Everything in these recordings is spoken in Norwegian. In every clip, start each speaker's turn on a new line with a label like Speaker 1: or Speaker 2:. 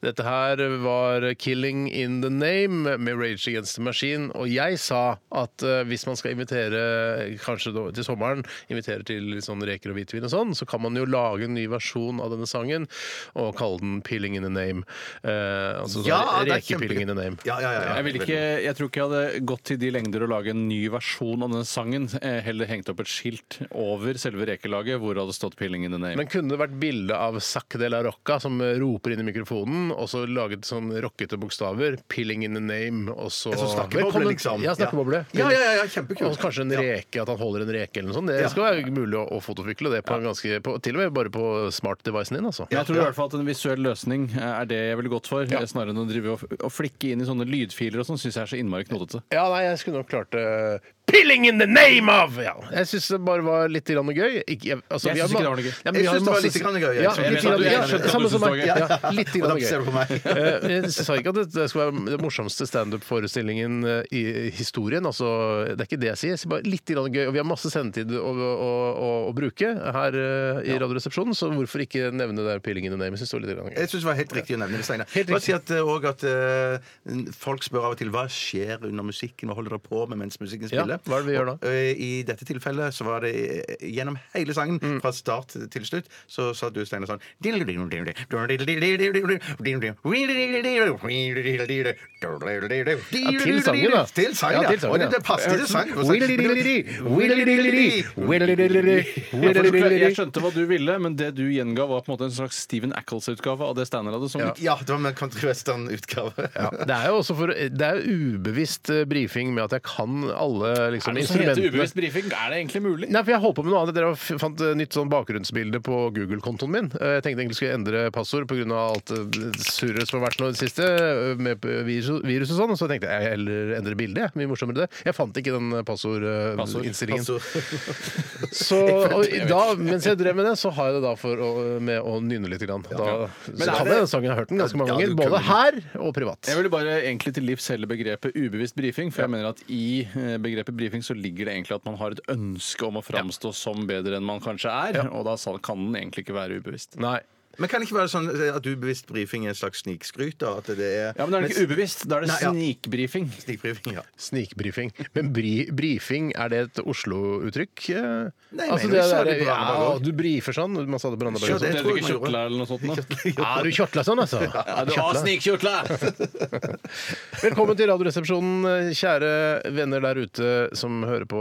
Speaker 1: Dette her var 'Killing in the Name' med Rage Against the Machine. Og jeg sa at eh, hvis man skal invitere, kanskje da til sommeren, invitere til litt sånn reker og hvitvin og sånn, så kan man jo lage en ny versjon av denne sangen og kalle den 'Pilling in the Name'. Eh, altså
Speaker 2: Ja,
Speaker 1: sånn
Speaker 2: det er
Speaker 1: rekepilling in the name.
Speaker 2: Ja, ja, ja, ja.
Speaker 3: Jeg, vil ikke, jeg tror ikke jeg hadde gått til de lengder å lage en ny versjon av den sangen. Eh, Heller hengt opp et skilt over selve rekelaget hvor det hadde stått 'Pilling in the name'.
Speaker 1: Men kunne det vært bilde av Sac de la Rocca som roper inn i mikrofonen, og så laget sånn rockete bokstaver, 'Pilling in the name', og så
Speaker 2: En sånn snakkeboble,
Speaker 1: Velkommen-
Speaker 2: liksom.
Speaker 1: Ja, snakkeboble.
Speaker 2: Ja. Ja, ja, ja, ja, kjempekult.
Speaker 1: Og kanskje en
Speaker 2: Ja.
Speaker 1: reke, at han holder en reke eller noe sånt. Det
Speaker 2: Ja.
Speaker 1: skal være mulig å, å fotofykle det på en ganske på, Til og med bare på smart-devicen din, altså.
Speaker 3: Men jeg tror i hvert fall at en visuell løsning eh, er det jeg ville gått for, eh,
Speaker 1: Ja.
Speaker 3: snarere enn å drive og, og flikke inn i sånne lydfiler og sånn, syns jeg er så innmari knotete.
Speaker 1: Ja, nei, jeg skulle nok klart det. Pilling in the name of! Ja. Jeg syns det bare var litt grann gøy. Ikke, jeg- altså,
Speaker 3: Jeg
Speaker 1: vi har
Speaker 3: syns ikke det
Speaker 1: ma-
Speaker 3: var noe
Speaker 1: Ja,
Speaker 3: gøy.
Speaker 1: men
Speaker 2: Jeg
Speaker 1: vi har
Speaker 2: syns det var
Speaker 1: masse-
Speaker 2: litt grann gøy, jeg.
Speaker 1: Ja,
Speaker 2: Jeg
Speaker 1: litt
Speaker 3: skjønner at
Speaker 1: grann-
Speaker 3: du- jeg
Speaker 1: ja,
Speaker 3: skjønner at du
Speaker 1: samme
Speaker 3: syns
Speaker 1: som meg.
Speaker 3: det var gøy.
Speaker 1: Ja, litt
Speaker 2: Og da
Speaker 1: grann gøy.
Speaker 2: ser du på meg.
Speaker 1: Eh, Jeg sa ikke at det skulle være den morsomste standup-forestillingen eh, i historien. altså Det er ikke det jeg sier. Jeg sier bare litt grann gøy. Og vi har masse sendetid å, å, å, å bruke her eh, i Radioresepsjonen, så hvorfor ikke nevne det der Pilling in the name? Jeg synes det var litt grann gøy.
Speaker 2: Jeg syns det var helt riktig å nevne det, Steinar.
Speaker 1: Helt
Speaker 2: Bare
Speaker 1: riktig.
Speaker 2: si at, eh, og at eh, folk spør av og til hva skjer under musikken, hva holder dere på med mens musikken
Speaker 1: Ja,
Speaker 2: spiller?
Speaker 1: hva er det vi gjør da?
Speaker 2: Og, eh, I dette tilfellet så var det eh, gjennom hele sangen,
Speaker 1: Mm.
Speaker 2: fra start til slutt, så sa du, Steinar,
Speaker 1: Ja,
Speaker 2: sånn Ja,
Speaker 1: til sangen, da.
Speaker 2: Til sangen,
Speaker 1: Ja,
Speaker 2: ja.
Speaker 1: til sangen,
Speaker 2: Og
Speaker 1: ja.
Speaker 2: det, det passet til sangen. for
Speaker 3: Jeg
Speaker 1: Ja,
Speaker 3: skjønte hva du ville, men det du gjenga, var på en måte en slags Steven Ackles-utgave av det Steinar hadde sunget.
Speaker 2: Ja, det var med country-western-utgave.
Speaker 1: det er jo også for, det er jo ubevisst eh, brifing med at jeg kan alle liksom,
Speaker 3: Er det noe som heter
Speaker 1: instrumentene.
Speaker 3: ubevisst brifing? Er det egentlig mulig?
Speaker 1: Nei, for jeg holdt på med noe annet. Dere f- fant eh, nytt sånn bakgrunnsbilde på Google-kontoen min. Eh, Jeg tenkte egentlig skulle endre passord pga. alt eh, surret som har vært nå i det siste, eh, med p- virus, virus og sånn. Så tenkte jeg jeg heller endre bildet. jeg. Mye morsommere det. Jeg fant ikke den eh,
Speaker 3: Passord.
Speaker 1: passordinnstillingen.
Speaker 2: Så-
Speaker 1: Så og i- da, mens jeg drev med det, så har jeg det da for å, med å nynne litt. Grann. Da, så kan
Speaker 3: er det-
Speaker 1: jeg den sangen, jeg har hørt den ganske mange
Speaker 2: Ja, du
Speaker 1: ganger. Både her og privat.
Speaker 3: Jeg ville bare egentlig til livs hele begrepet ubevisst brifing, for jeg mener at i eh, begrepet brifing så ligger det egentlig at man har et ønske om å framstå som bedre enn man kanskje er, og da sa- kan den egentlig ikke være ubevisst.
Speaker 1: Nei.
Speaker 2: Men kan det ikke være sånn at ubevisst brifing er en slags snikskryt? da? At det er
Speaker 3: Ja, men da er det ikke ubevisst, da er det
Speaker 2: Nei, ja.
Speaker 3: snikbrifing.
Speaker 2: Snikbrifing, ja.
Speaker 1: Snikbrifing. Men bri, brifing, er det et Oslo-uttrykk? eh?
Speaker 2: Nei,
Speaker 1: altså,
Speaker 2: men
Speaker 1: det
Speaker 2: vi sa
Speaker 1: der,
Speaker 2: det på
Speaker 1: ja,
Speaker 2: Randaberg også.
Speaker 1: du brifer sånn. Man sa det på Randaberg
Speaker 2: Ja,
Speaker 1: også.
Speaker 2: det
Speaker 3: Heter
Speaker 2: tror
Speaker 3: det ikke
Speaker 2: jeg man gjorde.
Speaker 3: kjortla eller noe sånt? nå?
Speaker 1: Ja, du kjortla sånn, altså?
Speaker 3: Ja, du har
Speaker 1: Kjortla.
Speaker 3: snikkjortla!
Speaker 1: Velkommen til Radioresepsjonen, kjære venner der ute som hører på,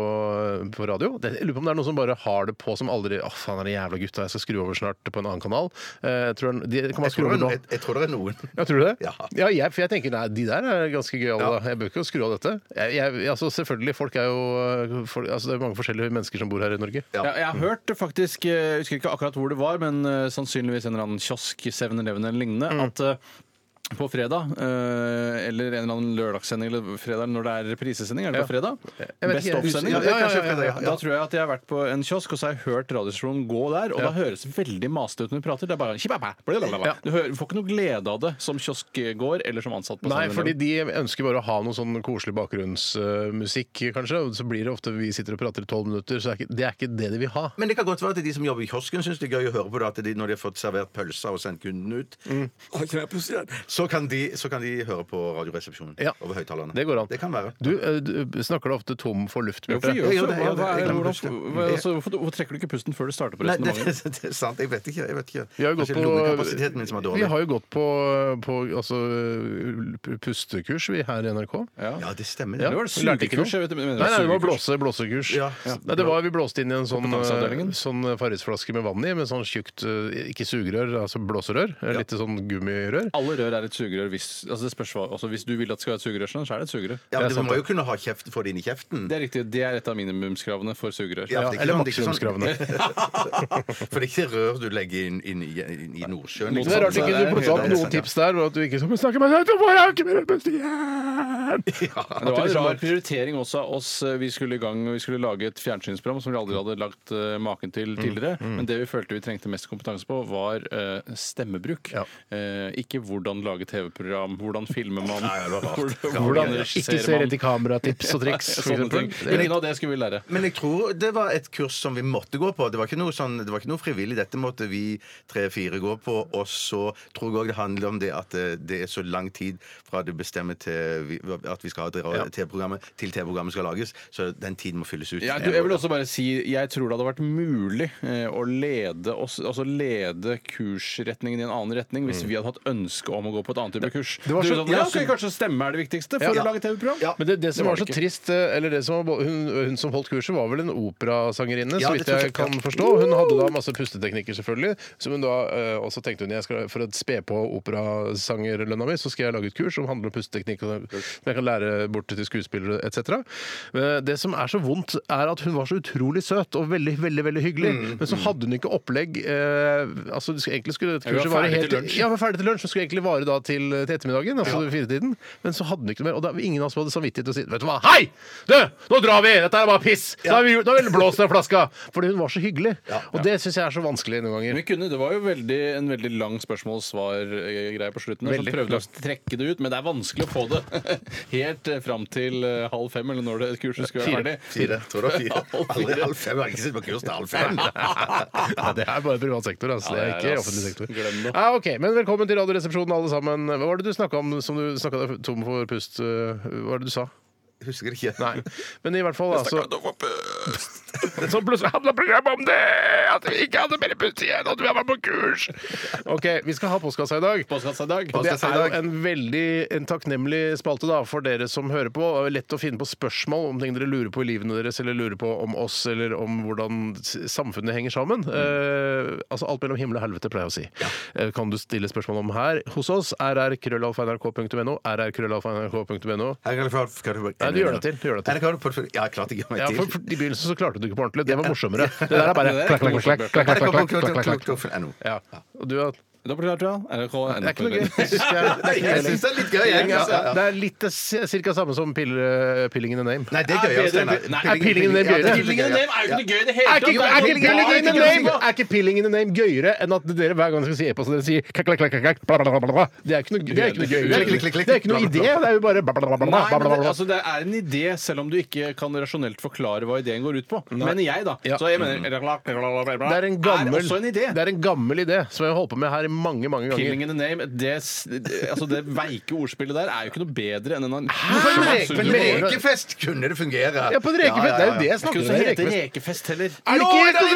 Speaker 1: på radio. Det, jeg lurer på om det er noen som bare har det på som aldri Å, faen, er det jævla gutta, jeg skal skru over snart på en annen kanal. Eh, jeg tror den- de, kan man
Speaker 2: Jeg
Speaker 1: skru
Speaker 2: tror,
Speaker 1: over
Speaker 2: det,
Speaker 1: nå?
Speaker 2: er- jeg, jeg tror det er noen.
Speaker 1: Ja, tror du det?
Speaker 2: Ja.
Speaker 1: jeg, for jeg tenker nei, de der er ganske gøyale. da. Jeg bør ikke skru av dette. Jeg, jeg, altså, selvfølgelig, folk er jo folk, altså, Det er mange forskjellige mennesker som bor her i Norge.
Speaker 2: Ja.
Speaker 3: Ja, jeg har hørt det faktisk, eh, jeg husker ikke akkurat hvor det var, men eh, sannsynligvis en eller annen kiosk, 7-Eleven eller lignende,
Speaker 2: Mm.
Speaker 3: at eh, på fredag, eh, eller en eller annen lørdagssending eller fredag, når det er reprisesending, er det på fredag?
Speaker 1: vet
Speaker 3: Best
Speaker 1: ikke, jeg
Speaker 3: of-sending?
Speaker 2: Ja, ja, ja, ja, ja, ja.
Speaker 3: Da tror jeg at jeg har vært på en kiosk, og så har jeg hørt radiostasjonen gå der, og da høres det veldig masete ut når du prater. Det er bare «Shibaba, blablabla».
Speaker 1: Ja.
Speaker 3: Du hører, får ikke noe glede av det som kioskgård eller som ansatt på
Speaker 1: Nei,
Speaker 3: 7-Eleven.
Speaker 1: fordi de ønsker bare å ha noe sånn koselig bakgrunnsmusikk, kanskje. og Så blir det ofte vi sitter og prater i tolv minutter, så det er ikke det er ikke det de vil ha.
Speaker 2: Men det kan godt være at de som jobber i kiosken, syns det er gøy å høre på det at de, når de har fått servert pølser og sendt kunden ut.
Speaker 1: Mm.
Speaker 2: «Å, kan jeg pusse den?» Så, kan de, så kan de høre på Radioresepsjonen
Speaker 1: Ja.
Speaker 2: over høyttalerne.
Speaker 1: Det går an.
Speaker 2: kan være.
Speaker 1: Du, eh, du snakker du ofte tom for luft,
Speaker 3: Hvorfor
Speaker 1: Bjarte?
Speaker 3: gjør
Speaker 2: Ja,
Speaker 3: du
Speaker 2: det-
Speaker 3: det? Hva,
Speaker 2: ja,
Speaker 3: hva
Speaker 2: det-
Speaker 3: er,
Speaker 2: jeg glemmer
Speaker 3: hvordan, hva, altså, hvorfor, hvorfor trekker du ikke pusten før du starter på
Speaker 2: Nei, det,
Speaker 3: resonnementet?
Speaker 2: det er sant. Jeg vet ikke. Jeg vet ikke.
Speaker 1: Vi har jo gått
Speaker 2: Kanskje lungekapasiteten min som er
Speaker 1: på, vi
Speaker 2: dårlig.
Speaker 1: har jo gått på, på altså, pustekurs, vi her i NRK.
Speaker 2: Ja, det stemmer.
Speaker 1: Ja.
Speaker 2: det.
Speaker 3: Det var det
Speaker 1: Vi lærte ikke noe.
Speaker 3: sugekurs, jeg vet ikke,
Speaker 1: Nei,
Speaker 3: men det var
Speaker 1: nei, det var
Speaker 3: sugekurs.
Speaker 1: blåse, blåsekurs.
Speaker 2: Ja.
Speaker 1: Nei, det var, vi blåste inn i en sånn, eh,
Speaker 3: Kompetanseavdelingen.
Speaker 1: sånn Farris-flaske med vann i, med sånn tjukt eh, Ikke sugerør, altså blåserør. eh, Litt sånn gummirør.
Speaker 3: Alle rør er et sugerør. Hvis, altså det spørs hva, altså hvis du vil at det skal være et sugerør, sånn, så er det et sugerør.
Speaker 2: Ja, men
Speaker 1: Det er
Speaker 2: Du
Speaker 1: sant,
Speaker 2: må jo kunne ha kjeft, få det inn i kjeften.
Speaker 3: Det er riktig, det er et av minimumskravene for sugerør.
Speaker 2: Ja,
Speaker 1: Ja,
Speaker 2: det er ikke
Speaker 1: eller
Speaker 2: sånn- det er ikke sånn-
Speaker 1: maksimumskravene.
Speaker 2: For det er ikke rør du legger inn, inn, i- inn i Nordsjøen. liksom.
Speaker 1: Det er rart
Speaker 3: Så
Speaker 1: ikke
Speaker 3: det
Speaker 1: du
Speaker 3: er
Speaker 1: plukket opp
Speaker 2: helt-
Speaker 1: noen tips der, og at du ikke snakker meg sånn «Du får jeg ikke mer puste igjen!» gæren!
Speaker 3: Men Det var en rar prioritering også av oss. eh, Vi skulle i gang og vi skulle lage et fjernsynsprogram som vi aldri hadde lagt eh, maken til tidligere. Men det vi følte vi trengte mest kompetanse på, var eh, stemmebruk.
Speaker 1: Ja.
Speaker 3: Eh, ikke hvordan lage TV-program, hvordan filmer man,
Speaker 2: Nei, det var rart.
Speaker 3: hvordan,
Speaker 1: Hvordan
Speaker 3: hvordan
Speaker 1: ikke se
Speaker 3: regisserer
Speaker 1: rett
Speaker 3: man.
Speaker 1: i kamera-tips og triks. for
Speaker 3: Sånne ting.
Speaker 1: eksempel.
Speaker 3: Men ingen av det skulle vi lære.
Speaker 2: Men jeg tror det var et kurs som vi måtte gå på. Det var ikke noe, sånn, det var ikke noe frivillig. Dette måtte vi tre-fire gå på. Og så tror jeg òg det handler om det at eh, det er så lang tid fra du bestemmer til vi, at vi skal ha et ra- TV-programmet, til TV-programmet skal lages. Så den tiden må fylles ut.
Speaker 3: Ja, du, jeg vil også bare si jeg tror det hadde vært mulig eh, å lede, oss, altså lede kursretningen i en annen retning hvis vi hadde hatt ønske om å gå på et annet type kurs.
Speaker 1: Mm. det var
Speaker 3: Du
Speaker 1: så-
Speaker 3: vet at,
Speaker 1: ja,
Speaker 3: ja,
Speaker 1: så-
Speaker 3: ok, Kanskje stemme er det viktigste for
Speaker 1: Ja.
Speaker 3: å lage TV-program?
Speaker 2: Ja.
Speaker 1: Men det, det som
Speaker 3: Det
Speaker 1: var så
Speaker 3: var det ikke.
Speaker 1: trist, eh, eller det som var, hun, hun som holdt kurset, var vel en operasangerinne,
Speaker 2: Ja,
Speaker 1: så vidt
Speaker 2: det tror
Speaker 1: jeg,
Speaker 2: jeg,
Speaker 1: kan
Speaker 2: ja.
Speaker 1: forstå. Hun hadde da masse pusteteknikker, selvfølgelig. Som hun da eh, også tenkte hun jeg skal, for å spe på operasangerlønna mi, så skal jeg lage et kurs som handler om pusteteknikk, og- som jeg kan lære bort til skuespillere etc. Men Det som er så vondt, er at hun var så utrolig søt og veldig, veldig veldig hyggelig,
Speaker 3: Mm.
Speaker 1: men så hadde hun ikke opplegg eh, Altså, det skulle- egentlig skulle dette
Speaker 3: Ja, vi var
Speaker 1: kurset vare
Speaker 3: ferdig til
Speaker 1: helt
Speaker 3: lunsj.
Speaker 1: Ja, vi var ferdig til lunsj, og skulle egentlig vare da til, til ettermiddagen. altså firetiden, Men så hadde den ikke noe mer. Og det var ingen av oss som hadde samvittighet til å si Vet du hva, hei! Du, nå drar vi! Dette er bare piss! Da har vi, gjort- da har vi blåst den flaska! Fordi hun var så hyggelig. Og det syns jeg er så vanskelig noen
Speaker 3: Men
Speaker 1: ganger.
Speaker 3: Vi kunne, Det var jo veldig, en veldig lang spørsmål-svar-greie på slutten. Veldig,
Speaker 1: Veldig
Speaker 3: så prøvde jeg å trekke det ut, men det er vanskelig å få det helt eh, fram til eh, halv fem, eller når det kurset skulle
Speaker 1: Fire.
Speaker 3: være ferdig.
Speaker 2: Fire. Tror det var fire. Aldri halv fem. Jeg har ikke sittet på kurs til halv fem.
Speaker 1: Ja, det er bare privat sektor, altså. Det er
Speaker 3: Ja, det er
Speaker 1: ikke
Speaker 3: ass.
Speaker 1: offentlig sektor.
Speaker 3: Glem det.
Speaker 1: Ja, ok, Men velkommen til Radioresepsjonen, alle sammen. Hva var det du snakka om som du snakka deg tom for pust? øh, Hva var det du sa?
Speaker 2: Husker ikke.
Speaker 1: Nei. Men i hvert fall, altså Så plutselig handla programmet om det! At vi ikke hadde mer pust igjen, og at vi var på kurs! OK, vi skal ha postkassa i dag.
Speaker 3: Postkassa i dag.
Speaker 1: Og det
Speaker 2: Postkassa i
Speaker 1: er jo
Speaker 2: dag.
Speaker 1: en veldig en takknemlig spalte da, for dere som hører på. Det er lett å finne på spørsmål om ting dere lurer på i livene deres, eller lurer på om oss, eller om hvordan s- samfunnet henger sammen.
Speaker 2: Mm.
Speaker 1: Eh, altså alt mellom himmel og helvete, pleier jeg å si. Eh, kan du stille spørsmål om her hos oss? rrkrøllalfa.nrk.no. rrkrøllalfa.nrk.no.
Speaker 2: Her kan du få- kan du-
Speaker 1: Nei, du gjør det til, du gjør det til.
Speaker 2: Her kan du få- Ja, klart jeg gjør meg
Speaker 1: Ja,
Speaker 2: til.
Speaker 1: for, for I begynnelsen så klarte du ikke på ordentlig. Det var morsommere. Det der er bare
Speaker 3: Det der er
Speaker 1: klakk, klakk, klakk,
Speaker 3: ikke
Speaker 1: klakk,
Speaker 3: morsomt,
Speaker 1: klakk,
Speaker 2: Her kan
Speaker 1: klakk,
Speaker 2: du-
Speaker 1: klakk, klakk, klakk.
Speaker 2: NO.
Speaker 1: Ja. Og du, har-
Speaker 3: Da blir det klart, ja. NRK,
Speaker 1: det er ikke noe gøy.
Speaker 3: NRK.
Speaker 2: Nei, jeg syns det er litt gøy. Jeg. Ja, ja, ja.
Speaker 1: Det er altså. litt det s- cirka samme som piller, pilling in the name.
Speaker 2: Nei, det er gøy. Steinar.
Speaker 1: Nei, er pillingen din
Speaker 2: Ja, det
Speaker 1: gøyere?
Speaker 2: pillingen din, ja.
Speaker 3: gøy i det hele
Speaker 1: Er ikke, er, ikke pilling in the name, er ikke pilling in the name gøyere enn at dere hver gang dere skal si e-post, dere sier kakk, kakk, kakk, kakk, bla, bla, bla, bla, bla. Det er ikke noe, det er ikke noe
Speaker 2: Klikk,
Speaker 1: gøyere.
Speaker 2: klikk, klikk,
Speaker 1: Det er ikke noe
Speaker 2: klikk,
Speaker 1: idé.
Speaker 2: bla,
Speaker 1: Det er jo bare bla, bla, bla, bla,
Speaker 3: Nei,
Speaker 1: bla,
Speaker 3: men
Speaker 1: bla,
Speaker 3: det,
Speaker 1: bla.
Speaker 3: altså, det er en idé, selv om du ikke kan rasjonelt forklare hva ideen går ut på. Mener jeg, da.
Speaker 1: Ja.
Speaker 3: Så jeg mener Det
Speaker 1: Det er en gammel,
Speaker 3: er også en idé.
Speaker 1: det er en gammel idé som jeg har holdt på med her i mange, mange
Speaker 3: Killing
Speaker 1: ganger.
Speaker 3: in the name, det, s- altså det veike ordspillet der er jo ikke noe bedre enn en
Speaker 2: På en
Speaker 3: Hæ?
Speaker 2: reke- på en rekefest kunne det fungere.
Speaker 1: Ja, på en rekefest. Det er jo det jeg snakker om. det er rekefest.
Speaker 3: rekefest heller.
Speaker 1: Er det ikke
Speaker 2: Jo,
Speaker 1: en
Speaker 2: det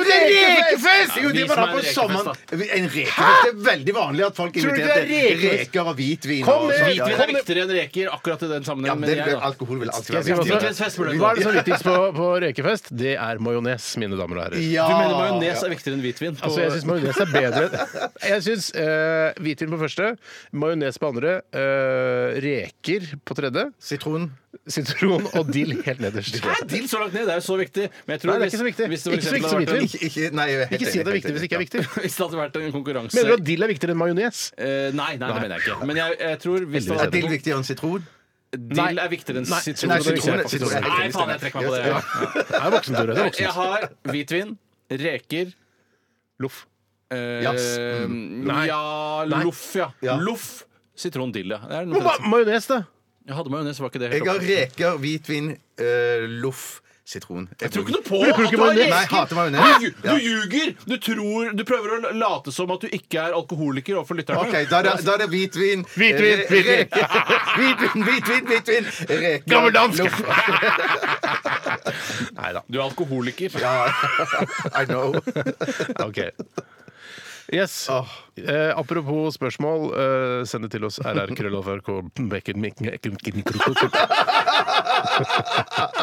Speaker 2: er
Speaker 1: rekefest?
Speaker 2: Jo, det
Speaker 3: Vis
Speaker 2: man har
Speaker 3: meg en
Speaker 2: på
Speaker 3: rekefest,
Speaker 2: sommeren. En rekefest det er veldig vanlig at folk
Speaker 1: du ikke
Speaker 2: inviterer
Speaker 1: det er
Speaker 2: til
Speaker 1: rekefest?
Speaker 2: reker og hvitvin.
Speaker 1: Kom
Speaker 2: og
Speaker 1: med-
Speaker 2: sånt.
Speaker 1: Hvitvin
Speaker 3: Hvitvin
Speaker 2: Ja,
Speaker 3: er viktigere enn reker akkurat i den
Speaker 2: Ja,
Speaker 3: sammenhengen,
Speaker 2: men
Speaker 3: mener
Speaker 2: det,
Speaker 3: jeg, da.
Speaker 2: alkohol vil alltid
Speaker 1: Skal
Speaker 2: være
Speaker 1: jeg si hva som-
Speaker 3: Hvitvin-fest burde det
Speaker 1: Hva er det som er viktigst på, på rekefest? Det er majones, mine damer og herrer.
Speaker 2: Ja.
Speaker 3: Du mener majones er viktigere enn hvitvin? på-
Speaker 1: Altså, jeg syns majones er bedre. Jeg syns eh, hvitvin på første, majones på andre, eh, reker på tredje,
Speaker 2: Sitron.
Speaker 1: sitron og dill helt nederst.
Speaker 3: Hæ, dill så langt ned? Det er jo så viktig. Men jeg tror
Speaker 1: Nei, det er
Speaker 3: hvis-
Speaker 1: ikke så viktig.
Speaker 3: Hvis det, for
Speaker 1: Ikke så viktig
Speaker 3: eksempel
Speaker 1: som
Speaker 3: hadde vært en,
Speaker 2: Ikke, ikke, nei, jeg er helt
Speaker 1: Ikke si at
Speaker 2: enig,
Speaker 1: det er
Speaker 2: helt
Speaker 1: viktig hvis
Speaker 2: enig.
Speaker 1: det ikke er viktig.
Speaker 3: hvis det hadde vært en konkurranse
Speaker 1: Mener du at dill er viktigere enn majones?
Speaker 3: Eh, nei, nei, det mener jeg ikke. Men jeg, jeg tror hvis det
Speaker 2: Er
Speaker 3: hadde
Speaker 2: dill
Speaker 3: vært
Speaker 2: viktigere enn sitron?
Speaker 3: Dill er viktigere enn
Speaker 1: Nei,
Speaker 3: sitron.
Speaker 2: Nei,
Speaker 1: det er
Speaker 2: sitron,
Speaker 1: viktigere.
Speaker 2: sitron er helt
Speaker 3: Nei,
Speaker 2: enig,
Speaker 3: faen, jeg trekker meg på det. Ja.
Speaker 1: Det er voksent, Tore. Det er
Speaker 3: Jeg
Speaker 1: voksent.
Speaker 3: har hvitvin, reker
Speaker 1: Loff.
Speaker 3: eh,
Speaker 2: Jazz.
Speaker 1: Nei.
Speaker 3: Ja,
Speaker 1: Nei.
Speaker 3: loff, ja.
Speaker 2: Ja.
Speaker 3: Loff. Sitrondille. ja. Det er noe
Speaker 1: Hva-
Speaker 3: tredje.
Speaker 1: Majones, da?
Speaker 3: Jeg hadde majones, var ikke det
Speaker 2: Jeg
Speaker 3: helt
Speaker 2: har
Speaker 3: oppe.
Speaker 2: reker, hvitvin, eh, loff, sitron. Jeg
Speaker 3: tror ikke noe på
Speaker 1: Bruker du
Speaker 3: at
Speaker 1: ikke
Speaker 3: du har
Speaker 1: majones?
Speaker 2: Nei,
Speaker 3: reker!
Speaker 2: jeg hater
Speaker 3: Hæ?
Speaker 2: majones.
Speaker 3: Du du ljuger! Du tror Du prøver å late som at du ikke er alkoholiker overfor lytterne.
Speaker 2: OK, da er det, da er det hvitvin
Speaker 1: Hvitvin,
Speaker 2: re-
Speaker 1: hvitvin.
Speaker 2: reker- Hvitvin, hvitvin, hvitvin. Reker.
Speaker 1: Gammeldansk.
Speaker 2: loff.
Speaker 1: Nei da.
Speaker 3: Du er alkoholiker.
Speaker 2: Ja, I know.
Speaker 1: OK. Yes.
Speaker 2: Åh.
Speaker 1: Eh, apropos spørsmål, eh, send det til oss rrkrøllalfrk.no.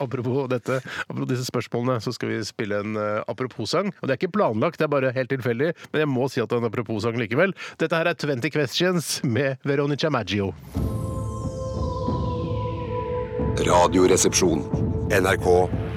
Speaker 1: apropos dette, apropos disse spørsmålene, så skal vi spille en eh, apropos-sang. Og det er ikke planlagt, det er bare helt tilfeldig, men jeg må si at det er en apropos-sang likevel. Dette her er 20 Questions med Veronica Maggio.
Speaker 4: Radioresepsjon. NRK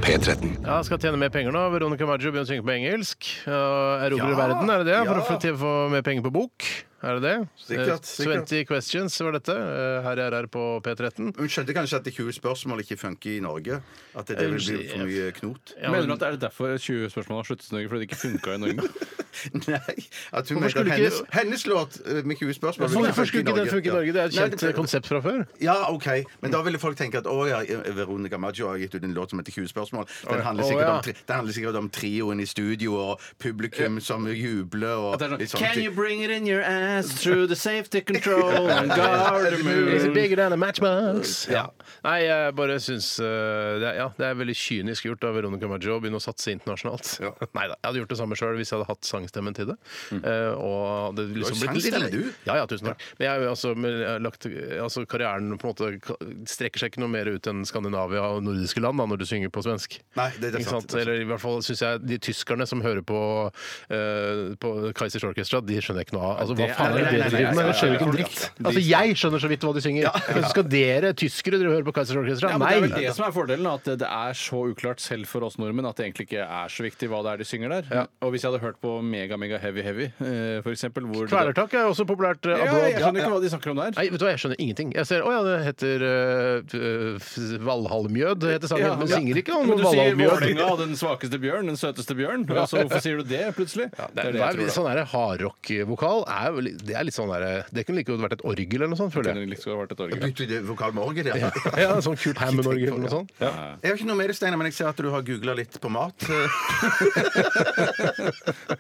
Speaker 4: P13.
Speaker 1: Ja, skal tjene mer penger nå. Veronica Maggio begynner å synge på engelsk. Uh, Erobrer
Speaker 2: Ja,
Speaker 1: verden, er det det? For å
Speaker 2: ja.
Speaker 1: få- til å få mer penger på bok? Er det det?
Speaker 2: Sikkert,
Speaker 1: Eh,
Speaker 2: sikkert.
Speaker 1: 20 questions var dette. Eh, Her er RR på P13.
Speaker 2: Hun skjønte kanskje at 20 spørsmål ikke funker i Norge? At det vil bli for mye knot?
Speaker 1: Ja,
Speaker 3: Mener du
Speaker 1: men,
Speaker 3: at det er derfor 20 spørsmål har sluttet i Norge? Fordi det ikke funka i Norge?
Speaker 2: Nei. At
Speaker 1: Hvorfor
Speaker 2: hun mente
Speaker 1: skulle
Speaker 2: at
Speaker 1: ikke-
Speaker 2: hennes, hennes låt eh, med 20 spørsmål vil
Speaker 1: hvorfor skulle ikke den funke i Norge? Det er et
Speaker 2: Nei,
Speaker 1: kjent eh, konsept fra før.
Speaker 2: Ja, OK. Men da ville folk tenke at å ja, Veronica Maggio har gitt ut en låt som heter 20 spørsmål. Den handler
Speaker 1: Å,
Speaker 2: sikkert,
Speaker 1: ja.
Speaker 2: om, tri den handler sikkert om trioen i studio og publikum som jubler og
Speaker 3: Det er
Speaker 2: litt
Speaker 3: sånn,
Speaker 2: sånne
Speaker 3: Can you
Speaker 2: ting.
Speaker 3: bring it in your ass through the safety control and guard the
Speaker 1: Is it
Speaker 3: moon?
Speaker 1: bigger than a matchbox? Ja. Nei, jeg bare syns eh, det, er, ja, det er veldig kynisk gjort av Veronica Maggio å begynne å satse internasjonalt. Nei da, jeg hadde gjort det samme sjøl hvis jeg hadde hatt sangstemmen til det. Eh, og det liksom
Speaker 2: Du har
Speaker 1: blitt litt
Speaker 2: sangstemme, du.
Speaker 1: Ja, ja, tusen takk. Men jeg, har jo altså, men jeg har lagt, altså, karrieren på en måte ka- strekker seg ikke noe mer ut enn Skandinavia og nordiske land da, når du synger på svensk.
Speaker 2: Nei, det er
Speaker 1: Ikke
Speaker 2: sant.
Speaker 1: sant? Eller i hvert fall syns jeg de tyskerne som hører på, uh, på Kaizers Orchestra, de skjønner jeg ikke noe av. Altså, hva
Speaker 3: Det er-
Speaker 1: faen er det
Speaker 3: nei,
Speaker 1: dere
Speaker 3: nei,
Speaker 1: driver
Speaker 3: nei,
Speaker 1: med?
Speaker 3: nei,
Speaker 1: Jeg skjønner ikke en
Speaker 3: nei,
Speaker 1: dritt. Altså, jeg skjønner så vidt hva de synger. Men skal dere tyskere dere hører på Kaizers Orchestra?
Speaker 3: Ja, men det er vel
Speaker 1: Nei!
Speaker 3: det som er fordelen, at det er så uklart selv for oss nordmenn at det egentlig ikke er så viktig hva det er de synger der. Og hvis jeg hadde hørt på mega, mega heavy heavy, eh, for eksempel hvor
Speaker 1: Kvelertak er også populært eh,
Speaker 3: ja,
Speaker 1: abroad.
Speaker 3: Jeg skjønner ikke hva de snakker om der.
Speaker 1: Nei, vet du hva, jeg skjønner ingenting. Jeg ser, Å ja, det heter uh, Valhallmjød, det heter sangen. Man synger ikke om
Speaker 3: Men du sier
Speaker 1: Valhallmjød.
Speaker 3: Vålerenga, den svakeste bjørn, den søteste bjørn. Altså, hvorfor sier du det plutselig?
Speaker 1: Det er,
Speaker 3: jeg tror, da.
Speaker 1: sånn der hardrock-vokal er, jo litt- det er litt sånn der, Det kunne like godt vært et orgel eller noe sånt, føler jeg.
Speaker 3: Kunne det liksom vært et orgel.
Speaker 2: Bytter vi det vokal med orgel? Ja.
Speaker 1: Ja, en sånn kult Hammond-orgel eller noe sånt.
Speaker 2: Jeg har ikke noe med det, Steinar, men jeg ser at du har googla litt på mat.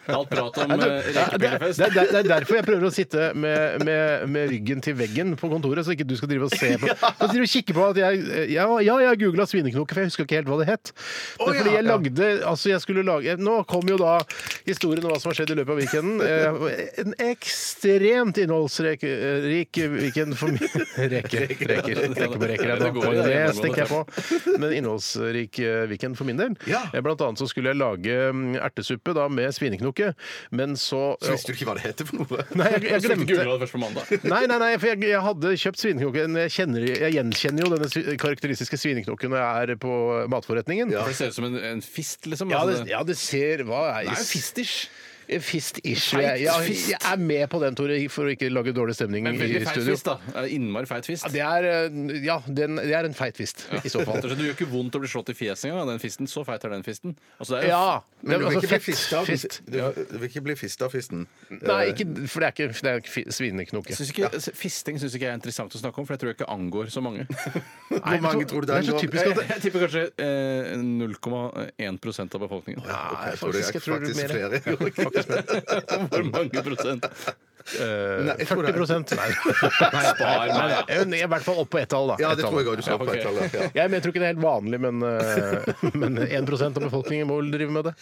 Speaker 3: Alt prat om
Speaker 1: Det,
Speaker 3: eh,
Speaker 1: er- det, er-
Speaker 3: rekepillefest.
Speaker 1: det, er- det er derfor jeg prøver å sitte med, med, med ryggen til veggen på kontoret, så ikke du skal drive og se på Så driver du og kikke på at jeg Ja, ja jeg googla svineknoke, for jeg husker ikke helt hva det het. Det er fordi jeg lagde Altså, jeg skulle lage Nå kom jo da historien om hva som har skjedd i løpet av weekenden. Eh, En ekstremt innholdsrik eh, rik weekend for min Reker. Reker. Reker på reker.
Speaker 3: Det
Speaker 1: Det,
Speaker 3: går i
Speaker 1: det
Speaker 3: det.
Speaker 1: tenker jeg på. Men innholdsrik eh, weekend for min del.
Speaker 2: Ja.
Speaker 1: Eh, Blant annet så skulle jeg lage mm, ertesuppe da med svineknoke, men så
Speaker 2: Så visste du ikke hva det heter for noe.
Speaker 1: Nei, jeg, jeg
Speaker 3: Jeg glemte
Speaker 1: glemte
Speaker 3: Google det først på mandag.
Speaker 1: Nei, nei, nei, for jeg, jeg hadde kjøpt svineknoke. men Jeg, kjenner, jeg gjenkjenner jo denne svi- karakteristiske svineknoken når jeg er på matforretningen.
Speaker 3: For det ser ut som en, en fist, liksom.
Speaker 1: Ja,
Speaker 3: altså,
Speaker 1: det, ja, det ser Hva er
Speaker 3: det er jo fistish.
Speaker 1: Fist-ish. Jeg, jeg, jeg er med på den, Tore, for å ikke lage dårlig stemning
Speaker 3: Men
Speaker 1: i
Speaker 3: veldig feit
Speaker 1: studio.
Speaker 3: fist, da. Eh, Innmari feit fist.
Speaker 1: Ja, det er, eh, ja, den, det er en feit fist, i så fall.
Speaker 3: Det gjør ikke vondt å bli slått i fjeset engang, av den fisten. Så feit er den fisten. Altså, det er jo
Speaker 1: Ja.
Speaker 2: Men du vil
Speaker 1: altså,
Speaker 2: ikke bli
Speaker 1: fett
Speaker 2: fista av
Speaker 1: fist.
Speaker 2: du- du vil ikke bli fista av fisten?
Speaker 1: Nei, ikke, for det er ikke, det er ikke fi- svineknoke.
Speaker 3: Syns ikke, altså, Fisting syns ikke jeg er interessant å snakke om, for jeg tror jeg ikke angår så mange.
Speaker 2: Hvor mange tror du det
Speaker 1: er så
Speaker 2: angår?
Speaker 1: typisk at det
Speaker 3: Jeg tipper kanskje eh, 0,1 av befolkningen.
Speaker 1: Nei,
Speaker 2: tror det er
Speaker 1: faktisk, jeg tror det
Speaker 2: faktisk
Speaker 1: er
Speaker 2: flere.
Speaker 1: mer. Faktisk mer.
Speaker 3: Hvor mange prosent?
Speaker 2: Nei, jeg tror
Speaker 1: 40
Speaker 2: det er-
Speaker 1: prosent. Nei,
Speaker 3: Spar meg, da.
Speaker 1: Jeg er eh, I hvert fall opp på ett tall, da.
Speaker 2: Ja,
Speaker 1: Ett
Speaker 2: det
Speaker 1: tall.
Speaker 2: tror jeg òg du sa
Speaker 3: Ja,
Speaker 2: på
Speaker 3: ok.
Speaker 2: et eller annet.
Speaker 1: Jeg mener, jeg tror ikke det er helt vanlig, men, eh, men 1 av befolkningen må vel drive med det.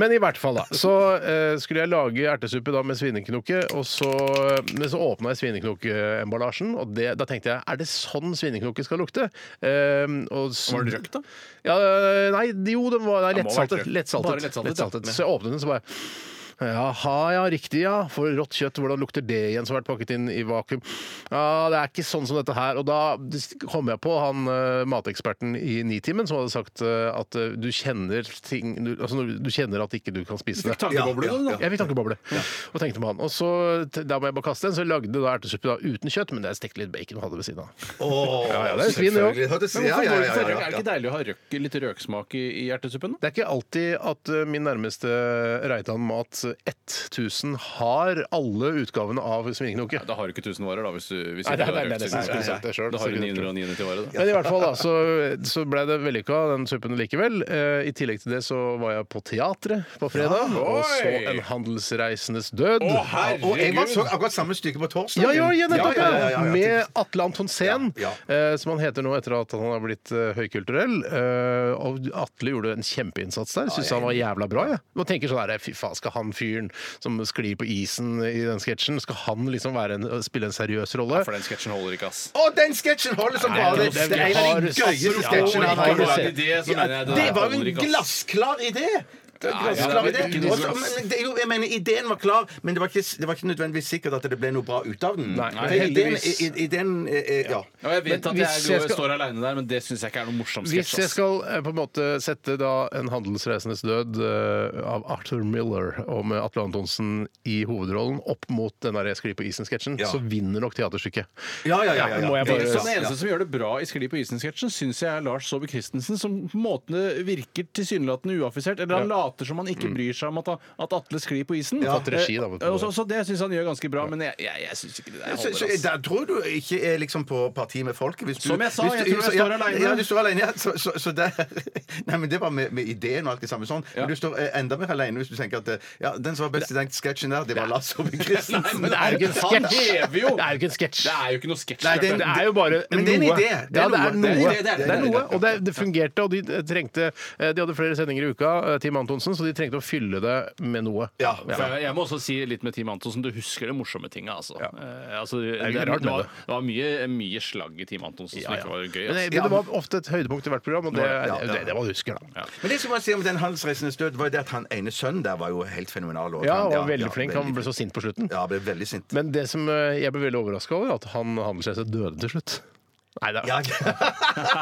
Speaker 1: Men i hvert fall, da. Så eh, skulle jeg lage ertesuppe da med svineknoke, og så, eh, men så åpna jeg svineknokeemballasjen, og det, da tenkte jeg er det sånn svineknoke skal lukte? Eh, og s-
Speaker 3: Var den røkt, da?
Speaker 1: Ja, eh, nei, jo, den var nei,
Speaker 3: Den må ha vært
Speaker 1: lettsaltet.
Speaker 3: røkt. Bare
Speaker 1: Lettsaltet.
Speaker 3: lettsaltet,
Speaker 1: lettsaltet.
Speaker 3: ja.
Speaker 1: Så jeg åpnet den, så bare Jaha, ja, riktig, ja. For rått kjøtt, hvordan lukter det igjen som har vært pakket inn i vakuum? Ja, Det er ikke sånn som dette her. Og da kom jeg på han eh, mateksperten i Nitimen som hadde sagt eh, at eh, du kjenner ting du, Altså når du kjenner at ikke du kan spise det.
Speaker 3: Tankeboble,
Speaker 2: Ja, ja,
Speaker 3: da.
Speaker 1: Jeg fikk tankeboble og tenkte med han. Og så, t- da må jeg bare kaste den, så jeg lagde da ertesuppe da, uten kjøtt, men jeg stekte litt bacon og hadde ved siden av.
Speaker 2: Åh,
Speaker 1: Ja, ja, det er svin, det
Speaker 2: selvfølgelig. Hørtes-
Speaker 3: Men
Speaker 2: ja,
Speaker 3: hvorfor
Speaker 2: ja,
Speaker 3: går
Speaker 2: ja,
Speaker 3: det ikke for røk? Er
Speaker 2: ja,
Speaker 3: det
Speaker 2: ja.
Speaker 3: ikke deilig å ha røk, litt røksmak i, i ertesuppen? da?
Speaker 1: Det er ikke alltid at eh, min nærmeste Reitan Mat 1000 har alle utgavene av svineknoke.
Speaker 3: Da har du ikke 1000 varer, da, hvis du, hvis
Speaker 1: Nei, nei,
Speaker 3: ikke du har
Speaker 1: nei, nei,
Speaker 3: røkt.
Speaker 1: det
Speaker 3: siden
Speaker 1: synes jeg ikke.
Speaker 3: du
Speaker 1: Det er
Speaker 3: skulle-
Speaker 1: selv.
Speaker 3: Da har du 999 varer, da.
Speaker 1: Men i hvert fall da, så, så ble det vellykka, den suppen likevel. Eh, I tillegg til det så var jeg på teatret på fredag og så
Speaker 3: Oi!
Speaker 1: En handelsreisendes død.
Speaker 2: Og jeg var så akkurat samme stykke på torsdag.
Speaker 1: ja, ja, ja, nettopp!
Speaker 2: Ja, ja, ja, ja, ja.
Speaker 1: Med Atle Antonsen,
Speaker 2: Ja,
Speaker 1: eh, som han heter nå etter at han har blitt eh, høykulturell. Eh, og Atle gjorde en kjempeinnsats der. Syns han var jævla bra. Ja. Man tenker sånn her, fy faen, skal han fyren som sklir på isen i den sketsjen, skal han liksom være en, spille en seriøs rolle?
Speaker 3: For den sketsjen holder ikke, ass.
Speaker 2: Og den sketsjen holder som bare det!
Speaker 1: det er-
Speaker 2: Det er en av
Speaker 1: vi
Speaker 2: de
Speaker 1: har-
Speaker 2: gøyeste
Speaker 1: Ja,
Speaker 2: sketsjene
Speaker 1: vi
Speaker 2: han
Speaker 1: har
Speaker 2: har
Speaker 1: det. sett.
Speaker 2: laget.
Speaker 3: idé, så
Speaker 2: Ja,
Speaker 3: mener jeg
Speaker 2: Det
Speaker 3: der
Speaker 2: var jo
Speaker 3: holder
Speaker 2: en
Speaker 3: ikke, ass.
Speaker 2: glassklar idé! det var
Speaker 1: ja,
Speaker 2: klar
Speaker 1: men
Speaker 2: idé.
Speaker 1: ikke
Speaker 2: Også-
Speaker 1: noe-
Speaker 2: men det er jo- Jeg mener, ideen var klar, men det var, ikke, det var ikke nødvendigvis sikkert at det ble noe bra ut av den.
Speaker 1: Nei, nei,
Speaker 2: For ideen,
Speaker 1: heldigvis.
Speaker 2: i- i- ideen eh, eh, ja.
Speaker 3: Ja, jeg
Speaker 1: Men
Speaker 3: vet at jeg,
Speaker 1: hvis jeg
Speaker 3: går-
Speaker 1: skal-
Speaker 3: står aleine der, men det syns jeg ikke er noe morsom
Speaker 1: Hvis
Speaker 3: sketsj. altså.
Speaker 1: jeg
Speaker 3: ass.
Speaker 1: skal eh, på en måte sette da en handelsreisendes død eh, av Arthur Miller og med Atle Antonsen i hovedrollen opp mot den der Jeg sklir på isen-sketsjen,
Speaker 2: Ja.
Speaker 1: så vinner nok teaterstykket.
Speaker 2: Ja, ja, ja, Sånn ja, ja.
Speaker 1: Må jeg bare
Speaker 3: Så
Speaker 1: ja.
Speaker 3: Den eneste som gjør sånn, det bra i Skli på isen-sketsjen, syns jeg er Lars Saabye Christensen, som på en måte virker tilsynelatende uaffisert. Eller han later som han ikke bryr seg om at, at Atle sklir på isen.
Speaker 1: Mm. Fått regi, da, på en måte.
Speaker 3: Eh, og så, så det syns han gjør ganske bra, men jeg, jeg, jeg syns ikke det der
Speaker 2: Så,
Speaker 3: holder.
Speaker 2: så
Speaker 3: ass.
Speaker 2: der tror du ikke er liksom på parti med folket? hvis du-
Speaker 3: Som jeg sa,
Speaker 2: hvis
Speaker 3: jeg
Speaker 2: du-
Speaker 3: tror jeg
Speaker 2: ja,
Speaker 3: står alene.
Speaker 2: Ja, du står alene, ja. Så, så, så der, nei, men det var med, med ideen og alt det samme sånn. Men
Speaker 3: Ja.
Speaker 2: du står eh, enda mer alene hvis du tenker at eh, ja, den som var best i den sketsjen der, det var Lars Saabye
Speaker 3: Nei,
Speaker 2: Christensen.
Speaker 3: men det er jo ikke en
Speaker 1: Han
Speaker 3: sketsj! Det er
Speaker 1: hever
Speaker 3: jo
Speaker 1: Det er jo ikke en sketsj.
Speaker 3: ikke noe sketsj.
Speaker 2: Nei, det er en-
Speaker 1: Det er jo bare
Speaker 2: Men det er en
Speaker 1: noe.
Speaker 2: idé. Det
Speaker 1: Ja,
Speaker 2: er
Speaker 1: det er
Speaker 2: noe.
Speaker 1: noe.
Speaker 2: Det er en idé,
Speaker 1: Det
Speaker 2: det er en
Speaker 1: er
Speaker 2: idé.
Speaker 1: noe, og det, det fungerte. Og de trengte eh, De hadde flere sendinger i uka, eh, Team Antonsen, så de trengte å fylle det med noe.
Speaker 2: Ja,
Speaker 3: For jeg, jeg må også si litt med Team Antonsen. Du husker det morsomme tinga, altså. Eh, altså det,
Speaker 1: er jo ikke
Speaker 3: det
Speaker 1: rart med
Speaker 3: var,
Speaker 1: det.
Speaker 3: det var mye, mye slagg i Team Antonsen som ikke var gøy.
Speaker 1: Men det,
Speaker 3: Altså.
Speaker 1: men det var ofte et høydepunkt i hvert program, og det er
Speaker 2: Ja, ja.
Speaker 1: det, er det man husker, da.
Speaker 2: Men det som man sier om den handelsreisendes død, var jo det at han ene sønnen der var jo helt fenomenal. og
Speaker 1: Ja,
Speaker 2: han-
Speaker 1: og var veldig flink. Han
Speaker 2: veldig
Speaker 1: ble så sint på slutten.
Speaker 2: Ja, ble veldig sint.
Speaker 1: Men det som eh, jeg ble veldig overraska over, er at han handelsreise døde til slutt. Nei, det
Speaker 2: Ja,
Speaker 1: er,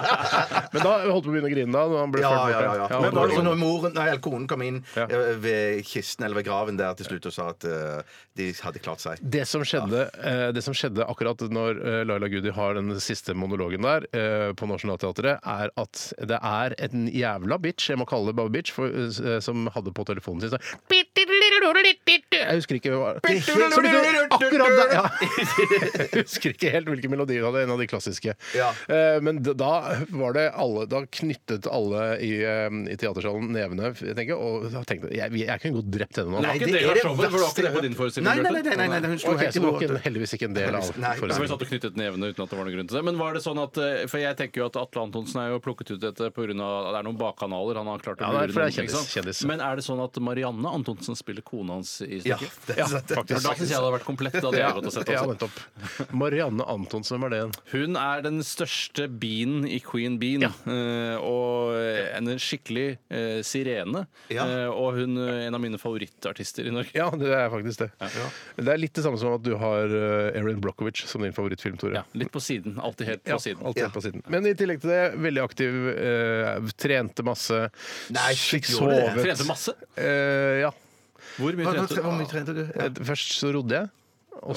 Speaker 1: Men da holdt vi på å begynne å grine da. Når han ble
Speaker 2: ja,
Speaker 1: ført bort
Speaker 2: ja,
Speaker 1: der.
Speaker 2: ja, ja.
Speaker 1: Ja, det
Speaker 2: Men var det
Speaker 1: var
Speaker 2: sånn
Speaker 1: sånn.
Speaker 2: når moren, nei, eller konen kom inn
Speaker 1: Ja.
Speaker 2: eh, ved kisten eller ved graven der til slutt og sa at eh, de hadde klart seg?
Speaker 1: det som, skjedde, eh, det som skjedde akkurat når eh, Laila Gudi har den siste monologen der eh, på Nationaltheatret, er at det er en jævla bitch, jeg må kalle det bare bitch, for, eh, som hadde på telefonen sin sånn Jeg husker ikke hva det var. Så det- Akkurat der! Ja. Jeg husker ikke helt hvilken melodi hun hadde, en av de klassiske.
Speaker 2: Ja.
Speaker 1: Eh, Men d- da var det alle Da knyttet alle i, eh, i teatersalen nevene, f- jeg tenker, og da tenkte jeg, jeg jeg kunne godt drept henne nå.
Speaker 3: Nei, ikke
Speaker 2: det
Speaker 3: det
Speaker 2: er
Speaker 3: var
Speaker 2: det
Speaker 3: showet, for det var ikke det
Speaker 2: verste-
Speaker 3: på din forestilling.
Speaker 2: Nei, nei, nei,
Speaker 3: Bjarte.
Speaker 2: nei, nei, nei, hun sto
Speaker 1: Ok,
Speaker 2: helt
Speaker 1: så
Speaker 2: i
Speaker 1: det var ikke,
Speaker 2: hodet.
Speaker 1: heldigvis ikke en del av
Speaker 2: Nei.
Speaker 3: Så vi
Speaker 1: forestillingen.
Speaker 3: satt og knyttet nevene uten at det var noen grunn til det. Men var det sånn at, eh, for jeg tenker jo at Atle Antonsen er jo plukket ut dette pga. det er noen bakkanaler han har klart å
Speaker 1: Ja, det er-
Speaker 3: lure
Speaker 1: for det er
Speaker 3: noen, ikke
Speaker 1: kjendis-
Speaker 3: sant?
Speaker 1: kjendis.
Speaker 3: Men er det sånn at Marianne Antonsen spiller kona hans i
Speaker 2: Ja,
Speaker 3: stykket?
Speaker 2: det, ja, det,
Speaker 3: For Da syns jeg det hadde vært komplett. Da hadde jeg gått og sett
Speaker 1: Ja,
Speaker 3: også.
Speaker 1: nettopp. Marianne Antonsen, hvem er det igjen?
Speaker 3: Hun er den største bien i Queen Bean, eh, og en skikkelig eh, sirene.
Speaker 2: Ja.
Speaker 3: Eh, og hun eh, en av mine favorittartister i Norge.
Speaker 1: Ja, det er faktisk det. Det er litt det samme som at du har eh, Erin Brockovich som din favorittfilm, Tore.
Speaker 3: Ja, litt på siden. Alltid helt på
Speaker 1: Ja,
Speaker 3: siden.
Speaker 1: alt er på siden. Men i tillegg til det, veldig aktiv, eh, trente masse,
Speaker 2: Nei,
Speaker 1: fikk
Speaker 2: gjorde det.
Speaker 1: sovet.
Speaker 3: Trente masse.
Speaker 1: Eh, ja.
Speaker 3: Hvor mye
Speaker 2: Hva- hva-
Speaker 3: trente du?
Speaker 2: Hvor mye trente du? Ja.
Speaker 1: Først så rodde jeg, og
Speaker 3: Oi!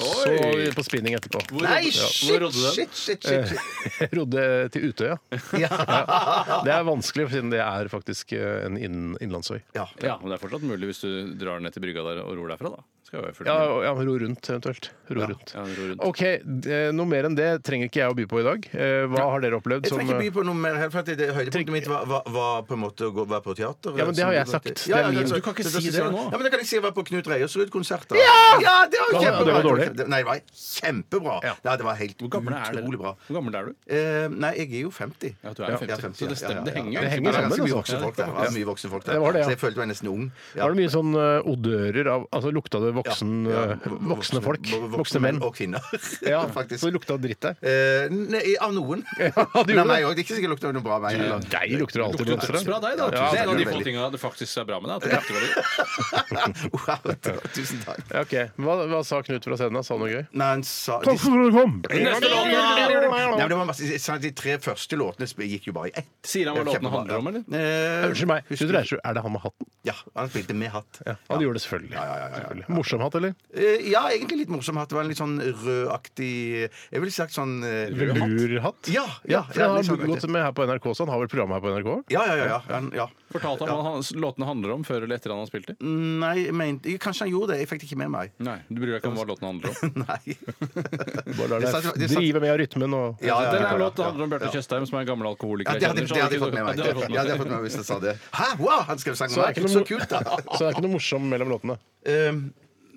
Speaker 1: så på spinning etterpå.
Speaker 3: Hvor rodde-
Speaker 2: Nei,
Speaker 3: ja, hvor
Speaker 2: shit,
Speaker 3: rodde du den?
Speaker 2: shit, shit, shit, shit.
Speaker 1: Jeg rodde til Utøya. Ja. Det er vanskelig, siden det er faktisk eh, en innen, innlandsøy.
Speaker 2: Ja.
Speaker 3: Ja, men det er fortsatt mulig hvis du drar ned til brygga der og ror derfra, da. Skal jo være fullt
Speaker 1: Ja,
Speaker 3: mulig.
Speaker 1: og- ja, ro rundt eventuelt. Ro rundt.
Speaker 3: ja, ro rundt.
Speaker 1: OK, d- noe mer enn det trenger ikke jeg å by på i dag. Eh, Hva har dere opplevd
Speaker 2: Jeg
Speaker 1: som
Speaker 2: trenger ikke by på noe mer, helt, for at det høydepunktet mitt var, var, var på en måte å gå, være på teater.
Speaker 1: Ja, men det har jeg
Speaker 2: Som-
Speaker 1: sagt.
Speaker 2: Ja,
Speaker 1: Det er
Speaker 2: ja,
Speaker 1: min.
Speaker 2: så-
Speaker 3: Du kan ikke
Speaker 2: så-
Speaker 3: si
Speaker 2: så-
Speaker 3: det
Speaker 2: så-
Speaker 3: nå.
Speaker 2: Ja, men da kan jeg si jeg var på Knut Reiarsrud-konsert. da. Ja, det var
Speaker 1: Ja,
Speaker 2: kjempebra!
Speaker 1: det var dårlig.
Speaker 2: Nei, det var kjempebra.
Speaker 1: Ja.
Speaker 2: Ja, det var helt
Speaker 3: Hvor gammel er
Speaker 2: utrolig
Speaker 3: du?
Speaker 2: bra.
Speaker 3: Hvor gammel er du?
Speaker 2: Eh, nei, jeg er jo 50.
Speaker 3: Ja, du er jo 50, så det stemmer, det henger jo.
Speaker 1: Det henger
Speaker 2: Det var
Speaker 1: sammen,
Speaker 2: ganske
Speaker 1: altså.
Speaker 2: mye voksne folk der. Det var mye voksne folk der.
Speaker 1: Det var det, ja.
Speaker 2: Så jeg følte meg nesten ung. Ja.
Speaker 1: Var det mye sånn eh, odører av Altså lukta det voksen,
Speaker 2: Ja,
Speaker 1: eh, voksne folk? Voksne, menn.
Speaker 2: Og kvinner,
Speaker 1: Ja,
Speaker 2: faktisk.
Speaker 1: Så det lukta dritt der?
Speaker 2: Eh, nei, av noen.
Speaker 1: Ja, det gjorde det.
Speaker 2: Nei, meg òg. Det er ikke sikkert det lukter noe bra av meg. heller.
Speaker 1: Deg lukter det alltid
Speaker 3: Lukter
Speaker 1: blomster.
Speaker 3: dødsbra deg, da.
Speaker 2: Ja,
Speaker 3: det er en av de få
Speaker 2: veldig.
Speaker 3: tinga det faktisk er bra med deg. At det lukter veldig.
Speaker 2: Wow, tusen takk.
Speaker 1: Ja, ok. Hva, hva sa Knut fra scenen? da? Sa han noe gøy?
Speaker 2: Nei, han sa de,
Speaker 1: Takk for at du kom!
Speaker 2: nei, men det var masse, jeg sa at de tre første låtene sp- gikk jo bare i ett.
Speaker 3: Sier han hva
Speaker 2: Det var
Speaker 3: låtene
Speaker 2: kjempebra,
Speaker 3: handler om, eller?
Speaker 2: ja. Eh,
Speaker 1: Unnskyld meg. Knut Reiersrud, er det han med hatten?
Speaker 2: Ja, han spilte med hatt.
Speaker 1: Ja, han gjorde det selvfølgelig.
Speaker 2: Ja, ja, ja, ja, ja.
Speaker 1: Selvfølgelig. Morsom hatt, eller?
Speaker 2: Eh, ja, egentlig litt morsom hatt. Det var en litt sånn rødaktig Jeg ville sagt sånn eh,
Speaker 1: Velurhatt?
Speaker 2: Ja,
Speaker 1: Ja,
Speaker 2: ja,
Speaker 1: for
Speaker 2: ja,
Speaker 1: han
Speaker 2: litt sånn,
Speaker 1: har gått med her på NRK, så han har vel program her på NRK?
Speaker 2: Ja, ja, ja. ja, han, ja.
Speaker 3: Fortalte han hva han- låtene handler om før eller etter han har spilt dem?
Speaker 2: Nei, jeg mente Kanskje han gjorde det. Jeg fikk det ikke med meg.
Speaker 3: Mm. Nei, du bryr deg ikke om hva låtene handler om.
Speaker 2: Nei.
Speaker 1: Bare lar
Speaker 2: Det
Speaker 1: deg
Speaker 2: satt- det satt-
Speaker 1: drive med av rytmen og
Speaker 2: Ja, ja,
Speaker 3: Den
Speaker 2: ja,
Speaker 3: er
Speaker 2: ja.
Speaker 3: låt det handler om Bjarte Tjøstheim, som er en gammel
Speaker 2: Ja,
Speaker 3: alkoholiker.
Speaker 2: det hadde,
Speaker 3: Ellers
Speaker 2: det
Speaker 3: hadde
Speaker 2: hadde jeg
Speaker 3: ikke-
Speaker 2: fått med meg.
Speaker 3: Ja, det hadde
Speaker 2: Ja,
Speaker 3: jeg fått med
Speaker 2: det hadde jeg fått med meg hvis jeg sa det. Hæ, wow, han skrev sang om meg! Så kult, da!
Speaker 1: så det er ikke noe morsom mellom låtene.
Speaker 2: Um,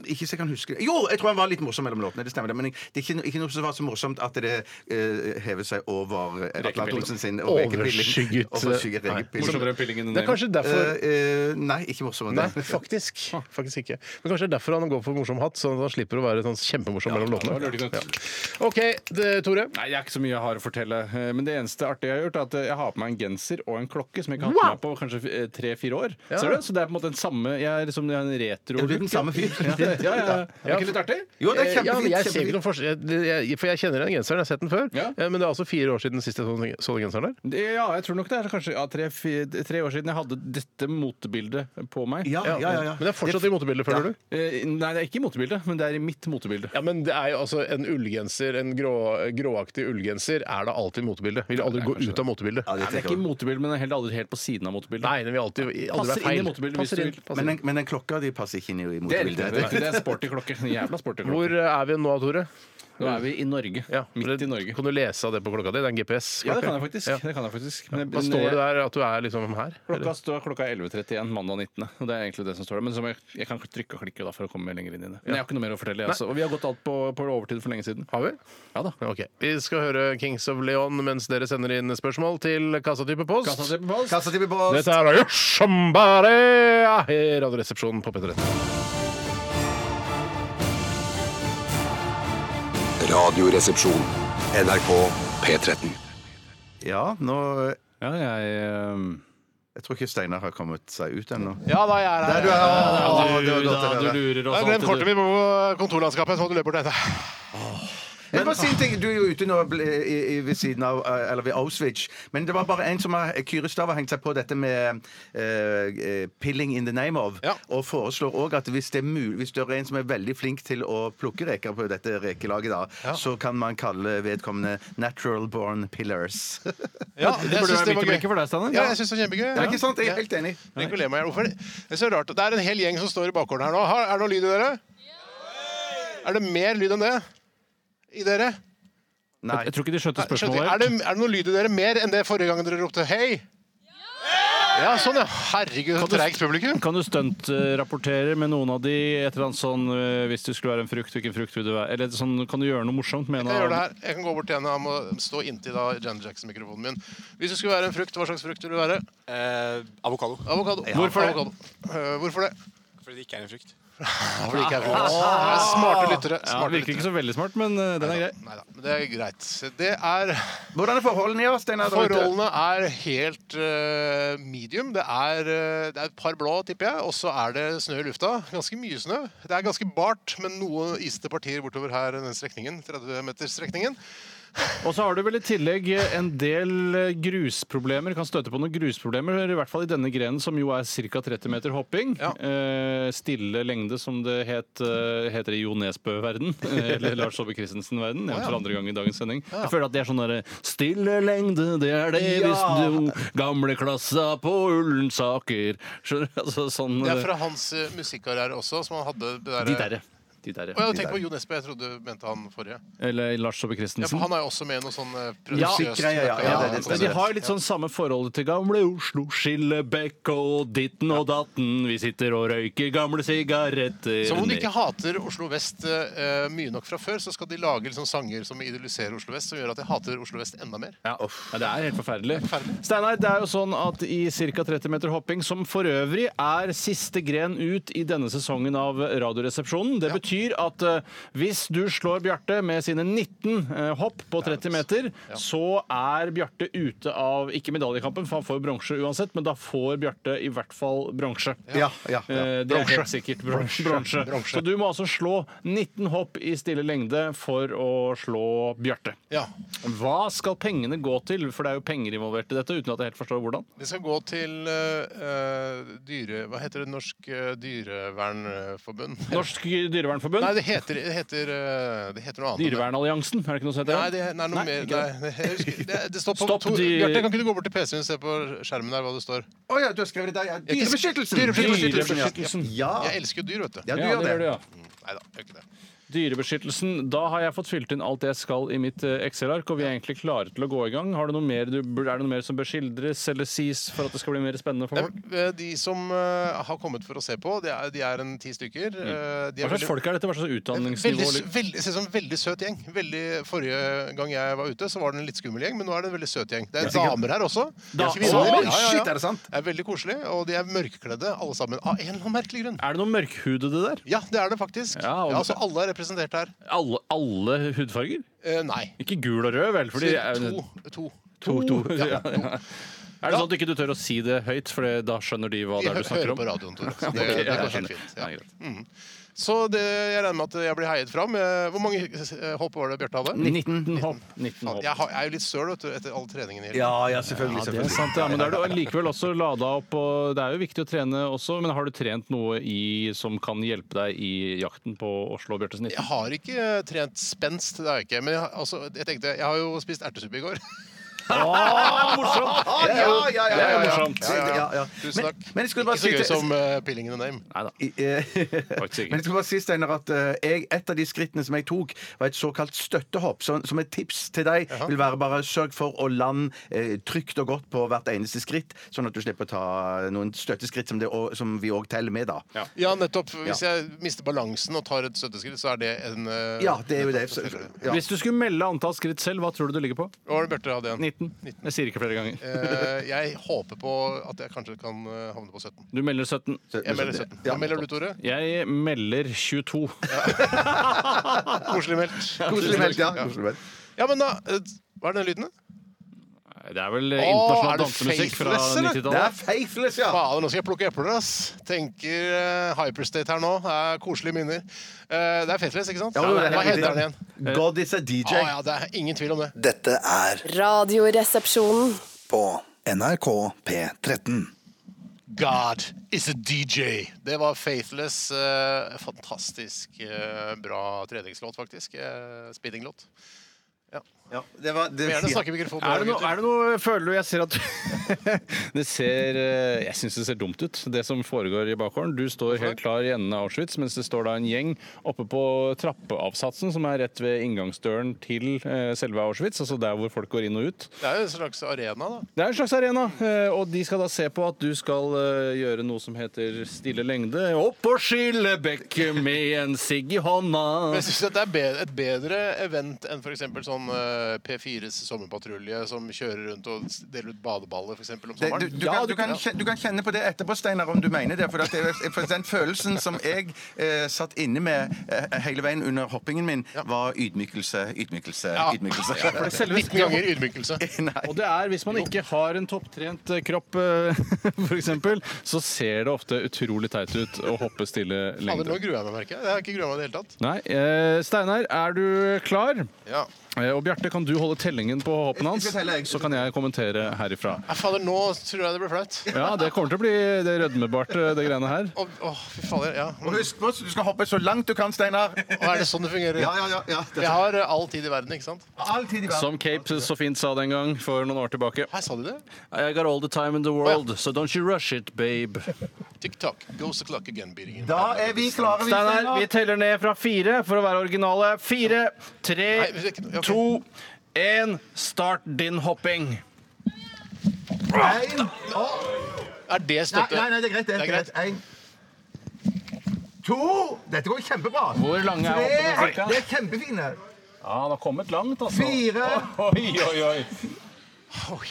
Speaker 2: Ikke så jeg kan huske det. Jo, jeg tror han var litt morsom mellom låtene. Det stemmer det. Men jeg- det er ikke, no- ikke noe som var så morsomt at det eh, hever seg over eh, Atle Antonsen sin og
Speaker 5: Overskygget.
Speaker 2: Overskygget
Speaker 5: Nei,
Speaker 2: rekepillen.
Speaker 3: Morsommere pilling enn
Speaker 5: Det er kanskje derfor
Speaker 2: Eh, eh, nei, ikke morsommere
Speaker 5: Nei,
Speaker 2: enn det.
Speaker 5: faktisk. faktisk ikke. Men kanskje det er derfor han går for morsom hatt, sånn at han slipper å være sånn kjempemorsom mellom
Speaker 3: det var
Speaker 5: låtene.
Speaker 3: lurt, gutt.
Speaker 5: Ja. OK, det, Tore.
Speaker 3: Nei, det er ikke så mye jeg har å fortelle. Eh, Men det eneste artige jeg har gjort, er at eh, jeg har på meg en genser og en klokke som jeg ikke har hatt på meg på kanskje tre-fire år.
Speaker 5: Ja.
Speaker 3: Ser du? Så det er på en måte den samme Jeg er liksom jeg er en retro
Speaker 2: Er du den samme fyr?
Speaker 3: Ja, ja, ja, ja. Er det ikke litt artig?
Speaker 2: Jo, det er
Speaker 5: Eh, Ja, men
Speaker 2: kjempefint.
Speaker 5: jeg ser ikke
Speaker 2: kjempefint.
Speaker 5: noen forskjell, jeg, jeg, for jeg kjenner den genseren, jeg har sett den før.
Speaker 3: Ja.
Speaker 5: Eh, Men det er altså fire år siden sist jeg så den- så den genseren der.
Speaker 3: Ja, jeg tror nok det er kanskje ja, tre, fi- tre år siden jeg hadde dette motebildet på meg.
Speaker 2: Ja, ja, ja, ja.
Speaker 5: Men det er fortsatt i motebildet, føler du?
Speaker 3: Eh, Nei, det er ikke i motebildet, men det er i mitt motebilde.
Speaker 5: Ja, men det er jo altså En ullgenser, en grå, gråaktig ullgenser, er da alltid motebildet. Vil aldri gå ut av motebildet.
Speaker 2: Ja,
Speaker 3: Nei,
Speaker 2: det
Speaker 3: det er
Speaker 2: tenker
Speaker 3: ikke i
Speaker 2: jeg.
Speaker 3: motebildet, men det er heller aldri helt på siden av motebildet.
Speaker 5: Nei, den vil alltid, aldri
Speaker 3: Passer
Speaker 5: være feil.
Speaker 3: inn i motebildet hvis
Speaker 5: Passer
Speaker 3: du
Speaker 5: inn,
Speaker 3: vil.
Speaker 5: passer
Speaker 2: Men
Speaker 5: inn.
Speaker 2: den, men den klokka de passer ikke inn i
Speaker 3: Det er riktig.
Speaker 2: motbildet.
Speaker 3: Det er- det er sporty klokke. En Jævla sporty klokke.
Speaker 5: Hvor er vi nå, Tore?
Speaker 3: Nå er vi i Norge.
Speaker 5: Ja,
Speaker 3: Midt i Norge.
Speaker 5: Kan du lese av det på klokka di? Det er en GPS.
Speaker 3: Ja, det kan jeg faktisk. Det kan jeg faktisk. Men, eh,
Speaker 5: Hva står det der? At du er liksom her?
Speaker 3: Klokka står klokka 11.31 mandag 19. Og det er egentlig det som står der. Men som jeg, jeg kan trykke og klikke da for å komme lenger inn i det. Men jeg har ikke noe mer å fortelle. jeg, Altså. Og vi har gått alt på, på overtid for lenge siden.
Speaker 5: Har vi?
Speaker 3: Ja da.
Speaker 5: Ok. Vi skal høre Kings of Leon mens dere sender inn spørsmål til kassatype post.
Speaker 3: Kassa til på post.
Speaker 2: Kassa til Bibos.
Speaker 5: Dette er da Somebody i Radioresepsjonen på P13.
Speaker 4: Radioresepsjon. NRK P13.
Speaker 2: Ja, nå
Speaker 3: Ja, jeg ehm,
Speaker 2: Jeg tror ikke Steinar har kommet seg ut ennå.
Speaker 5: Ja da, jeg er her.
Speaker 2: er, ja, ja, det var
Speaker 3: du,
Speaker 2: godt å
Speaker 3: da, du
Speaker 2: høre.
Speaker 3: lurer
Speaker 5: Jeg sånn
Speaker 3: oss
Speaker 5: har glemt kortet
Speaker 3: alltid.
Speaker 5: mitt på kontorlandskapet. Jeg måtte løpe bort og hente.
Speaker 2: Jeg må si en ting, Du er jo ute nå ble- i, i, ved siden av eh, Eller ved Auschwitz. Men det var bare en som har Kyrestad har hengt seg på dette med eh, eh, 'pilling in the name of'.
Speaker 5: Ja.
Speaker 2: Og foreslår òg at hvis det, er mul hvis det er en som er veldig flink til å plukke reker på dette rekelaget, da, så kan man kalle vedkommende 'natural born pillars'.
Speaker 5: Ja,
Speaker 3: Det burde være midt i blikket for deg, Steinar.
Speaker 5: Ja, jeg synes det var kjempegøy.
Speaker 2: Det er ikke sant? Jeg er helt enig.
Speaker 5: Tenk å le meg i hjel. Hvorfor? Det er så rart. Det er en hel gjeng som står i bakgården her nå. Har- Er det noe lyd i dere? Er det mer lyd enn det? I dere?
Speaker 2: Nei.
Speaker 3: Jeg tror ikke de skjønte
Speaker 5: Skjønte ikke.
Speaker 3: spørsmålet.
Speaker 5: Er det, er det noe lyd i dere mer enn det forrige gang dere ropte hei? Ja, sånn ja. Herregud, så treigt publikum.
Speaker 3: Kan du stuntrapportere med noen av de et eller annet sånn eh, Hvis du skulle være en frukt, hvilken frukt vil du være? Eller sånn, kan du gjøre noe morsomt med en
Speaker 5: Jeg
Speaker 3: av
Speaker 5: gjør det her. Jeg kan gå bort til henne. Jeg må stå inntil da Janet Jackson-mikrofonen min. Hvis du skulle være en frukt, hva slags frukt vil du være?
Speaker 6: Eh, avokado.
Speaker 5: Avokado.
Speaker 3: Hvorfor det?
Speaker 5: Avokado. Eh, hvorfor det?
Speaker 6: Fordi det ikke er en frukt.
Speaker 5: Fordi det ikke er frukt. Det er Smarte lyttere.
Speaker 3: Ja,
Speaker 5: Smarte
Speaker 3: virker ikke så veldig smart, men eh, den er grei.
Speaker 5: Neida, men det er greit. Det er
Speaker 2: Hvordan er forholdene, ja, Steinar? der ute?
Speaker 5: Forholdene er helt eh, medium. Det er, eh, det er et par blå, tipper jeg. Og så er det snø i lufta. Ganske mye snø. Det er ganske bart, men noe isete partier bortover her i den strekningen. 30-metersstrekningen.
Speaker 3: Og så har du vel i tillegg eh, en del eh, grusproblemer. Kan støte på noen grusproblemer, i hvert fall i denne grenen, som jo er ca. 30 meter hopping.
Speaker 5: Ja.
Speaker 3: Eh, stille lengde, som det het, eh, heter i Jo Nesbø-verden. eh, Eller Lars Saabye Christensen-verden. Jeg for andre gang i dagens sending. Jeg føler at det er sånn derre Stille lengde, det er det hvis du gamle klassa på Ullensaker Skjønner du? Altså sånn
Speaker 5: Det er
Speaker 3: eh,
Speaker 5: fra hans eh, musikkarriere også, som han hadde det
Speaker 3: De
Speaker 5: derre
Speaker 3: derre. De derre.
Speaker 5: Å, jeg tenker på Jo Nesbø. Jeg trodde du mente han forrige.
Speaker 3: Eller Lars Saabye
Speaker 5: Ja,
Speaker 3: Christensen.
Speaker 5: for han er jo også med i noe sånn eh,
Speaker 3: Ja,
Speaker 5: pretensiøst
Speaker 2: sikre, Liksom? ja, ja, ja,
Speaker 5: møkka-
Speaker 3: Ja,
Speaker 2: det er
Speaker 3: men de har litt sånn samme forholdet til gamle Oslo. Skillebekk og ditten og datten. Vi sitter og røyker gamle sigaretter.
Speaker 5: Som om de ikke hater Oslo vest eh, mye nok fra før, så skal de lage liksom sanger som idylliserer Oslo vest, som gjør at jeg hater Oslo vest enda mer.
Speaker 3: ja. ja, Det er helt forferdelig.
Speaker 5: Forferdelig.
Speaker 3: Steinar, det er jo sånn at i ca. 30 meter hopping, som for øvrig er siste gren ut i denne sesongen av Radioresepsjonen Det betyr at eh, hvis du slår Bjarte med sine 19 eh, hopp på 30 meter, så er Bjarte ute av ikke medaljekampen, for han får bronse uansett, men da får Bjarte i hvert fall bronse.
Speaker 2: Ja, ja, ja.
Speaker 3: Eh, Det er helt sikkert bron- bronse. Så du må altså slå 19 hopp i stille lengde for å slå Bjarte.
Speaker 5: Ja.
Speaker 3: Hva skal pengene gå til? For det er jo penger involvert i dette. uten at jeg helt forstår hvordan.
Speaker 5: Det skal gå til eh, eh, dyre... Hva heter det? Norsk eh, dyrevernforbund?
Speaker 3: Norsk Dyrevernforbund?
Speaker 5: Nei, det heter, det heter, eh, det heter noe annet.
Speaker 3: Dyrevernalliansen, er det ikke noe som heter
Speaker 5: Nei, det, nei, noe
Speaker 3: Nei,
Speaker 5: mer,
Speaker 3: ikke
Speaker 5: nei, det, jeg husker- det, det står på
Speaker 3: Stopp
Speaker 5: to,
Speaker 3: dyr-
Speaker 5: Bjarte, kan ikke du gå bort til PC-en og se på skjermen der hva det står?
Speaker 2: Å ja, du har skrevet det der. Ja. Dyrebeskyttelsen!
Speaker 5: Dyrebeskyttelsen.
Speaker 3: Dyrebeskyttelsen.
Speaker 2: Ja.
Speaker 5: Jeg elsker jo dyr, vet du.
Speaker 2: ja, du
Speaker 3: Ja, det
Speaker 2: gjør det.
Speaker 3: gjør du, ja.
Speaker 5: Nei da, gjør ikke det.
Speaker 3: Dyrebeskyttelsen. Da har jeg fått fylt inn alt det jeg skal i mitt eh, Excel-ark, og vi er egentlig klare til å gå i gang. Har du noe mer, du, bur- er det noe mer som bør skildres eller sies for at det skal bli mer spennende for folk?
Speaker 5: Eh, De som eh, har kommet for å se på, de er, de er en ti stykker. Eh, De
Speaker 3: Mm. Hva
Speaker 5: er
Speaker 3: slags
Speaker 5: veldig,
Speaker 3: folk er dette? Hva slags utdanningsnivå?
Speaker 5: veldig, s-
Speaker 3: eller-
Speaker 5: veldig, ser ut som en veldig søt gjeng. Veldig, forrige gang jeg var ute, så var det en litt skummel gjeng, men nå er det en veldig søt gjeng. Det er damer her også.
Speaker 3: Da-
Speaker 5: Kvinner. Ja,
Speaker 3: Oi,
Speaker 5: ja, ja.
Speaker 2: shit, er det sant?
Speaker 5: Det er veldig koselig, og de er mørkkledde alle sammen. Av en eller annen merkelig grunn.
Speaker 3: Er det noe mørkhudede der?
Speaker 5: Ja, det er det faktisk.
Speaker 3: Ja, og-
Speaker 5: Ja, så alle er representert her.
Speaker 3: Alle, alle hudfarger?
Speaker 5: Eh, Nei.
Speaker 3: Ikke gul og rød, vel? For de er,
Speaker 5: To. to.
Speaker 3: to, to. Ja, ja.
Speaker 5: Ja, to.
Speaker 3: er det sånn at du ikke du tør å si det høyt, for det- da skjønner de hva
Speaker 5: Vi
Speaker 3: det er
Speaker 5: hø
Speaker 3: du snakker
Speaker 5: hører
Speaker 3: om?
Speaker 5: på radioen, Tore. Så Det,
Speaker 3: Ok,
Speaker 5: det
Speaker 3: ja,
Speaker 5: går
Speaker 3: jeg
Speaker 5: helt
Speaker 3: skjønner.
Speaker 5: fint.
Speaker 3: Ja,
Speaker 5: Ja.
Speaker 3: greit.
Speaker 5: Så det, jeg regner med at jeg blir heiet fram. Eh, Hvor mange eh, hopp var det Bjarte hadde?
Speaker 3: 19 hopp. 19 hopp.
Speaker 5: Jeg, har, jeg er jo litt søl vet du, etter all treningen. i helgen.
Speaker 2: Ja, ja, selvfølgelig.
Speaker 3: Det er
Speaker 2: selvfølgelig.
Speaker 3: sant, ja, men da er du likevel også lada opp, og det er jo viktig å trene også. Men har du trent noe i, som kan hjelpe deg i jakten på Oslo og Bjørtes
Speaker 5: Jeg
Speaker 3: 19?
Speaker 5: har ikke eh, trent spenst, det har jeg ikke. Men jeg, har- altså, jeg tenkte, jeg har jo spist ertesuppe i går.
Speaker 2: Ja, ja, ja, ja, ja, ja.
Speaker 3: morsomt.
Speaker 2: Ja, ja, ja.
Speaker 5: Tusen takk.
Speaker 2: Men, men jeg skulle bare
Speaker 5: ikke så
Speaker 2: si
Speaker 5: gøy
Speaker 2: til-
Speaker 5: som eh, pilling in the name.
Speaker 3: Nei da.
Speaker 2: I- eh,
Speaker 3: ikke.
Speaker 2: Men jeg skal bare si, Steiner, at eh, jeg, et av de skrittene som jeg tok, var et såkalt støttehopp. Så, som et tips til deg vil være bare sørg for å lande eh, trygt og godt på hvert eneste skritt, sånn at du slipper å ta noen støtteskritt som, det, og, som vi òg teller med, da. Ja.
Speaker 5: Ja, nettopp. Hvis jeg mister balansen og tar et støtteskritt, så er det en eh,
Speaker 2: det er jo det. Så, ja.
Speaker 3: Hvis du skulle melde antall skritt selv, hva tror du du ligger på?
Speaker 5: Hva var det Bjarte hadde igjen?
Speaker 3: 19. Jeg sier ikke flere ganger.
Speaker 5: Eh, jeg håper på at jeg kanskje kan eh, havne på 17.
Speaker 3: Du melder 17.
Speaker 5: Jeg melder 17. Hva melder du, Tore?
Speaker 3: Jeg melder 22.
Speaker 5: Koselig meldt.
Speaker 2: Koselig meldt, ja. Koselig meldt.
Speaker 5: Ja, men da eh, Hva er den lyden? da?
Speaker 3: Det er vel
Speaker 5: er
Speaker 3: internasjonal
Speaker 5: det
Speaker 3: dansemusikk fra
Speaker 5: Faithless, eller?
Speaker 2: Det
Speaker 3: 90-tallet.
Speaker 2: er faithless, ja!
Speaker 5: Fader, nå skal jeg plukke epler, ass. Tenker eh, Hyperstate her nå. Det er koselige minner. Eh, det er Faithless, ikke sant?
Speaker 2: Ja, det er
Speaker 5: Hva
Speaker 2: helt
Speaker 5: heter den igjen?
Speaker 2: God is a
Speaker 5: Å
Speaker 2: DJ.
Speaker 5: ja, det er ingen tvil om det.
Speaker 7: Dette er
Speaker 8: Radioresepsjonen.
Speaker 7: på NRK P13.
Speaker 5: God is a DJ. Det var Faithless. eh, fantastisk eh, bra treningslåt, faktisk. Uh, Spinninglåt.
Speaker 2: Ja, det var, det,
Speaker 5: Må Gjerne snakke i mikrofonen.
Speaker 3: Er det, noe,
Speaker 5: gutter.
Speaker 3: er det noe Føler du Jeg ser at det ser eh, Jeg syns det ser dumt ut, det som foregår i bakgården. Du står helt klar i enden av Auschwitz, mens det står da en gjeng oppe på trappeavsatsen, som er rett ved inngangsdøren til eh, selve Auschwitz, altså der hvor folk går inn og ut.
Speaker 5: Det er jo en slags arena, da.
Speaker 3: Det er en slags arena, eh, og de skal da se på at du skal eh, gjøre noe som heter stille lengde. Opp og skille bekket med en sigg i hånda.
Speaker 5: Men jeg syns dette er bedre, et bedre event enn f.eks. sånn eh, P4s sommerpatrulje som kjører rundt og s- deler ut badeballer, f.eks. om
Speaker 2: Det, du,
Speaker 5: sommeren.
Speaker 2: du, kan, du, kan, kje- du kan kjenne på det etterpå, Steinar, om du mener det. For, at det er- for den følelsen som jeg eh, satt inne med eh, hele veien under hoppingen min, var ydmykelse, ydmykelse,
Speaker 5: Ja.
Speaker 2: ydmykelse.
Speaker 3: Selve
Speaker 5: 19 ganger ydmykelse.
Speaker 3: Og det er hvis man ikke har en topptrent eh, kropp, f.eks., så ser det ofte utrolig teit ut å hoppe stille
Speaker 5: Fader, nå
Speaker 3: lengde.
Speaker 5: gruer jeg meg, merker jeg. Jeg har ikke grua meg i det hele tatt.
Speaker 3: Nei, eh, Steinar, er du klar?
Speaker 5: Ja.
Speaker 3: Eh, og Bjarte, kan du holde tellingen på hoppene hans?
Speaker 2: Jeg skal telle, jeg.
Speaker 3: Så kan jeg kommentere herifra.
Speaker 5: Nei, Fader, nå tror jeg det blir flaut.
Speaker 3: Ja, det kommer til å bli det rødmebart, eh, det greiene her.
Speaker 5: Å, å, fy fader. Ja.
Speaker 2: Og husk på, du skal hoppe så langt du kan, Steinar.
Speaker 5: Og er det sånn det fungerer?
Speaker 2: Ja, ja, ja, ja. Det
Speaker 5: Jeg har eh, all tid i verden, ikke sant?
Speaker 2: er all tid i verden.
Speaker 3: Som Cape så fint sa den gang for noen år tilbake.
Speaker 5: Her sa de det.
Speaker 3: I got all the time in the world, so don't you rush it, babe.
Speaker 5: TikTok goes the clock again, beating.
Speaker 2: Da er vi klare, vi,
Speaker 3: Steinar, vi
Speaker 2: Steinar.
Speaker 3: teller ned fra fire for å være originale. Fire, tre,
Speaker 5: Nei, det er ikke noe- ok.
Speaker 3: to, én. Start din hopping.
Speaker 2: En- Å,
Speaker 5: Er det
Speaker 2: Nei,
Speaker 5: støtte?
Speaker 2: nei, nei, det er greit. Det er greit. En, to Dette går kjempebra.
Speaker 3: Hvor lange er hoppene,
Speaker 2: Tre.
Speaker 3: cirka?
Speaker 2: Det er kjempefine.
Speaker 3: Ja, han har kommet langt, altså.
Speaker 2: Fire.
Speaker 3: Oi, oi, oi.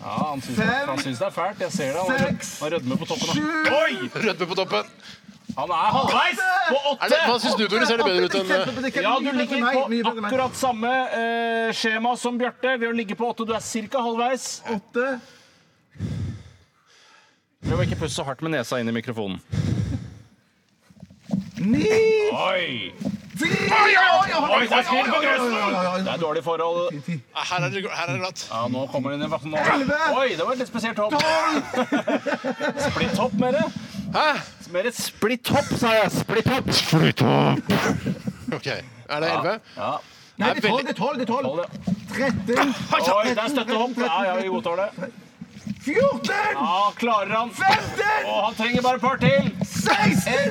Speaker 3: Ja, han syns,
Speaker 2: Fem.
Speaker 3: han syns det er fælt. Jeg ser det. Han rød-
Speaker 2: Seks.
Speaker 3: Han rødmer på toppen.
Speaker 2: Sju.
Speaker 3: av- Oi!
Speaker 5: Rødme på toppen.
Speaker 3: Han er halvveis på
Speaker 5: Er det,
Speaker 3: åtte!
Speaker 5: hva syns du, Tore? Ser det bedre ut enn eh,
Speaker 3: Ja, du ligger på akkurat samme eh, skjema som Bjarte ved å ligge på åtte. Du er cirka halvveis.
Speaker 2: åtte.
Speaker 3: Prøv å ikke puste så hardt med nesa inn i mikrofonen.
Speaker 2: Ni.
Speaker 3: Oi!
Speaker 2: Ti. Oi, oi, oi,
Speaker 3: Oi, det er spill på
Speaker 2: oi,
Speaker 3: grøssen!
Speaker 2: oi, oi.
Speaker 3: Det er dårlig forhold.
Speaker 5: Her er det her er det glatt.
Speaker 3: Ja, nå kommer den i hvert fall nå.
Speaker 2: Elleve!
Speaker 3: Oi, det var et litt spesielt hopp. Splitt hopp, mere.
Speaker 5: Hæ?
Speaker 3: Mere splitt hopp, sa jeg. Splitt hopp.
Speaker 5: OK. Er det 11?
Speaker 3: Ja.
Speaker 2: Nei, det er tolv, det er tolv, det er tolv.
Speaker 3: Hold det.
Speaker 2: 13,
Speaker 3: Oi, det er støttehopp. Ja, ja, vi godtar det.
Speaker 2: 14,
Speaker 3: Ja, klarer han.
Speaker 2: 15,
Speaker 3: Og han trenger bare et par til.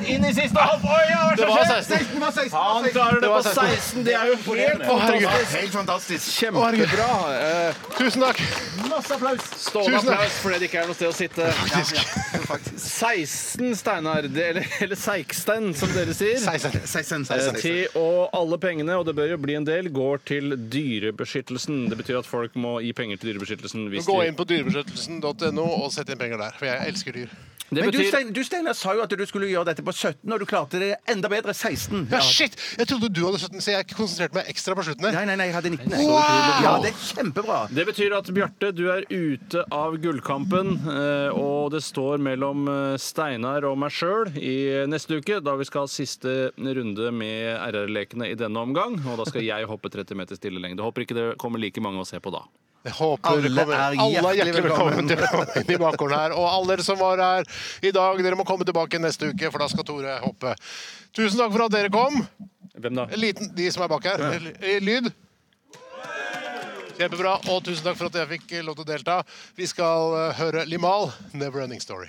Speaker 2: Inn i siste halvår!
Speaker 1: Det var 16.
Speaker 2: Han klarer det på 16! Det er jo helt fantastisk! Helt fantastisk.
Speaker 3: Kjempebra. Eh,
Speaker 1: Tusen takk!
Speaker 2: Masse applaus!
Speaker 3: Stående
Speaker 1: Tusen takk.
Speaker 3: applaus fordi det ikke er noe sted å sitte. 16 Steinar, det- eller, eller Seigstein, som dere sier.
Speaker 1: 16.
Speaker 2: 16,
Speaker 3: Eh,
Speaker 2: 16.
Speaker 3: Til, og alle pengene, og det bør jo bli en del, går til dyrebeskyttelsen. Det betyr at folk må gi penger til dyrebeskyttelsen. Hvis
Speaker 1: Gå
Speaker 3: de,
Speaker 1: inn på dyrebeskyttelsen.no og sett inn penger der, for jeg elsker dyr.
Speaker 3: det
Speaker 2: Men du,
Speaker 3: betyr,
Speaker 2: Stein, du Steinar, sa jo at du skulle gjøre dette på 17, og du klarte det enda bedre 16.
Speaker 1: Ja, shit! Jeg trodde du hadde 17, så jeg konsentrerte meg ekstra på slutten der.
Speaker 2: Nei, nei, nei, jeg hadde 19. jeg.
Speaker 1: Wow!
Speaker 2: Ja, det er kjempebra.
Speaker 3: det betyr at Bjarte, du er ute av gullkampen, eh, og det står mellom eh, Steinar og meg sjøl i eh, neste uke, da vi skal ha siste runde med RR-lekene i denne omgang. Og da skal jeg hoppe 30 meter stillelengde. Håper ikke det kommer like mange å se på da.
Speaker 1: Jeg håper
Speaker 2: Alle
Speaker 1: alle kommer.
Speaker 2: er
Speaker 1: alle er hjertelig velkommen
Speaker 2: hjertelig
Speaker 1: til å komme inn i bakgården her. Og alle dere som var her i dag, dere må komme tilbake neste uke, for da skal Tore hoppe. Tusen takk for at dere kom.
Speaker 3: Hvem da?
Speaker 1: En Liten, de som er bak her. L- eh, Lyd. Kjempebra. Og tusen takk for at jeg fikk eh, lov til å delta. Vi skal eh, høre Limal, 'Never Ending Story'.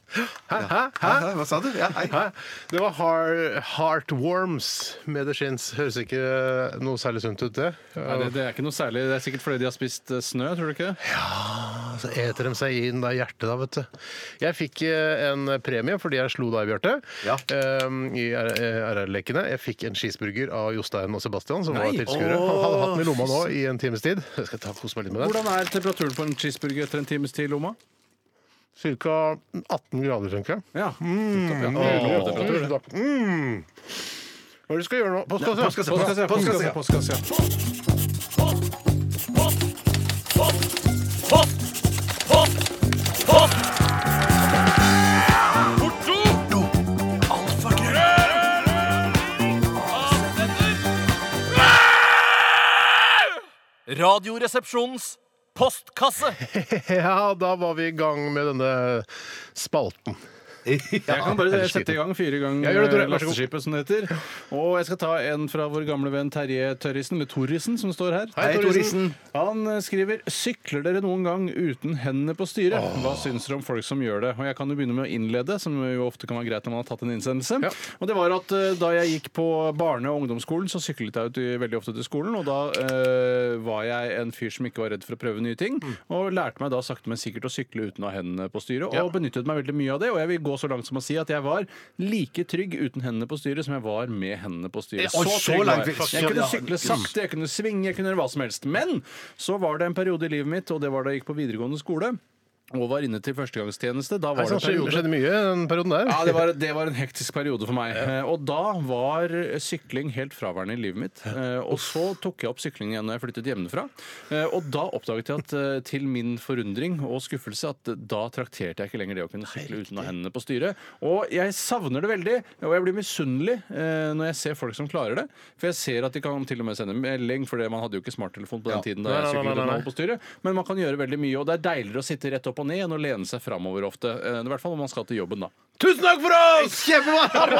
Speaker 2: Hæ? Hva sa du? Ja, hei.
Speaker 5: Hæ? Det var har- Heartworms med The Shins. Høres ikke noe særlig sunt ut, det.
Speaker 3: Nei, det, det er ikke noe særlig. Det er sikkert fordi de har spist eh, snø, tror du ikke? det?
Speaker 5: Så Altså, eter de seg inn da i hjertet, da, vet du. Jeg fikk eh, en premie fordi jeg slo deg, Bjarte,
Speaker 2: Ja.
Speaker 5: eh, i R- eh, RR-lekene. Jeg fikk en cheeseburger av Jostein og Sebastian, som var tilskuere.
Speaker 2: Åh.
Speaker 5: Han hadde hatt den i lomma nå i en times tid. Jeg skal ta kose meg litt med den.
Speaker 3: Hvordan er temperaturen på en cheeseburger etter en times tid, Loma?
Speaker 5: Ca. 18 grader, tenker jeg.
Speaker 3: Ja.
Speaker 5: Mm. Mm. Hva er det du skal gjøre nå? Postkasse?
Speaker 2: Postkasse, postkasse, postkasse.
Speaker 9: Radioresepsjonens postkasse.
Speaker 5: Ja, da var vi i gang med denne spalten.
Speaker 3: Jeg kan bare sette i gang, fyre i gang
Speaker 5: Ja, gjør det, Tore.
Speaker 3: eh,
Speaker 5: Vær så god.
Speaker 3: lasteskipet, som det heter. Og jeg skal ta en fra vår gamle venn Terje Tørrisen, eller Torrisen, som står her.
Speaker 5: Hei, Torrisen.
Speaker 3: Han eh, skriver Sykler dere noen gang uten hendene på styret? Hva syns dere om folk som gjør det? Og jeg kan jo begynne med å innlede, som jo ofte kan være greit når man har tatt en innsendelse.
Speaker 5: Ja.
Speaker 3: Og det var at eh, da jeg gikk på barne- og ungdomsskolen, så syklet jeg ut i- veldig ofte til skolen, og da eh, var jeg en fyr som ikke var redd for å prøve nye ting,
Speaker 2: Mm.
Speaker 3: og lærte meg da sakte men sikkert å sykle uten å ha hendene på styret, og benyttet meg veldig mye av det, og jeg vil gå så langt som å si at jeg var like trygg uten hendene på styret som jeg var med hendene på styret.
Speaker 2: Oi, så
Speaker 3: trygg var
Speaker 2: langt.
Speaker 3: jeg. Jeg kunne sykle sakte, jeg kunne svinge, jeg kunne gjøre hva som helst. Men så var det en periode i livet mitt, og det var da jeg gikk på videregående skole, og var inne til førstegangstjeneste. Da var
Speaker 5: Det
Speaker 3: det en
Speaker 5: skjedde,
Speaker 3: periode
Speaker 5: skjedde mye i den perioden der.
Speaker 3: ja, det var, det var en hektisk periode for meg. Eh, Og da var eh, sykling helt fraværende i livet mitt. Eh, Og så tok jeg opp syklingen igjen når jeg flyttet hjemmefra. Eh, Og da oppdaget jeg at eh, til min forundring og skuffelse at eh, da trakterte jeg ikke lenger det å kunne sykle uten å ha hendene på styret. Og jeg savner det veldig, og jeg blir misunnelig eh, når jeg ser folk som klarer det. For jeg ser at de kan til og med sende melding, for det- man hadde jo ikke smarttelefon på den tiden da
Speaker 5: Nei,
Speaker 3: jeg
Speaker 5: nei, nei,
Speaker 3: syklet
Speaker 5: nei,
Speaker 3: uten å
Speaker 5: nei.
Speaker 3: holde på styret. Men man kan gjøre veldig mye, og det er deiligere å sitte rett opp og ned enn å lene seg framover ofte. Eh, I hvert fall når man skal til jobben, da.
Speaker 5: Tusen takk for oss!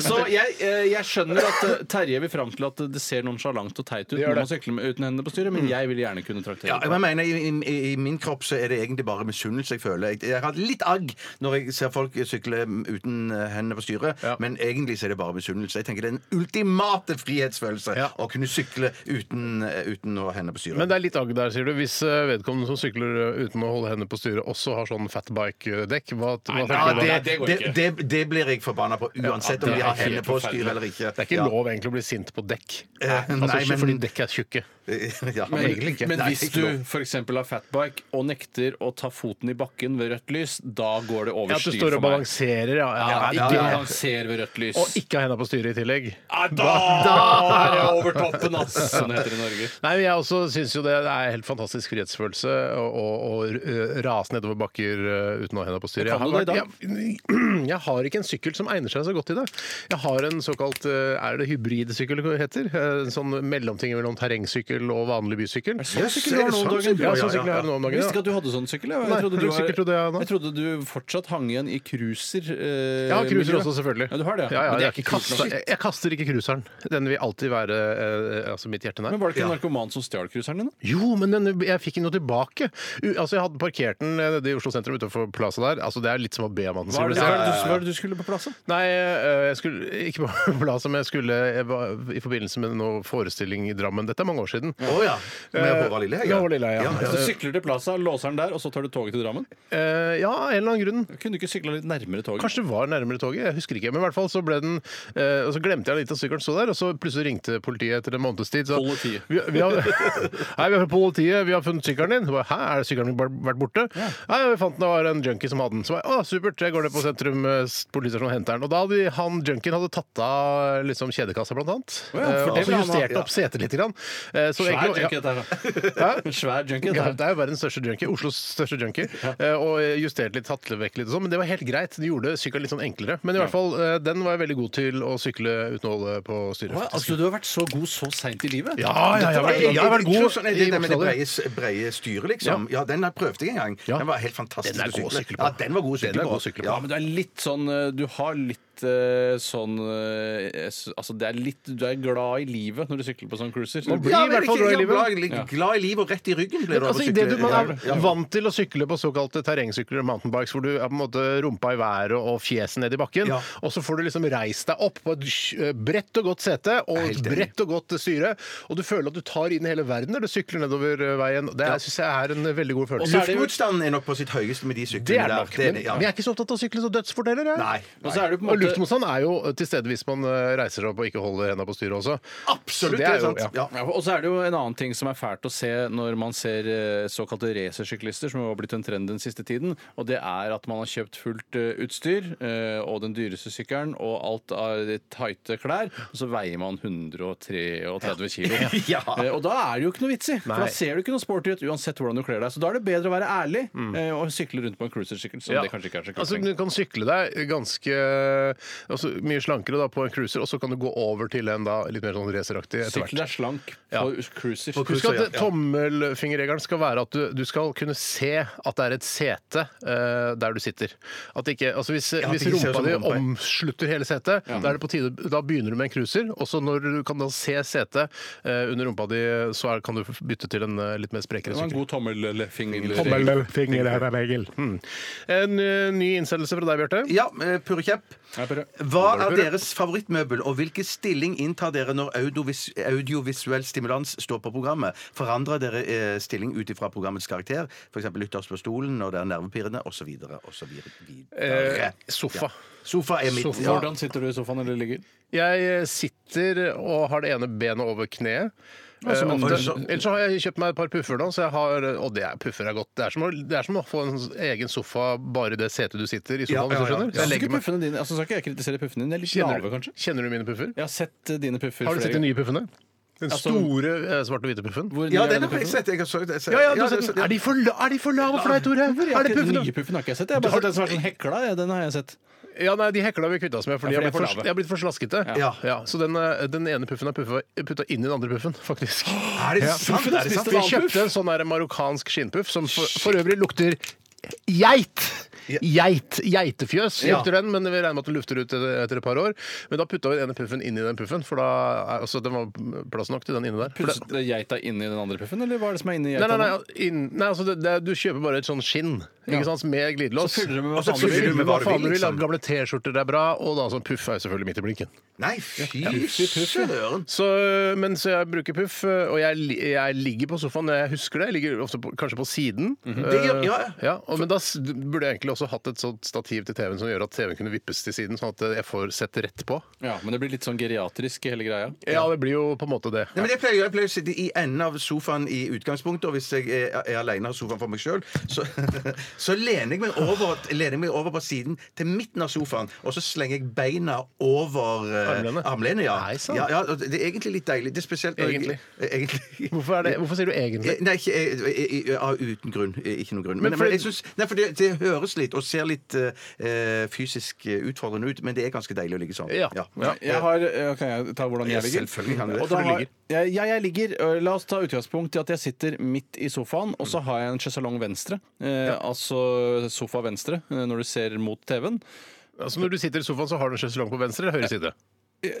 Speaker 3: Så jeg, eh, jeg skjønner at eh, Terje vil fram til at det ser nonsjalant og teit ut
Speaker 5: gjør
Speaker 3: når man
Speaker 5: det. Mm.
Speaker 3: sykler med, uten hendene på styret, men jeg vil gjerne kunne traktere.
Speaker 2: Ja,
Speaker 3: det.
Speaker 2: jeg mener, i, i, I min kropp så er det egentlig bare misunnelse jeg føler. Jeg, jeg har litt agg når jeg ser folk sykle uten eh, hendene på styret,
Speaker 5: Ja.
Speaker 2: men egentlig så er det bare misunnelse. Jeg tenker Det er den ultimate frihetsfølelse
Speaker 5: Ja.
Speaker 2: å kunne sykle uten, eh, uten å ha hendene på styret.
Speaker 5: Men det er litt agg der, sier du. Hvis eh, vedkommende som sykler eh, uten å holde hendene på styret, også har sånn fatbike-dekk, hva, hva
Speaker 2: ja,
Speaker 5: tenker du
Speaker 2: det,
Speaker 5: da?
Speaker 3: Nei, det går
Speaker 2: det,
Speaker 3: ikke.
Speaker 2: det, det blir jeg forbanna på uansett om
Speaker 3: det
Speaker 2: de
Speaker 3: er
Speaker 2: har
Speaker 3: helt
Speaker 2: hendene på
Speaker 3: forferdelig.
Speaker 2: styret eller ikke.
Speaker 5: Det er ikke lov egentlig å bli sint på dekk.
Speaker 2: Eh,
Speaker 5: altså,
Speaker 2: nei,
Speaker 5: ikke
Speaker 2: men-
Speaker 5: fordi dekk er tjukke.
Speaker 2: Ja,
Speaker 3: Men,
Speaker 5: egentlig ikke.
Speaker 3: men
Speaker 2: Nei,
Speaker 3: hvis
Speaker 2: det er
Speaker 3: du
Speaker 2: ikke
Speaker 3: f.eks. har fatbike og nekter å ta foten i bakken ved rødt lys, da går det
Speaker 5: Ja,
Speaker 3: over
Speaker 5: At du
Speaker 3: styr
Speaker 5: står og
Speaker 3: for meg.
Speaker 5: balanserer, ja. ja,
Speaker 3: Ja,
Speaker 5: ja,
Speaker 3: ikke balanser ved rødt lys.
Speaker 5: Og ikke har hendene på styret i tillegg.
Speaker 3: Ja, da, er jeg over toppen, ass! Sånn heter det i Norge.
Speaker 5: Nei, men Jeg også syns jo det er helt fantastisk frihetsfølelse å, å, å eh, rase nedover bakker eh, uten å ha henda på
Speaker 3: Men
Speaker 5: styret. Jeg,
Speaker 3: kan
Speaker 5: har
Speaker 3: du det
Speaker 5: vært- jeg, jeg har ikke en sykkel som egner seg så godt til det. Jeg har en såkalt eh, er det hybridsykkel det heter? Eh, En sånn mellomting mellom terrengsykkel og vanlig bysykkel.
Speaker 3: Sånn sykkel du har nå om dagen.
Speaker 5: Ja, sånn sykkel har jeg nå om
Speaker 3: Jeg
Speaker 5: dagen.
Speaker 3: visste ikke
Speaker 5: Ja.
Speaker 3: at du hadde sånn sykkel. Jeg,
Speaker 5: Nei,
Speaker 3: jeg, trodde,
Speaker 5: for
Speaker 3: du
Speaker 5: du
Speaker 3: var,
Speaker 5: sykler trodde jeg nå.
Speaker 3: jeg trodde du fortsatt hang igjen i cruiser. eh,
Speaker 5: Jeg har cruiser
Speaker 3: miljø.
Speaker 5: også, selvfølgelig.
Speaker 3: Ja, du har det, ja.
Speaker 5: ja.
Speaker 3: Men det er
Speaker 5: jeg,
Speaker 3: ikke kult nok.
Speaker 5: kaster, jeg, jeg kaster ikke cruiseren. Den vil alltid være eh, altså mitt hjerte nær.
Speaker 3: Men var det ikke en narkoman som stjal cruiseren din? da?
Speaker 5: Jo, men den, jeg fikk den jo tilbake. U, altså, Jeg hadde parkert den eh, nede i Oslo sentrum utenfor Plaza der. Altså, Det er litt som å be om at den
Speaker 3: Hva er
Speaker 5: skulle
Speaker 3: det, hva er det, du, hva er det du skulle på plassen?
Speaker 5: Nei, eh, jeg skulle ikke på Plaza, men jeg skulle jeg var, i forbindelse med noe forestilling i Drammen. Dette er mange år siden.
Speaker 2: Å ja. Med Håvard Lilleheie.
Speaker 5: Eh, med Håvard Lilleheie, ja.
Speaker 3: Så du sykler til Plaza, låser den der, og så tar du toget til Drammen?
Speaker 5: Eh, ja, av en eller annen grunn.
Speaker 3: Kunne du ikke sykla litt nærmere toget?
Speaker 5: Kanskje det var nærmere toget, jeg husker ikke. Men i hvert fall så ble den eh, Og så glemte jeg litt at sykkelen sto der, og så plutselig ringte politiet etter en måneds tid. Så,
Speaker 3: Politiet.
Speaker 5: Vi, vi har, Hei, vi har politiet, vi har funnet sykkelen din. Så bare, Hæ, er det sykkelen min bare vært borte? Nei, vi fant den, det var en junkie som hadde den. Så bare, å, supert, jeg går ned på sentrum eh, politistasjon og henter den. Og da hadde han junkien hadde tatt av liksom kjedekassa, blant annet.
Speaker 3: ja, for det
Speaker 5: Eh, og
Speaker 3: vil
Speaker 5: så
Speaker 3: han ha,
Speaker 5: justerte opp setet litt. Grann. Eh, så
Speaker 3: Svær
Speaker 5: egentlig- ja.
Speaker 3: junkie, dette her. da. En Svær junkie.
Speaker 5: Ja,
Speaker 3: dette her.
Speaker 5: det er jo verdens største junkie. Oslos største junkie. Eh, Og justert litt, tatt vekk litt og sånn. Men det var helt greit. De gjorde sykkelen litt sånn enklere. Men i hvert fall, eh, den var jeg veldig god til å sykle uten å holde på styret.
Speaker 3: Hva?
Speaker 5: faktisk.
Speaker 3: Altså, du har vært så god så seint i livet?
Speaker 5: Ja, ja, jeg har vært- jeg har vært god
Speaker 2: Sånn er det
Speaker 5: i
Speaker 2: der med det
Speaker 5: voksen
Speaker 2: breie,
Speaker 5: alder.
Speaker 2: breie styret, liksom. Ja, den har prøvde jeg en gang.
Speaker 5: Ja.
Speaker 2: Den var helt fantastisk
Speaker 5: Den er god å sykle på.
Speaker 2: Ja, den var god å
Speaker 5: Den
Speaker 2: sykle
Speaker 5: er
Speaker 2: på.
Speaker 5: god å sykle på.
Speaker 2: Ja,
Speaker 3: Ja, men du er litt sånn eh, Du har litt eh, sånn eh, s- Altså, det er litt Du er glad i livet når du sykler på sånn cruiser.
Speaker 5: Man blir-
Speaker 2: Ja,
Speaker 5: i
Speaker 2: men
Speaker 5: hvert fall
Speaker 2: ikke-
Speaker 5: glad i
Speaker 2: ja,
Speaker 5: livet.
Speaker 2: Glad, glad i livet og rett i ryggen blir
Speaker 5: Men
Speaker 2: du av å
Speaker 5: altså, i
Speaker 2: sykle.
Speaker 5: det du, man er
Speaker 2: Ja.
Speaker 5: vant til å sykle på såkalte terrengsykler, mountain bikes, hvor du er på en måte rumpa i været og fjeset ned i bakken,
Speaker 2: Ja.
Speaker 5: og så får du liksom reist deg opp på et sj- bredt og godt sete og et
Speaker 2: helt enig.
Speaker 5: bredt og godt styre, og du føler at du tar inn hele verden når du sykler nedover eh, veien. Det syns jeg er en eh, veldig god følelse.
Speaker 3: så er det jo-
Speaker 2: Luftmotstanden er nok på sitt høyeste med de syklene
Speaker 5: Det er det
Speaker 2: der.
Speaker 5: nok.
Speaker 2: Det er
Speaker 5: Men,
Speaker 2: det, ja.
Speaker 5: men jeg er ikke så opptatt av å sykle så dødsfort heller. jeg.
Speaker 2: Nei.
Speaker 3: Og så er det på en
Speaker 5: Og
Speaker 3: måte
Speaker 5: luftmotstand er jo til stede hvis man eh, reiser seg opp og ikke holder henda på styret også.
Speaker 2: Absolutt,
Speaker 5: Så
Speaker 2: det er
Speaker 5: jo-
Speaker 2: sant.
Speaker 5: ja.
Speaker 2: Ja.
Speaker 3: Ja, og så er det jo en annen ting som er fælt å se når man ser eh, såkalte racersyklister, som har blitt en trend den siste tiden, og det er at man har kjøpt fullt eh, utstyr eh, og den dyreste sykkelen og alt av de tighte klær, og så veier man 133 kilo.
Speaker 2: Ja.
Speaker 3: Eh, Og da er det jo ikke noe vits i, for da ser du ikke noe sporty ut uansett hvordan du kler deg. Så da er det bedre å være ærlig eh, og sykle rundt på en cruisersykkel, som
Speaker 5: Mm. Ja.
Speaker 3: det kanskje ikke er så kult
Speaker 5: Altså,
Speaker 3: lenger.
Speaker 5: du kan sykle deg ganske altså, mye slankere da, på en cruiser, og så kan du gå over til en da, litt mer sånn raceraktig etter
Speaker 3: Sykle
Speaker 5: hvert.
Speaker 3: deg slank
Speaker 5: Ja.
Speaker 3: på cruiser.
Speaker 5: Husk at eh, tommelfingerregelen skal være at du, du skal kunne se at det er et sete eh, der du sitter. At det ikke, altså hvis,
Speaker 2: at
Speaker 5: hvis
Speaker 2: det ikke ser ut
Speaker 5: rumpa
Speaker 2: som
Speaker 5: di
Speaker 2: rumpa.
Speaker 5: omslutter hele setet, da, er det på tide, da begynner du med en cruiser. Og så når du kan da se setet eh, under rumpa di, så er, kan du bytte til en eh, litt mer sprekere
Speaker 3: Det var en
Speaker 5: sykkel.
Speaker 3: god tommelfinger.
Speaker 5: Tommelfingerregel. Mm. En eh, ny innsendelse fra deg, Bjarte.
Speaker 2: Ja, eh, Purre Kjepp.
Speaker 3: Ja, Purre.
Speaker 2: Hva er deres favorittmøbel, og hvilken stilling inntar dere når audiovis audiovisuell stimulans står på programmet? Forandrer dere eh, stilling ut ifra programmets karakter? F.eks. ytterst på stolen når det er nervepirrende, osv. osv.
Speaker 5: Eh, sofa.
Speaker 2: Sofa er mitt.
Speaker 5: Sofa.
Speaker 2: Ja.
Speaker 3: Hvordan sitter du i sofaen eller ligger?
Speaker 5: Jeg eh, sitter og har det ene benet over kneet. Eh,
Speaker 2: men-
Speaker 5: ofte.
Speaker 2: Oi, så-
Speaker 5: Ellers så har jeg kjøpt meg et par puffer nå, så jeg har, og det er, puffer er godt. Det er, som å, det er som å få en egen sofa bare i det setet du sitter i
Speaker 2: Ja,
Speaker 5: sofaen. hvis
Speaker 2: ja,
Speaker 5: du
Speaker 2: ja.
Speaker 3: Jeg
Speaker 5: skjønner. Så jeg
Speaker 3: synes ikke
Speaker 5: legger meg.
Speaker 3: puffene dine altså, Skal ikke jeg kritisere puffene dine? De er litt
Speaker 5: Kjenner,
Speaker 3: lave,
Speaker 5: du,
Speaker 3: kanskje?
Speaker 5: kjenner du mine puffer?
Speaker 3: Jeg har sett eh, dine puffer
Speaker 5: Har du sett de nye puffene? Den
Speaker 3: Altså-
Speaker 5: store eh, svarte og hvite puffen?
Speaker 3: Hvor
Speaker 2: Ja,
Speaker 3: nye
Speaker 2: den
Speaker 3: er
Speaker 2: har jeg sett. Jeg har sett, jeg har sett.
Speaker 5: Ja, ja, du
Speaker 2: Ja,
Speaker 5: har sett
Speaker 2: det-
Speaker 5: den. Er de for, la- er de for lave for deg, Tore? Er det
Speaker 3: Den
Speaker 5: puffene?
Speaker 3: nye puffen har ikke jeg sett. Jeg har
Speaker 5: Har
Speaker 3: bare
Speaker 5: du-
Speaker 3: sett den som er sånn hekla. Ja, den har jeg sett.
Speaker 5: Ja, nei, de hekla vi kvitta oss med, for de
Speaker 3: Ja,
Speaker 5: har
Speaker 3: for de er for
Speaker 5: blitt, for,
Speaker 3: lave.
Speaker 5: de har blitt for slaskete.
Speaker 2: Ja.
Speaker 5: Så den, eh, den ene puffen er puffa, putta inn i den andre puffen, faktisk.
Speaker 2: Er det sant? Er det sant?
Speaker 5: Vi kjøpte en sånn der marokkansk skinnpuff, som for, for øvrig lukter geit! Geit, Geitefjøs lukter den, men vi regner med at den lufter ut etter etter et par år. Men da putta vi den ene puffen inn i den puffen, for da er- altså, den var plass nok til den inni der. For det-
Speaker 3: Pustet geita inni den andre puffen, eller hva er det som er inni
Speaker 5: Nei,
Speaker 3: geita?
Speaker 5: nei, nei,
Speaker 3: nå?
Speaker 5: inn, nei altså det, det, du kjøper bare et sånn skinn
Speaker 3: Ja.
Speaker 5: ikke sant, med glidelås.
Speaker 3: Så fyller du med hva
Speaker 5: Og så
Speaker 3: faen du vil.
Speaker 5: fyller du med
Speaker 2: Fyller du med
Speaker 5: hva
Speaker 2: hva
Speaker 5: faen
Speaker 2: du
Speaker 5: du
Speaker 2: vil,
Speaker 5: vil.
Speaker 2: liksom.
Speaker 5: Gamle T-skjorter er bra, og da sånn puff er jo selvfølgelig midt i blinken.
Speaker 2: Nei, fy søren.
Speaker 5: Så, men så jeg bruker puff, og jeg, li- jeg ligger på sofaen når jeg husker det. Jeg ligger ofte på, kanskje på siden.
Speaker 3: Mhm.
Speaker 2: Det gjør- ja, ja.
Speaker 5: Eh, ja, og, men da s- burde jeg egentlig også hatt et sånt stativ til TV-en som gjør at TV-en kunne vippes til siden, sånn at jeg får sett rett på.
Speaker 3: Ja, men det blir litt sånn geriatrisk, hele greia.
Speaker 5: Ja, det blir jo på en måte det.
Speaker 2: Nei, men jeg pleier, jeg pleier å sitte i enden av sofaen i utgangspunktet, og hvis jeg er, er aleine av sofaen for meg sjøl, så, så lener jeg meg over, lener jeg meg over på siden til midten av sofaen, og så slenger jeg beina over eh,
Speaker 5: Armlenet?
Speaker 2: armlenet. Ja.
Speaker 5: Nei, sant.
Speaker 2: ja, ja, og det er egentlig litt deilig. Det er spesielt når jeg- Egentlig.
Speaker 5: Hvorfor, er det, Eh, hvorfor sier du egentlig?
Speaker 2: Nei, ikke, eh, eh, eh, av uten grunn. Eh, Ikke noen grunn. Men,
Speaker 5: Men
Speaker 2: men
Speaker 5: fordi-
Speaker 2: jeg synes, nei, for det, det høres litt og ser litt eh, eh, fysisk eh, utfordrende ut, men det er ganske deilig å ligge sånn.
Speaker 5: Ja.
Speaker 3: Ja, jeg har, eh, kan jeg ta hvordan jeg ligger?
Speaker 2: Selvfølgelig kan du det,
Speaker 3: Og
Speaker 2: for
Speaker 3: da
Speaker 2: du
Speaker 3: har-
Speaker 2: ligger.
Speaker 3: Jeg, jeg, jeg ligger øh, La oss ta utgangspunkt i at jeg sitter midt i sofaen, og så har jeg en sjesalong venstre. Eh, Altså sofa venstre, eh, når du ser mot TV-en.
Speaker 5: Altså, når du sitter i sofaen, så har du en sjeselong på venstre eller høyre side.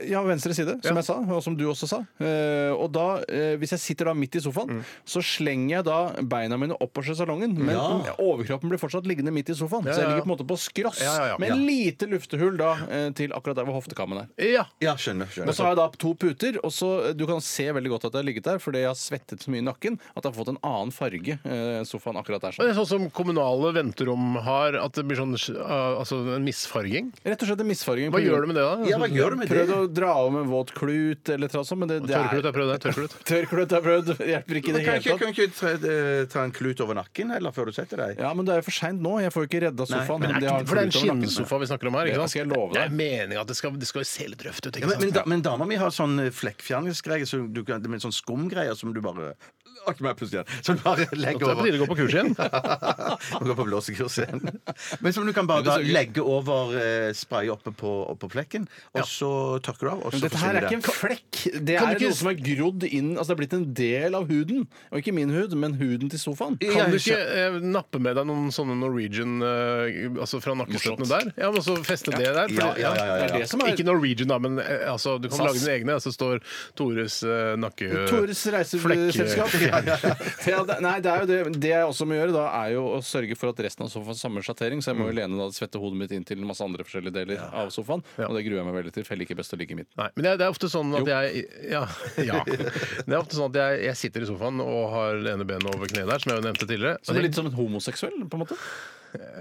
Speaker 3: Ja, venstre side, som jeg sa, og som du også sa. Eh, og da, eh, hvis jeg sitter da midt i sofaen,
Speaker 5: Mm.
Speaker 3: så slenger jeg da beina mine opp på sjesalongen, men overkroppen blir fortsatt liggende midt i sofaen. Så
Speaker 5: ja,
Speaker 3: jeg
Speaker 5: ja.
Speaker 3: ligger på en måte på skross,
Speaker 5: Ja, ja, ja.
Speaker 3: med lite luftehull da eh, til akkurat der hvor hoftekammen er.
Speaker 5: Ja.
Speaker 2: Ja, skjønner. skjønner.
Speaker 3: Og så har jeg da to puter, og så eh, du kan se veldig godt at jeg har ligget der, fordi jeg har svettet så mye i nakken at jeg har fått en annen farge eh, enn sofaen akkurat der.
Speaker 5: Og
Speaker 3: Sånn.
Speaker 5: det er sånn som kommunale venterom har, at det blir sånn uh, altså en misfarging.
Speaker 3: Rett og slett en misfarging.
Speaker 5: Hva gjør du med det, da?
Speaker 2: Ja, hva gjør du med det?
Speaker 3: Prøvd å dra om en våt klut eller noe sånt, men
Speaker 5: Altså,
Speaker 3: det, det er
Speaker 5: Tørrklut har jeg prøvd. det, Tørrklut.
Speaker 3: Tørrklut har jeg prøvd, hjelper ikke i
Speaker 2: Men
Speaker 3: det
Speaker 2: Kan
Speaker 3: hele
Speaker 2: ikke,
Speaker 3: tatt.
Speaker 2: kan ikke tre, eh, ta en klut over nakken heller før du setter deg?
Speaker 3: Ja, men det er jo for seint nå. Jeg får jo ikke redda sofaen.
Speaker 5: Men er
Speaker 3: det
Speaker 5: ikke-
Speaker 3: har
Speaker 5: For det er en
Speaker 3: flytt over nakken.
Speaker 5: skinnsofa vi snakker om her. ikke
Speaker 3: Det
Speaker 5: sant?
Speaker 3: skal jeg love
Speaker 5: Det er
Speaker 3: deg.
Speaker 5: meningen at det skal, det skal jo se litt røft ut. ikke
Speaker 2: Ja, men, men,
Speaker 5: sant?
Speaker 2: da, men dama mi har sånn eh, flekkfjerningsgreier som du kan- med sånn skumgreier som du bare Akk meg plutselig igjen. Som du bare
Speaker 5: At
Speaker 2: legger
Speaker 5: det er på tide å
Speaker 2: over.
Speaker 5: gå på kurs igjen.
Speaker 2: Og går på blåsekurs igjen. Men som du kan bare da, legge over eh, spraye oppe på, oppe på flekken, og så tørker du av, og
Speaker 3: Men
Speaker 2: så
Speaker 3: dette her
Speaker 2: forsvinner
Speaker 3: er ikke en
Speaker 2: det.
Speaker 3: flekk. Det
Speaker 5: Kan
Speaker 3: er
Speaker 5: du ikke-
Speaker 3: noe som er grodd inn Altså det er blitt en del av huden. Og ikke min hud, men huden til sofaen.
Speaker 5: Kan du ikke eh, nappe med deg noen sånne Norwegian eh, altså fra nakkestøttene der? Ja, men så feste det der. for
Speaker 2: Ja,
Speaker 5: det-
Speaker 2: ja, ja, ja,
Speaker 3: Det er det
Speaker 2: ja.
Speaker 3: som er
Speaker 5: Ikke Norwegian, da, men eh, altså, du kan
Speaker 3: SAS.
Speaker 5: lage dine egne. Så står Tores eh, nakke...
Speaker 3: Tores reiseselskap.
Speaker 5: Flekk-
Speaker 3: Ja, det- Nei, det er jo det. Det jeg også må gjøre, da, er jo å sørge for at resten av sofaen har samme sjattering. Så jeg må
Speaker 5: Mm.
Speaker 3: jo lene da det svette hodet mitt inn til masse andre forskjellige deler av sofaen. Og det gruer jeg meg veldig til. Feller ikke best å ligge i midten.
Speaker 5: Nei, men det er, det er ofte sånn at
Speaker 3: Jo.
Speaker 5: jeg ja, ja. Det er ofte sånn at jeg, jeg sitter i sofaen og har det ene benet over kneet der, som jeg jo nevnte tidligere.
Speaker 3: Så det er litt som en homoseksuell, på en måte.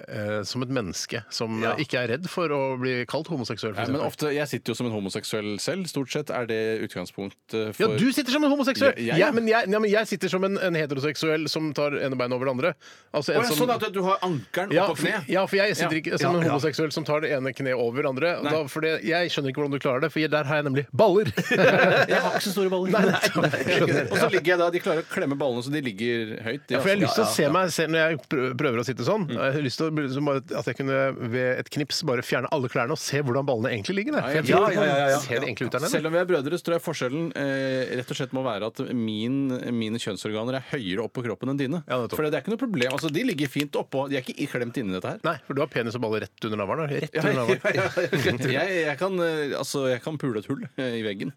Speaker 5: eh, som et menneske som eh, ikke er redd for å bli kalt homoseksuell. for
Speaker 3: Nei, men
Speaker 5: eksempel.
Speaker 3: ofte, Jeg sitter jo som en homoseksuell selv. Stort sett er det utgangspunktet
Speaker 5: Ja,
Speaker 3: for
Speaker 5: du sitter som en homoseksuell!
Speaker 3: Ja, jeg-
Speaker 5: Jeg- men, jeg, ja, men jeg sitter som en, en heteroseksuell som tar ene beinet over det andre. Altså, en
Speaker 3: Å, ja,
Speaker 5: som-
Speaker 3: sånn at du har ankelen
Speaker 5: ja,
Speaker 3: oppå
Speaker 5: for,
Speaker 3: kneet?
Speaker 5: ja, for jeg sitter
Speaker 3: Ja.
Speaker 5: ikke som en
Speaker 3: Ja, ja.
Speaker 5: homoseksuell som tar det ene kneet over det andre. og
Speaker 3: Nei.
Speaker 5: Da, for det, jeg skjønner ikke hvordan du klarer det, for der har jeg nemlig baller!
Speaker 3: Jeg har ikke så store baller. Og så ligger jeg da, De klarer å klemme ballene så de ligger høyt. De,
Speaker 5: Ja, for jeg har lyst til å
Speaker 3: altså.
Speaker 5: se meg selv når jeg prø- prøver å sitte sånn. Jeg har lyst til å, bli- som bare, at jeg kunne ved et knips bare fjerne alle klærne og se hvordan ballene egentlig ligger der. For jeg
Speaker 3: Ja,
Speaker 5: tror
Speaker 2: ja, ja, ja, ja.
Speaker 5: Ser det egentlig ut der nede?
Speaker 3: Selv om vi er brødre, så tror jeg forskjellen eh, rett og slett må være at min, mine kjønnsorganer er høyere opp på kroppen enn dine.
Speaker 5: Ja, nettopp.
Speaker 3: for det er ikke noe problem. Altså, De ligger fint oppå. De er ikke klemt inni dette her.
Speaker 5: Nei, for du har penis og baller rett under navlen. da. Rett
Speaker 3: Ja,
Speaker 5: under
Speaker 3: ja,
Speaker 5: navlen.
Speaker 3: ja, ja. Jeg, jeg, kan, eh, altså, jeg kan pule et hull eh, i veggen.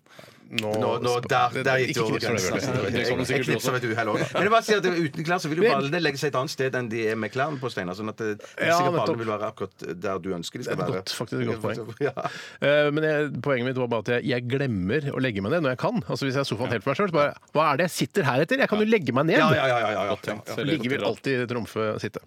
Speaker 2: Nå, nå, der, der gikk det
Speaker 5: Ikke
Speaker 2: over
Speaker 5: knips over
Speaker 2: grensen.
Speaker 5: grensen.
Speaker 3: Det kan du sikkert
Speaker 2: Et knips
Speaker 3: også.
Speaker 2: av et uhell også. Men jeg bare sier at uten klær så vil jo ballene legge seg et annet sted enn de er med klærne på, Steinar. Sånn at det, det er
Speaker 5: Ja,
Speaker 2: sikkert
Speaker 5: nettopp.
Speaker 2: ballene vil være akkurat eh, der du ønsker de skal
Speaker 5: Det er et
Speaker 2: være.
Speaker 5: godt- faktisk et godt poeng.
Speaker 2: Ja.
Speaker 5: Eh, Men jeg, poenget mitt var bare at jeg, jeg glemmer å legge meg ned når jeg kan. Altså Hvis jeg er i sofaen helt for meg sjøl, så bare Hva er det jeg sitter her etter? Jeg kan jo legge meg ned!
Speaker 2: Ja, ja, ja, ja, ja, ja.
Speaker 3: tenkt.
Speaker 5: Så ligger vil alltid trumfe og sitte.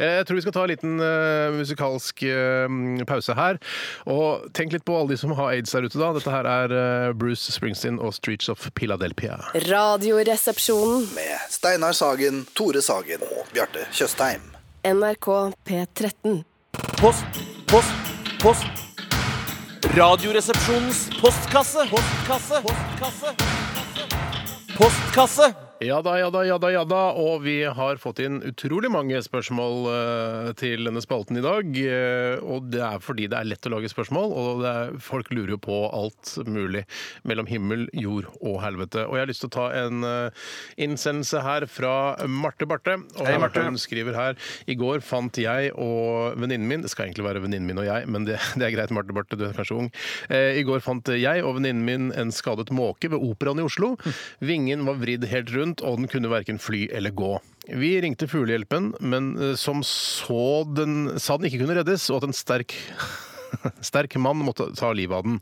Speaker 5: Eh, Jeg tror vi skal ta en liten eh, musikalsk eh, pause her. Og tenk litt på alle de som har aids der ute, da. Dette her er eh, Bruce Springsteen og Streets of Piladelphia.
Speaker 8: Radioresepsjonen.
Speaker 10: Med Steinar Sagen, Tore Sagen og Bjarte Tjøstheim.
Speaker 8: NRK P13.
Speaker 9: Post, post, post. Radioresepsjonens postkasse. Postkasse. Postkasse. Postkasse.
Speaker 5: Ja da, ja da, ja da, ja da. Og vi har fått inn utrolig mange spørsmål eh, til denne spalten i dag. Eh, og det er fordi det er lett å lage spørsmål, og det er, folk lurer jo på alt mulig mellom himmel, jord og helvete. Og jeg har lyst til å ta en eh, innsendelse her fra Marte Barthe. Og Hun skriver her I går fant jeg og venninnen min Det skal egentlig være venninnen min og jeg, men det, det er greit, Marte Barthe, du er kanskje ung. Eh, I går fant jeg og venninnen min en skadet måke ved Operaen i Oslo. Vingen var vridd helt rundt, og den kunne verken fly eller gå. Vi ringte Fuglehjelpen, men eh, som så den, sa den ikke kunne reddes, og at en sterk Sterk mann måtte ta livet av den.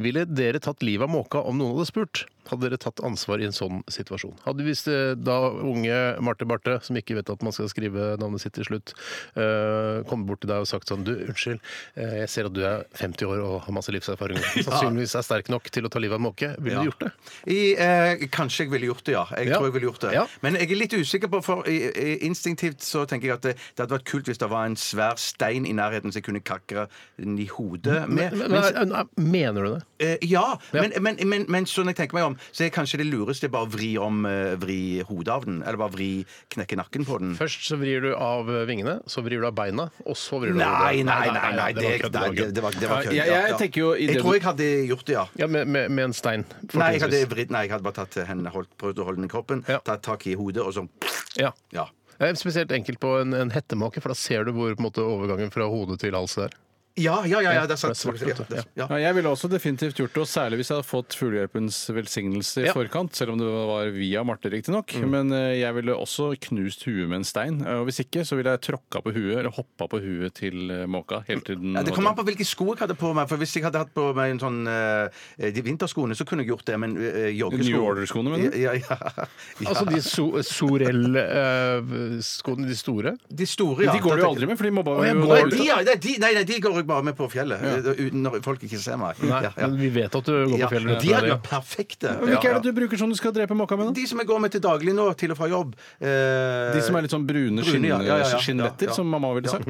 Speaker 5: Ville dere tatt livet av måka om noen hadde spurt? hadde dere tatt ansvar i en sånn situasjon? Hadde hvis eh, da unge Marte Barthe, som ikke vet at man skal skrive navnet sitt til slutt, eh, kommer bort til deg og sagt sånn Du, unnskyld, eh, jeg ser at du er 50 år og har masse livserfaring og sannsynligvis er sterk nok til å ta livet av en måke. Ville
Speaker 2: Ja.
Speaker 5: du gjort det?
Speaker 2: I, eh, kanskje jeg ville gjort det, ja. Jeg
Speaker 5: Ja.
Speaker 2: tror jeg ville gjort det.
Speaker 5: Ja.
Speaker 2: Men jeg er litt usikker på, for i- i- instinktivt så tenker jeg at det, det hadde vært kult hvis det var en svær stein i nærheten som jeg kunne kakre den i hodet med.
Speaker 5: Men,
Speaker 2: Men-
Speaker 5: men, mener du det?
Speaker 2: Eh, ja, Men, men, men, men sånn jeg tenker meg om, så er kanskje det lureste bare å vri om eh, vri hodet av den. Eller bare vri knekke nakken på den.
Speaker 5: Først så vrir du av vingene, så vrir du av beina, og så vrir du av
Speaker 2: Nei, nei,
Speaker 5: hodet.
Speaker 2: nei, nei, det,
Speaker 5: det var kødd,
Speaker 2: nei,
Speaker 5: det var
Speaker 2: det,
Speaker 5: kødd.
Speaker 2: det var det var kødd.
Speaker 3: Ja, jeg-
Speaker 2: ja,
Speaker 3: jeg
Speaker 2: ja.
Speaker 3: tenker jo i det
Speaker 2: Jeg tror
Speaker 3: du-
Speaker 2: jeg hadde gjort det, ja.
Speaker 5: Ja, med, med, med en stein.
Speaker 2: Nei, jeg hadde,
Speaker 5: fortrinnsvis.
Speaker 2: vridd- nei, jeg hadde bare tatt hendene, holdt, prøvd å holde den i kroppen,
Speaker 5: Ja.
Speaker 2: tatt tak i hodet og sånn.
Speaker 5: ja.
Speaker 2: Ja.
Speaker 5: Det er spesielt enkelt på en, en hettemake, for da ser du hvor på en måte, overgangen fra hodet til hals er.
Speaker 2: Ja, ja, ja, ja, det er sant.
Speaker 5: Ja, det er svart,
Speaker 2: Ja, det er- ja.
Speaker 3: Ja, jeg ville også definitivt gjort det, og særlig hvis jeg hadde fått Fuglehjelpens velsignelse i
Speaker 5: Ja.
Speaker 3: forkant, selv om det var via Marte, riktignok.
Speaker 2: Mm.
Speaker 3: Men eh, jeg ville også knust huet med en stein. eh, Og hvis ikke, så ville jeg tråkka på huet, eller hoppa på huet til eh, måka hele tiden.
Speaker 2: Ja, det kommer an på hvilke sko jeg hadde på meg. For Hvis jeg hadde hatt på meg en sånn eh, de vinterskoene, så kunne jeg gjort det, men eh, joggesko
Speaker 3: New Order-skoene, mener du?
Speaker 2: Ja, ja, ja.
Speaker 5: Altså de so Sorell-skoene, de store.
Speaker 2: de store, ja.
Speaker 3: De går du jo aldri med, for de mobba
Speaker 5: Å, jeg
Speaker 3: jo
Speaker 5: går
Speaker 2: Nei,
Speaker 3: deg
Speaker 2: de,
Speaker 3: ute.
Speaker 2: ja, nei, de, nei, nei, de går jeg bare med på fjellet. eh, Uten når folk ikke ser meg.
Speaker 5: Nei,
Speaker 2: Ja, ja.
Speaker 5: men vi vet at du går
Speaker 2: Ja,
Speaker 5: på fjellet.
Speaker 2: de hadde vært perfekte.
Speaker 3: Hvilke er det du bruker som du skal drepe måka med, da?
Speaker 2: De som jeg går med til daglig nå, til og fra jobb.
Speaker 3: De som er litt sånn brune, skinn-
Speaker 2: Brune, ja, ja, ja, ja.
Speaker 3: skinnletter,
Speaker 2: Ja, Mm. ja.
Speaker 3: som mamma ville sagt.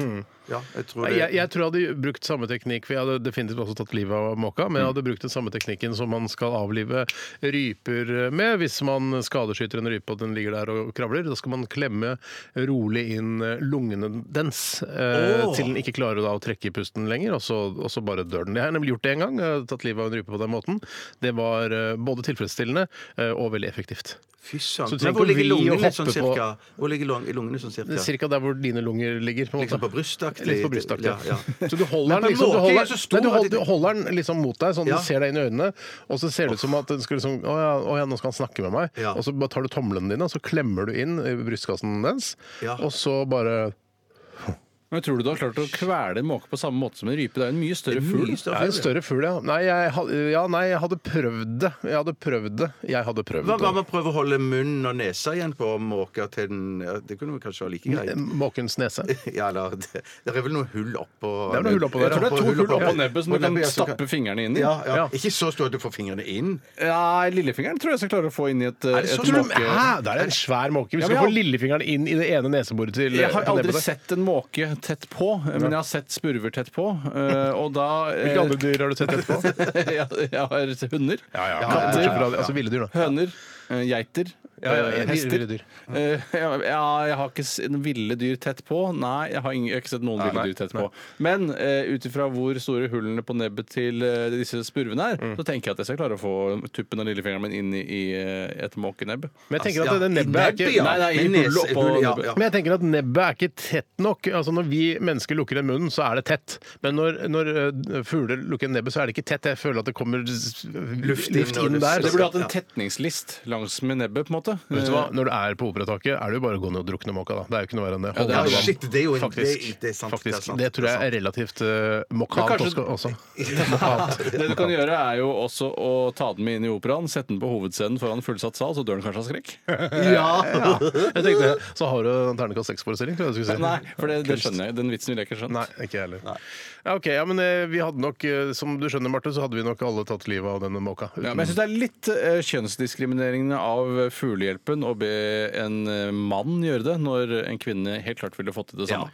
Speaker 2: Ja, jeg tror det.
Speaker 5: Jeg, jeg tror jeg hadde brukt samme teknikk, for jeg hadde definitivt også tatt livet av måka, men
Speaker 2: Mm.
Speaker 5: jeg hadde brukt den samme teknikken som man skal avlive ryper med hvis man skadeskyter en rype og den ligger der og kravler. Da skal man klemme rolig inn eh, lungene dens eh,
Speaker 2: Åh.
Speaker 5: til den ikke klarer da, å trekke i pusten lenger, og så, og så bare dør den. Jeg har nemlig gjort det en gang, jeg hadde tatt livet av en rype på den måten. Det var eh, både tilfredsstillende eh, og veldig effektivt.
Speaker 2: Fy søren.
Speaker 5: Så du
Speaker 2: Men
Speaker 5: trenger
Speaker 2: Hvor
Speaker 5: ikke
Speaker 2: ligger
Speaker 5: vri og
Speaker 2: lungene sånn
Speaker 5: hoppe på-
Speaker 2: cirka? Hvor ligger lung- lungene sånn cirka?
Speaker 5: Cirka der hvor dine lunger ligger. på en måte.
Speaker 2: Liksom på brystaktig.
Speaker 5: Litt på brystaktig.
Speaker 2: Ja, ja.
Speaker 5: Så du holder
Speaker 2: Men
Speaker 5: den liksom, du
Speaker 2: måke er
Speaker 5: holder,
Speaker 2: så stor
Speaker 5: nei, du
Speaker 2: at
Speaker 5: holder,
Speaker 2: de-
Speaker 5: du holder den liksom mot deg, sånn
Speaker 2: Ja.
Speaker 5: du ser deg inn i øynene, og så ser det ut som at den skal liksom å ja, å ja, nå skal han snakke med meg.
Speaker 2: Ja.
Speaker 5: Og så bare tar du tomlene dine, og så klemmer du inn i brystkassen dens,
Speaker 2: Ja.
Speaker 5: og så bare
Speaker 3: Men Tror du du har klart å kvele en måke på samme måte som en rype? Det er jo en mye større fugl.
Speaker 2: Mye
Speaker 5: Det
Speaker 2: større
Speaker 5: er en større fugl, ja. Nei, jeg, had- ja. nei, jeg hadde prøvd det. Jeg hadde prøvd det. Jeg hadde prøvd
Speaker 2: Hva hva
Speaker 5: det.
Speaker 2: med å prøve å holde munnen og nesa igjen på måker til den ja, Det kunne vi kanskje være like greit.
Speaker 5: Eh, Måkens nese.
Speaker 2: Ja, eller, det, det er vel noe hull oppå
Speaker 5: er noe hull oppå der,
Speaker 2: Jeg tror det er
Speaker 5: ja.
Speaker 3: To
Speaker 2: to
Speaker 3: hull
Speaker 2: oppå
Speaker 3: oppå nebbet som du kan
Speaker 2: nebbet, ja, så
Speaker 3: stappe fingrene inn i.
Speaker 2: ja, ja.
Speaker 5: Ja.
Speaker 2: Ikke så stort at du får fingrene inn.
Speaker 3: Nei, lillefingeren tror jeg skal klare å få inn i et,
Speaker 2: det
Speaker 3: et
Speaker 2: så
Speaker 5: Tror du-
Speaker 3: måke...
Speaker 5: Hæ? Det er en svær måke. Vi
Speaker 3: Ja,
Speaker 5: skal
Speaker 3: men
Speaker 5: få
Speaker 3: jeg-
Speaker 5: lillefingeren inn i det ene neseboret til
Speaker 3: Jeg har
Speaker 5: til nebbet
Speaker 3: aldri
Speaker 5: der.
Speaker 3: sett en måke tett på, eh, men jeg har sett spurver tett på. eh, Og da eh,
Speaker 5: Hvilke andre dyr har du sett etterpå?
Speaker 3: jeg, jeg har sett hunder.
Speaker 5: Katter, altså ville dyr, da.
Speaker 3: Høner, eh, geiter,
Speaker 5: Ja, ja,
Speaker 3: eh,
Speaker 5: ville- ville
Speaker 3: hester.
Speaker 5: dyr.
Speaker 3: Eh, ja, ja, jeg har ikke s- ville dyr tett på. Nei, jeg har, ingen, jeg har ikke sett noen ville dyr tett på. Men uh, ut ifra hvor store hullene på nebbet til eh, disse spurvene er, så tenker jeg at jeg skal klare å få tuppen av lillefingeren min inn i, i eh, et måkenebb.
Speaker 5: Men jeg tenker
Speaker 2: Ja,
Speaker 5: at det
Speaker 2: i
Speaker 5: nebbet er ikke
Speaker 2: ja.
Speaker 3: Nei, nei, i
Speaker 2: Med
Speaker 3: hullet
Speaker 2: nese-
Speaker 3: oppå
Speaker 2: hull, ja,
Speaker 3: nebbet.
Speaker 2: ja.
Speaker 5: Men jeg tenker at nebbet er ikke tett nok. Altså Når vi mennesker lukker den munnen, så er det tett. Men når, når eh, fugler lukker nebbet, så er det ikke tett. Jeg føler at det kommer s- luft inn,
Speaker 2: og luft.
Speaker 5: der.
Speaker 3: Det burde hatt
Speaker 2: Ja.
Speaker 3: en tetningslist langs med nebbet, på en måte.
Speaker 5: Vet du hva? Når du er på operataket, er det jo bare å gå ned og drukne måka, da. Det er jo ikke noe verre enn det. Hold
Speaker 3: det er-
Speaker 5: deg
Speaker 2: Ja,
Speaker 5: til vann.
Speaker 2: shit, det er jo en,
Speaker 5: Faktisk.
Speaker 2: Det, det er sant,
Speaker 5: Faktisk.
Speaker 2: Det, er sant,
Speaker 5: Det tror jeg er relativt uh, mokant
Speaker 3: Men kanskje-
Speaker 5: også. Mokant.
Speaker 3: Eh, Det du kan gjøre, er jo også å ta den med inn i operaen, sette den på hovedscenen foran fullsatt sal, så dør den kanskje av skrekk.
Speaker 5: Ja. Jeg tenkte, så har du en ternekast seks-forestilling, tror jeg du skulle si.
Speaker 3: Nei, for det, det skjønner jeg. Den vitsen ville jeg ikke skjønt.
Speaker 5: Nei, ikke jeg heller. Ja, ok, ja, men eh, vi hadde nok, eh, Som du skjønner, Marte, så hadde vi nok alle tatt livet av denne måka.
Speaker 3: Ja, men jeg syns det er litt eh, kjønnsdiskriminerende av eh, Fuglehjelpen å be en eh, mann gjøre det, når en kvinne helt klart ville fått til det samme.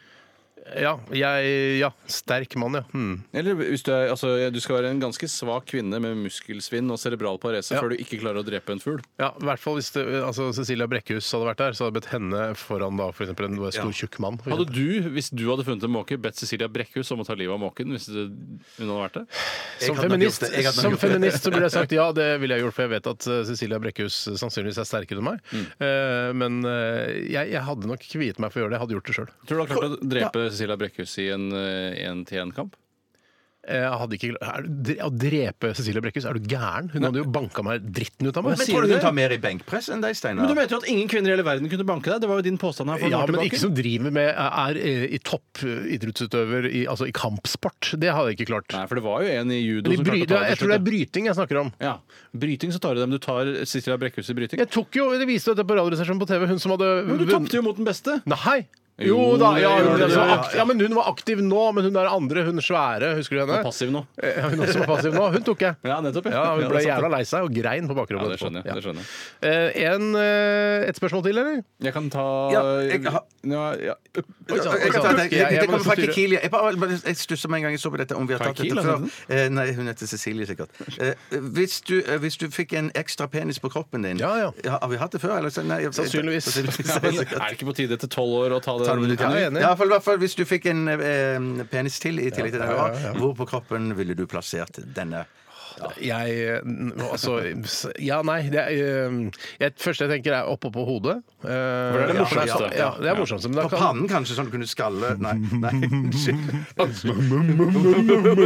Speaker 5: Ja, jeg, ja, sterk mann, ja. Hmm.
Speaker 3: Eller hvis du, er, altså, du skal være en ganske svak kvinne med muskelsvinn og cerebral parese før du ikke klarer å drepe en fugl.
Speaker 5: Ja, i hvert fall hvis det, altså, Cecilia Brekkhus hadde vært der, så hadde det blitt henne foran da, for eksempel, en stor, tjukk mann. for
Speaker 3: Hadde
Speaker 5: eksempel.
Speaker 3: du, hvis du hadde funnet en måke, bedt Cecilia Brekkhus om å ta livet av måken? hvis det, hun hadde vært det?
Speaker 5: Som
Speaker 2: hadde nok
Speaker 5: feminist,
Speaker 2: gjort det. Jeg hadde nok
Speaker 5: som
Speaker 2: gjort det.
Speaker 5: feminist så ville jeg sagt ja, det ville jeg gjort, for jeg vet at eh, Cecilia Brekkhus sannsynligvis er sterkere enn meg.
Speaker 2: Mm.
Speaker 5: Eh, men eh, jeg, jeg hadde nok kviet meg for å gjøre det. Jeg hadde gjort det sjøl.
Speaker 3: eh, Tror du du har klart å drepe Cecilia Brekkhus i en én-til-én-kamp?
Speaker 5: Eh, Jeg hadde ikke, er du, dre- å drepe Cecilie Brekkhus, er du gæren? Hun hadde jo banka meg dritten ut av meg.
Speaker 2: Men tror du hun tar mer i benkpress enn deg, Steinar?
Speaker 3: Men du mente jo at ingen kvinner i hele verden kunne banke deg? Det var jo din påstand her. for noen
Speaker 5: Ja,
Speaker 3: år
Speaker 5: men
Speaker 3: tilbake.
Speaker 5: ikke som driver med er eh, i toppidrettsutøver, i, altså i kampsport. Det hadde jeg ikke klart.
Speaker 3: Nei, for det var jo en i judo
Speaker 5: Men de
Speaker 3: som
Speaker 5: bry,
Speaker 3: klarte å ta
Speaker 5: jeg
Speaker 3: til
Speaker 5: tror det
Speaker 3: slutt,
Speaker 5: er bryting jeg snakker om.
Speaker 3: da. ja. Bryting, så tar du dem. Du tar Sissela Brekkhus i bryting.
Speaker 5: Jeg tok jo, De viste dette på radioresepsjonen på TV. Hun som hadde
Speaker 3: Men du tapte jo mot den beste!
Speaker 5: Nei! Jo
Speaker 3: Jo,
Speaker 5: da, ja,
Speaker 3: det
Speaker 5: hun,
Speaker 3: gjør det,
Speaker 5: som var
Speaker 3: ja,
Speaker 5: aktiv, ja, men hun var aktiv nå, men hun der andre, hun svære, husker du henne?
Speaker 3: Passiv nå.
Speaker 5: Eh, Hun også var passiv nå. Hun tok jeg.
Speaker 3: Ja, nettopp, ja.
Speaker 5: Ja, Hun
Speaker 3: Ja, det er
Speaker 5: ble
Speaker 3: sant,
Speaker 5: jævla lei seg og grein på
Speaker 3: Ja,
Speaker 5: bakrommet.
Speaker 3: det skjønner jeg.
Speaker 5: etterpå.
Speaker 3: Det skjønner jeg.
Speaker 5: Ja. Eh, en, eh, et spørsmål til, eller?
Speaker 3: jeg kan ta
Speaker 2: Ja, jeg har-
Speaker 3: ja, ja.
Speaker 5: Oi, sant,
Speaker 2: Jeg kan
Speaker 5: oi, sant.
Speaker 2: ta det.
Speaker 5: Jeg- jeg
Speaker 2: Dette
Speaker 5: må
Speaker 2: kommer fra
Speaker 5: styre.
Speaker 2: Kikil. ja. Jeg, bare- bare- jeg stusser med en gang jeg så på dette, om vi har tatt
Speaker 3: Kikil,
Speaker 2: dette
Speaker 3: altså?
Speaker 2: før. Eh, Nei, hun heter Cecilie, sikkert. Eh, Hvis du, eh, hvis du fikk en ekstra penis på kroppen din
Speaker 5: Ja, ja.
Speaker 2: Har vi hatt det før? Eller? så- Nei, jeg-
Speaker 5: Sannsynligvis.
Speaker 3: Ja, men er det ikke på tide etter tolv år å ta det?
Speaker 2: Tar du det
Speaker 5: Ja,
Speaker 2: til?
Speaker 5: jeg er enig.
Speaker 2: Ja, for i hvert fall hvis du fikk en eh, penis til i tillegg til den du har, hvor på kroppen ville du plassert denne?
Speaker 5: Jeg eh, n- Altså s- Ja, nei. Det er, eh, jeg, første jeg tenker, er oppå på hodet. Eh,
Speaker 3: det er det
Speaker 5: ja,
Speaker 3: morsomste.
Speaker 5: Ja, ja, det er morsomst. Men da
Speaker 2: På
Speaker 5: kan-
Speaker 2: pannen kanskje, sånn at du kunne skalle Nei. nei.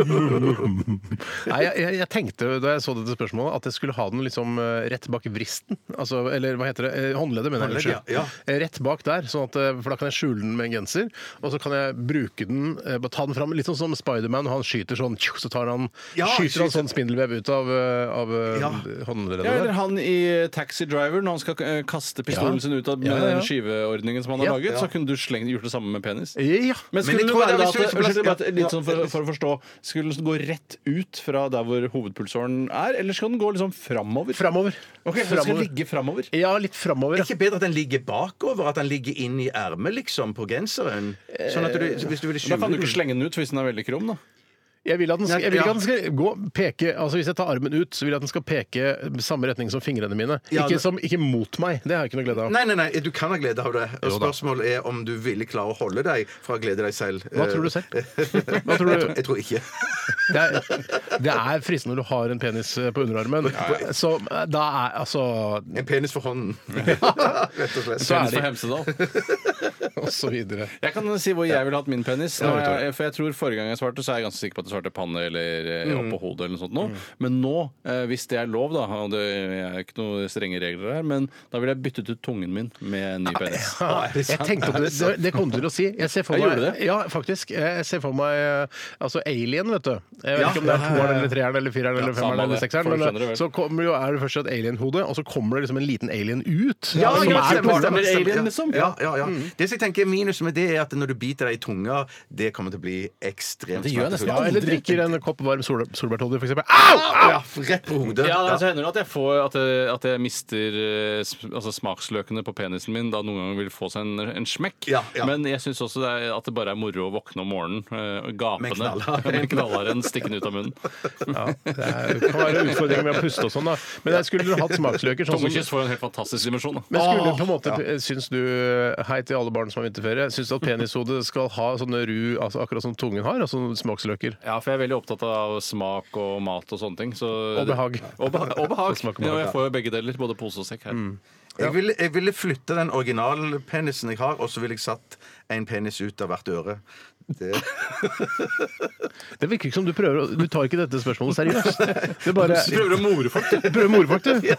Speaker 5: Nei, jeg, jeg, jeg tenkte da jeg så dette spørsmålet, at jeg skulle ha den liksom eh, rett bak vristen. Altså, eller hva heter det? Eh, Håndleddet, mener jeg.
Speaker 2: Håndleddet,
Speaker 5: unnskyld.
Speaker 2: ja,
Speaker 5: Eh, Rett bak der, sånn at, eh, for da kan jeg skjule den med en genser. Og så kan jeg bruke den, eh, bare ta den fram, litt sånn som Spiderman. når Han skyter sånn, tjo, så tar han,
Speaker 2: Ja,
Speaker 5: skyter han
Speaker 2: skyter.
Speaker 5: sånn spindelvev ut av, eh, av eh,
Speaker 2: Ja.
Speaker 5: håndleddet.
Speaker 3: Ja, eller
Speaker 5: der.
Speaker 3: han i Taxi Driver, når han skal eh, kaste pistolen
Speaker 5: Ja.
Speaker 3: sin ut av
Speaker 5: Ja, ja, ja.
Speaker 3: den skyveordningen som han har
Speaker 5: Ja,
Speaker 3: laget,
Speaker 2: ja.
Speaker 3: så kunne du slengt, gjort det samme med penis.
Speaker 5: Ja.
Speaker 3: Men
Speaker 2: Men
Speaker 3: skulle
Speaker 2: jeg
Speaker 3: det
Speaker 2: tror
Speaker 3: være
Speaker 2: det er
Speaker 3: da
Speaker 2: hvis
Speaker 3: at
Speaker 2: du ikke
Speaker 3: unnskyld,
Speaker 2: plass-
Speaker 3: bare litt
Speaker 2: ja,
Speaker 3: sånn for,
Speaker 2: ja.
Speaker 3: for å forstå Skulle den gå rett ut fra der hvor hovedpulsåren er, eller skal den gå liksom framover?
Speaker 5: Framover.
Speaker 3: Ok, så den skal
Speaker 5: Framover.
Speaker 3: ligge framover.
Speaker 5: Ja, litt
Speaker 2: Er
Speaker 5: framover.
Speaker 2: det ikke bedre at den ligger bakover? At den ligger inn i ermet, liksom, på genseren? Sånn at du, hvis du
Speaker 3: Da
Speaker 2: ville skjule
Speaker 3: kan du
Speaker 2: den
Speaker 3: ikke slenge den ut hvis den er veldig krum, da.
Speaker 5: Jeg vil at den skal, jeg vil ikke
Speaker 2: Ja.
Speaker 5: at den skal gå, peke altså Hvis jeg tar armen ut, så vil jeg at den skal peke samme retning som fingrene mine.
Speaker 2: Ja,
Speaker 5: Ikke,
Speaker 2: men-
Speaker 5: som, ikke mot meg. Det har jeg ikke noe glede av.
Speaker 2: Nei, nei, nei, du kan ha glede av det. Og spørsmålet er om du ville klare å holde deg fra å glede deg selv. eh,
Speaker 5: Hva tror du selv? Hva tror
Speaker 2: Jeg,
Speaker 5: du?
Speaker 2: tror, jeg tror ikke.
Speaker 5: Det er, det er fristende når du har en penis eh, på underarmen. Så eh, da er altså
Speaker 2: En penis for hånden. Rett og slett.
Speaker 5: Så
Speaker 3: Penis
Speaker 5: er det-
Speaker 3: for Hemsedal.
Speaker 5: Og så videre.
Speaker 3: Jeg kan si hvor jeg ville hatt min penis. Nå,
Speaker 5: vet
Speaker 3: jeg, for jeg tror Forrige gang jeg svarte, så er jeg ganske sikker på at jeg svarte panne eller eh, oppå hodet. eller noe sånt nå. Men nå, eh, hvis det er lov, da, og det er ikke noen strenge regler her, men da ville jeg byttet ut tungen min med en ny penis.
Speaker 5: Jeg tenkte på det, det, det kom du til å si. Jeg ser for
Speaker 3: Jeg
Speaker 5: meg,
Speaker 3: gjorde det.
Speaker 5: Ja, faktisk. Jeg ser for meg eh, altså Alien, vet du. Jeg vet ikke om det er toeren eller treeren eller fireren eller
Speaker 3: samme
Speaker 5: femmeren eller
Speaker 3: det. Folk
Speaker 5: sekseren. Men
Speaker 3: skjønner
Speaker 5: eh,
Speaker 3: det vel.
Speaker 5: så kommer jo, er det først et alien-hode, og så kommer det liksom en liten alien ut.
Speaker 2: Ja,
Speaker 5: som
Speaker 2: ja,
Speaker 5: er
Speaker 2: stemmer,
Speaker 5: toeren.
Speaker 2: stemmer, stemmer.
Speaker 3: alien, liksom.
Speaker 2: Ja, ja, ja. Det som jeg tenker er minus med det, er at når du biter deg i tunga, det kommer til å bli ekstremt
Speaker 3: Det gjør jeg nesten
Speaker 5: ja,
Speaker 2: smertefullt.
Speaker 5: eller drikker en kopp varm sol solbærtoddy, for eksempel. Ah! Au!
Speaker 2: Ja, rett på hodet.
Speaker 3: Ja, altså,
Speaker 2: Ja.
Speaker 3: så hender det at jeg, får, at jeg, at jeg mister eh, s- altså smaksløkene på penisen min. Da noen ganger vil få seg en, en smekk.
Speaker 2: Ja, ja.
Speaker 3: Men jeg syns også det er, at det bare er moro å våkne om morgenen eh,
Speaker 2: Med
Speaker 3: gapende.
Speaker 2: knallhard.
Speaker 3: Med knallharen stikkende ut av munnen.
Speaker 5: Ja, det er- det kan være utfordringer med å puste og sånn, da. Men jeg skulle hatt smaksløker. Sånn som,
Speaker 3: Tungekyss får en helt fantastisk dimensjon. da.
Speaker 2: Ah,
Speaker 5: Men skulle på en måte, syns du, eh, hei til alle barn som har vinterferie, syns du at penishodet skal ha sånne ru, altså akkurat som tungen har, altså smaksløker?
Speaker 3: Ja, for jeg er veldig opptatt av smak og mat og sånne ting. Så
Speaker 5: Og behag.
Speaker 3: Og, beha og behag. Mm.
Speaker 5: Og smak og
Speaker 3: ja,
Speaker 5: behag,
Speaker 3: jeg får jo begge deler. Både pose og sekk her.
Speaker 2: Jeg, ville, jeg ville flytte den originalpenisen jeg har, og så ville jeg satt en penis ut av hvert øre. Det.
Speaker 5: Det virker ikke som du prøver å Du tar ikke dette spørsmålet seriøst. Det er bare
Speaker 3: Du prøver å more folk.
Speaker 5: Du prøver å more folk, du.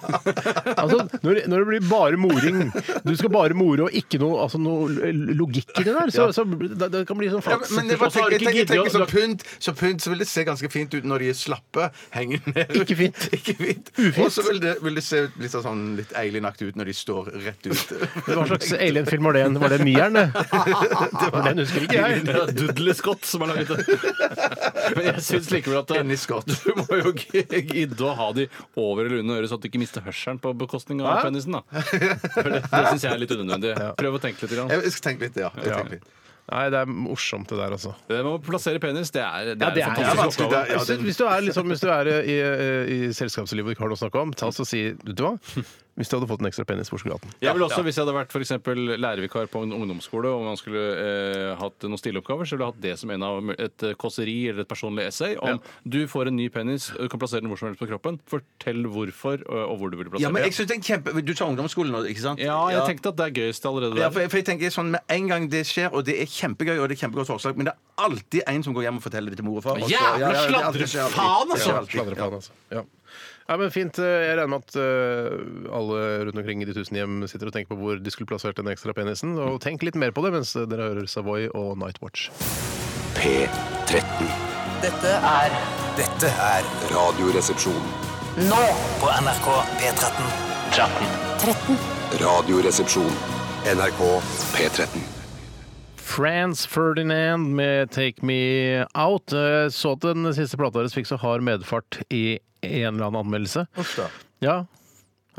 Speaker 5: Altså, når, når det blir bare moring Du skal bare more og ikke noe, altså, noe l- logikk i det der, så, så det, det kan bli sånn
Speaker 2: Ja,
Speaker 5: flaks.
Speaker 2: men jeg, bare
Speaker 3: Og så har
Speaker 2: tenker,
Speaker 3: du
Speaker 2: jeg,
Speaker 3: ikke
Speaker 2: tenker, jeg
Speaker 3: giddet
Speaker 2: tenker
Speaker 3: å-
Speaker 2: som pynt, så pynt så vil det se ganske fint ut når de er slappe, henger ned.
Speaker 5: Ikke fint.
Speaker 2: Ikke fint.
Speaker 5: Ufint.
Speaker 2: Og så vil, det- vil det se ut litt sånn litt alienaktig ut når de står rett ut.
Speaker 5: Hva slags alien-film var det? igjen? Var det Nieren? det? For Den husker ikke jeg.
Speaker 3: Det er Dudley Scott som har laget det. Men jeg syns likevel at eh,
Speaker 2: Dennis Scott.
Speaker 3: du må jo ikke gidde å ha de over eller under øret, så at du ikke mister hørselen på bekostning av penisen. da. For det det syns jeg er litt unødvendig. Prøv å tenke litt. Grann.
Speaker 2: Jeg jeg skal tenke litt, ja. Jeg
Speaker 5: Ja.
Speaker 2: tenker litt.
Speaker 5: Nei, det er morsomt, det der, altså.
Speaker 3: Det med Eh, å plassere penis, det er, det
Speaker 5: Ja,
Speaker 3: er,
Speaker 5: det er
Speaker 3: en
Speaker 2: Det er
Speaker 3: fantastisk
Speaker 2: vanskelig.
Speaker 3: oppgave.
Speaker 2: Det, er- ja,
Speaker 5: Hvis du- eh,
Speaker 2: den,
Speaker 5: Hvis du er, liksom, hvis du er i, i selskapslivet og ikke har noe å snakke om, ta oss og si Vet du hva? hvis du hadde fått en ekstra penis på sjokoladen.
Speaker 3: Jeg vil også, Hvis jeg hadde vært for eksempel, lærervikar på en ungdomsskole og man skulle eh, hatt noen stileoppgaver, så ville jeg hatt det som en av mu- et eh, kåseri eller et personlig essay om du får en ny penis, du kan plassere den hvor som helst på kroppen. Fortell hvorfor eh, og, og hvor du vil
Speaker 2: Ja,
Speaker 3: plassere
Speaker 2: men jeg
Speaker 3: den.
Speaker 2: synes det er en kjempe... Du sa ungdomsskolen nå, ikke sant?
Speaker 3: Ja, jeg tenkte at det er gøyest allerede
Speaker 2: Ja,
Speaker 3: der.
Speaker 2: for jeg, for jeg tenker sånn, Med en gang det skjer, og det er kjempegøy, og det er kjempegodt forslag, men det er alltid en som går hjem og forteller det til mor og far. og så-
Speaker 3: Jævla
Speaker 2: det er alltid-
Speaker 3: sladrefaen,
Speaker 2: det
Speaker 3: altså!
Speaker 2: skjer
Speaker 5: Ja,
Speaker 2: alltid.
Speaker 5: sladrefaen, altså. Ja. Ja, men fint. Eh, Jeg regner med at eh, alle rundt omkring i de tusen hjem sitter og tenker på hvor de skulle plassert den ekstra penisen. Og tenk litt mer på det mens dere hører Savoy og Nightwatch.
Speaker 4: P13.
Speaker 11: Dette er Dette er
Speaker 4: Radioresepsjon.
Speaker 11: Nå på NRK P13. 13.
Speaker 4: Radioresepsjon. NRK P13.
Speaker 5: Frans Ferdinand med 'Take Me Out'. Eh, Så at den siste plata deres fikk så hard medfart i en eller annen anmeldelse. Ja.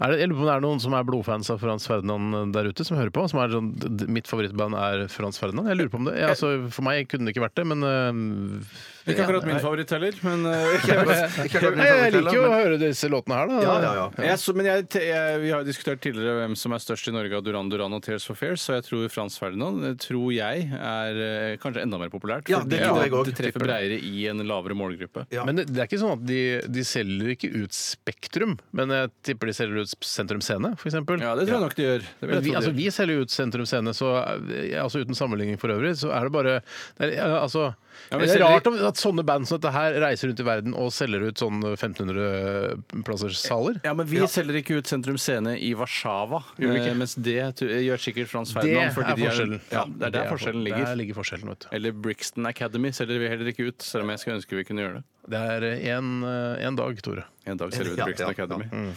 Speaker 5: Er det, jeg lurer på om det er noen som er blodfans av Frans Ferdinand eh, der ute, som hører på? Som er sånn, d- d- mitt favorittband er Frans Ferdinand. Jeg lurer på om det. Ja, altså, for meg kunne det ikke vært det, men øh,
Speaker 3: Ikke akkurat min favoritt heller, men eh,
Speaker 5: Nei, Jeg liker jo å høre disse låtene her, da.
Speaker 2: Ja, ja, ja.
Speaker 3: jeg, så, men jeg, te- jeg, Vi har jo diskutert tidligere hvem som er størst i Norge av Duran Duran og Tears for Fears, så jeg tror Frans Ferdinand eh, tror jeg er eh, kanskje enda mer populært.
Speaker 2: Ja, det
Speaker 3: fordi
Speaker 2: tror jeg også.
Speaker 3: det treffer bredere i en lavere målgruppe.
Speaker 2: Ja.
Speaker 5: Men det, det er ikke sånn at de, de selger ikke ut Spektrum, men jeg tipper de selger ut Sentrum Scene, f.eks.
Speaker 3: Ja, det tror jeg nok de gjør. Det vil
Speaker 5: Men
Speaker 3: jeg tro
Speaker 5: vi,
Speaker 3: de
Speaker 5: altså,
Speaker 3: gjør.
Speaker 5: vi selger jo ut Sentrum Scene, så eh, altså uten sammenligning for øvrig, så er det bare det er, eh, Altså
Speaker 3: Ja, men
Speaker 5: Det er
Speaker 3: selger-
Speaker 5: rart om- at sånne band som dette her reiser rundt i verden og selger ut sånn 1500 plassers saler.
Speaker 3: Ja, men vi selger ikke ut Sentrum Scene i Warszawa, eh, mens det tu- gjør sikkert Frans
Speaker 5: Det
Speaker 3: Ferdinand.
Speaker 5: er
Speaker 3: fordi de
Speaker 5: forskjellen.
Speaker 3: Ja, det er der forskjellen
Speaker 5: Der
Speaker 3: ligger.
Speaker 5: ligger forskjellen, vet du.
Speaker 3: Eller Brixton Academy selger vi heller ikke ut, selv om jeg skulle ønske vi kunne gjøre det.
Speaker 5: Det er eh, én dag, Tore.
Speaker 3: En dag selger vi ut
Speaker 2: Ja,
Speaker 3: Brixton
Speaker 2: ja,
Speaker 3: Academy.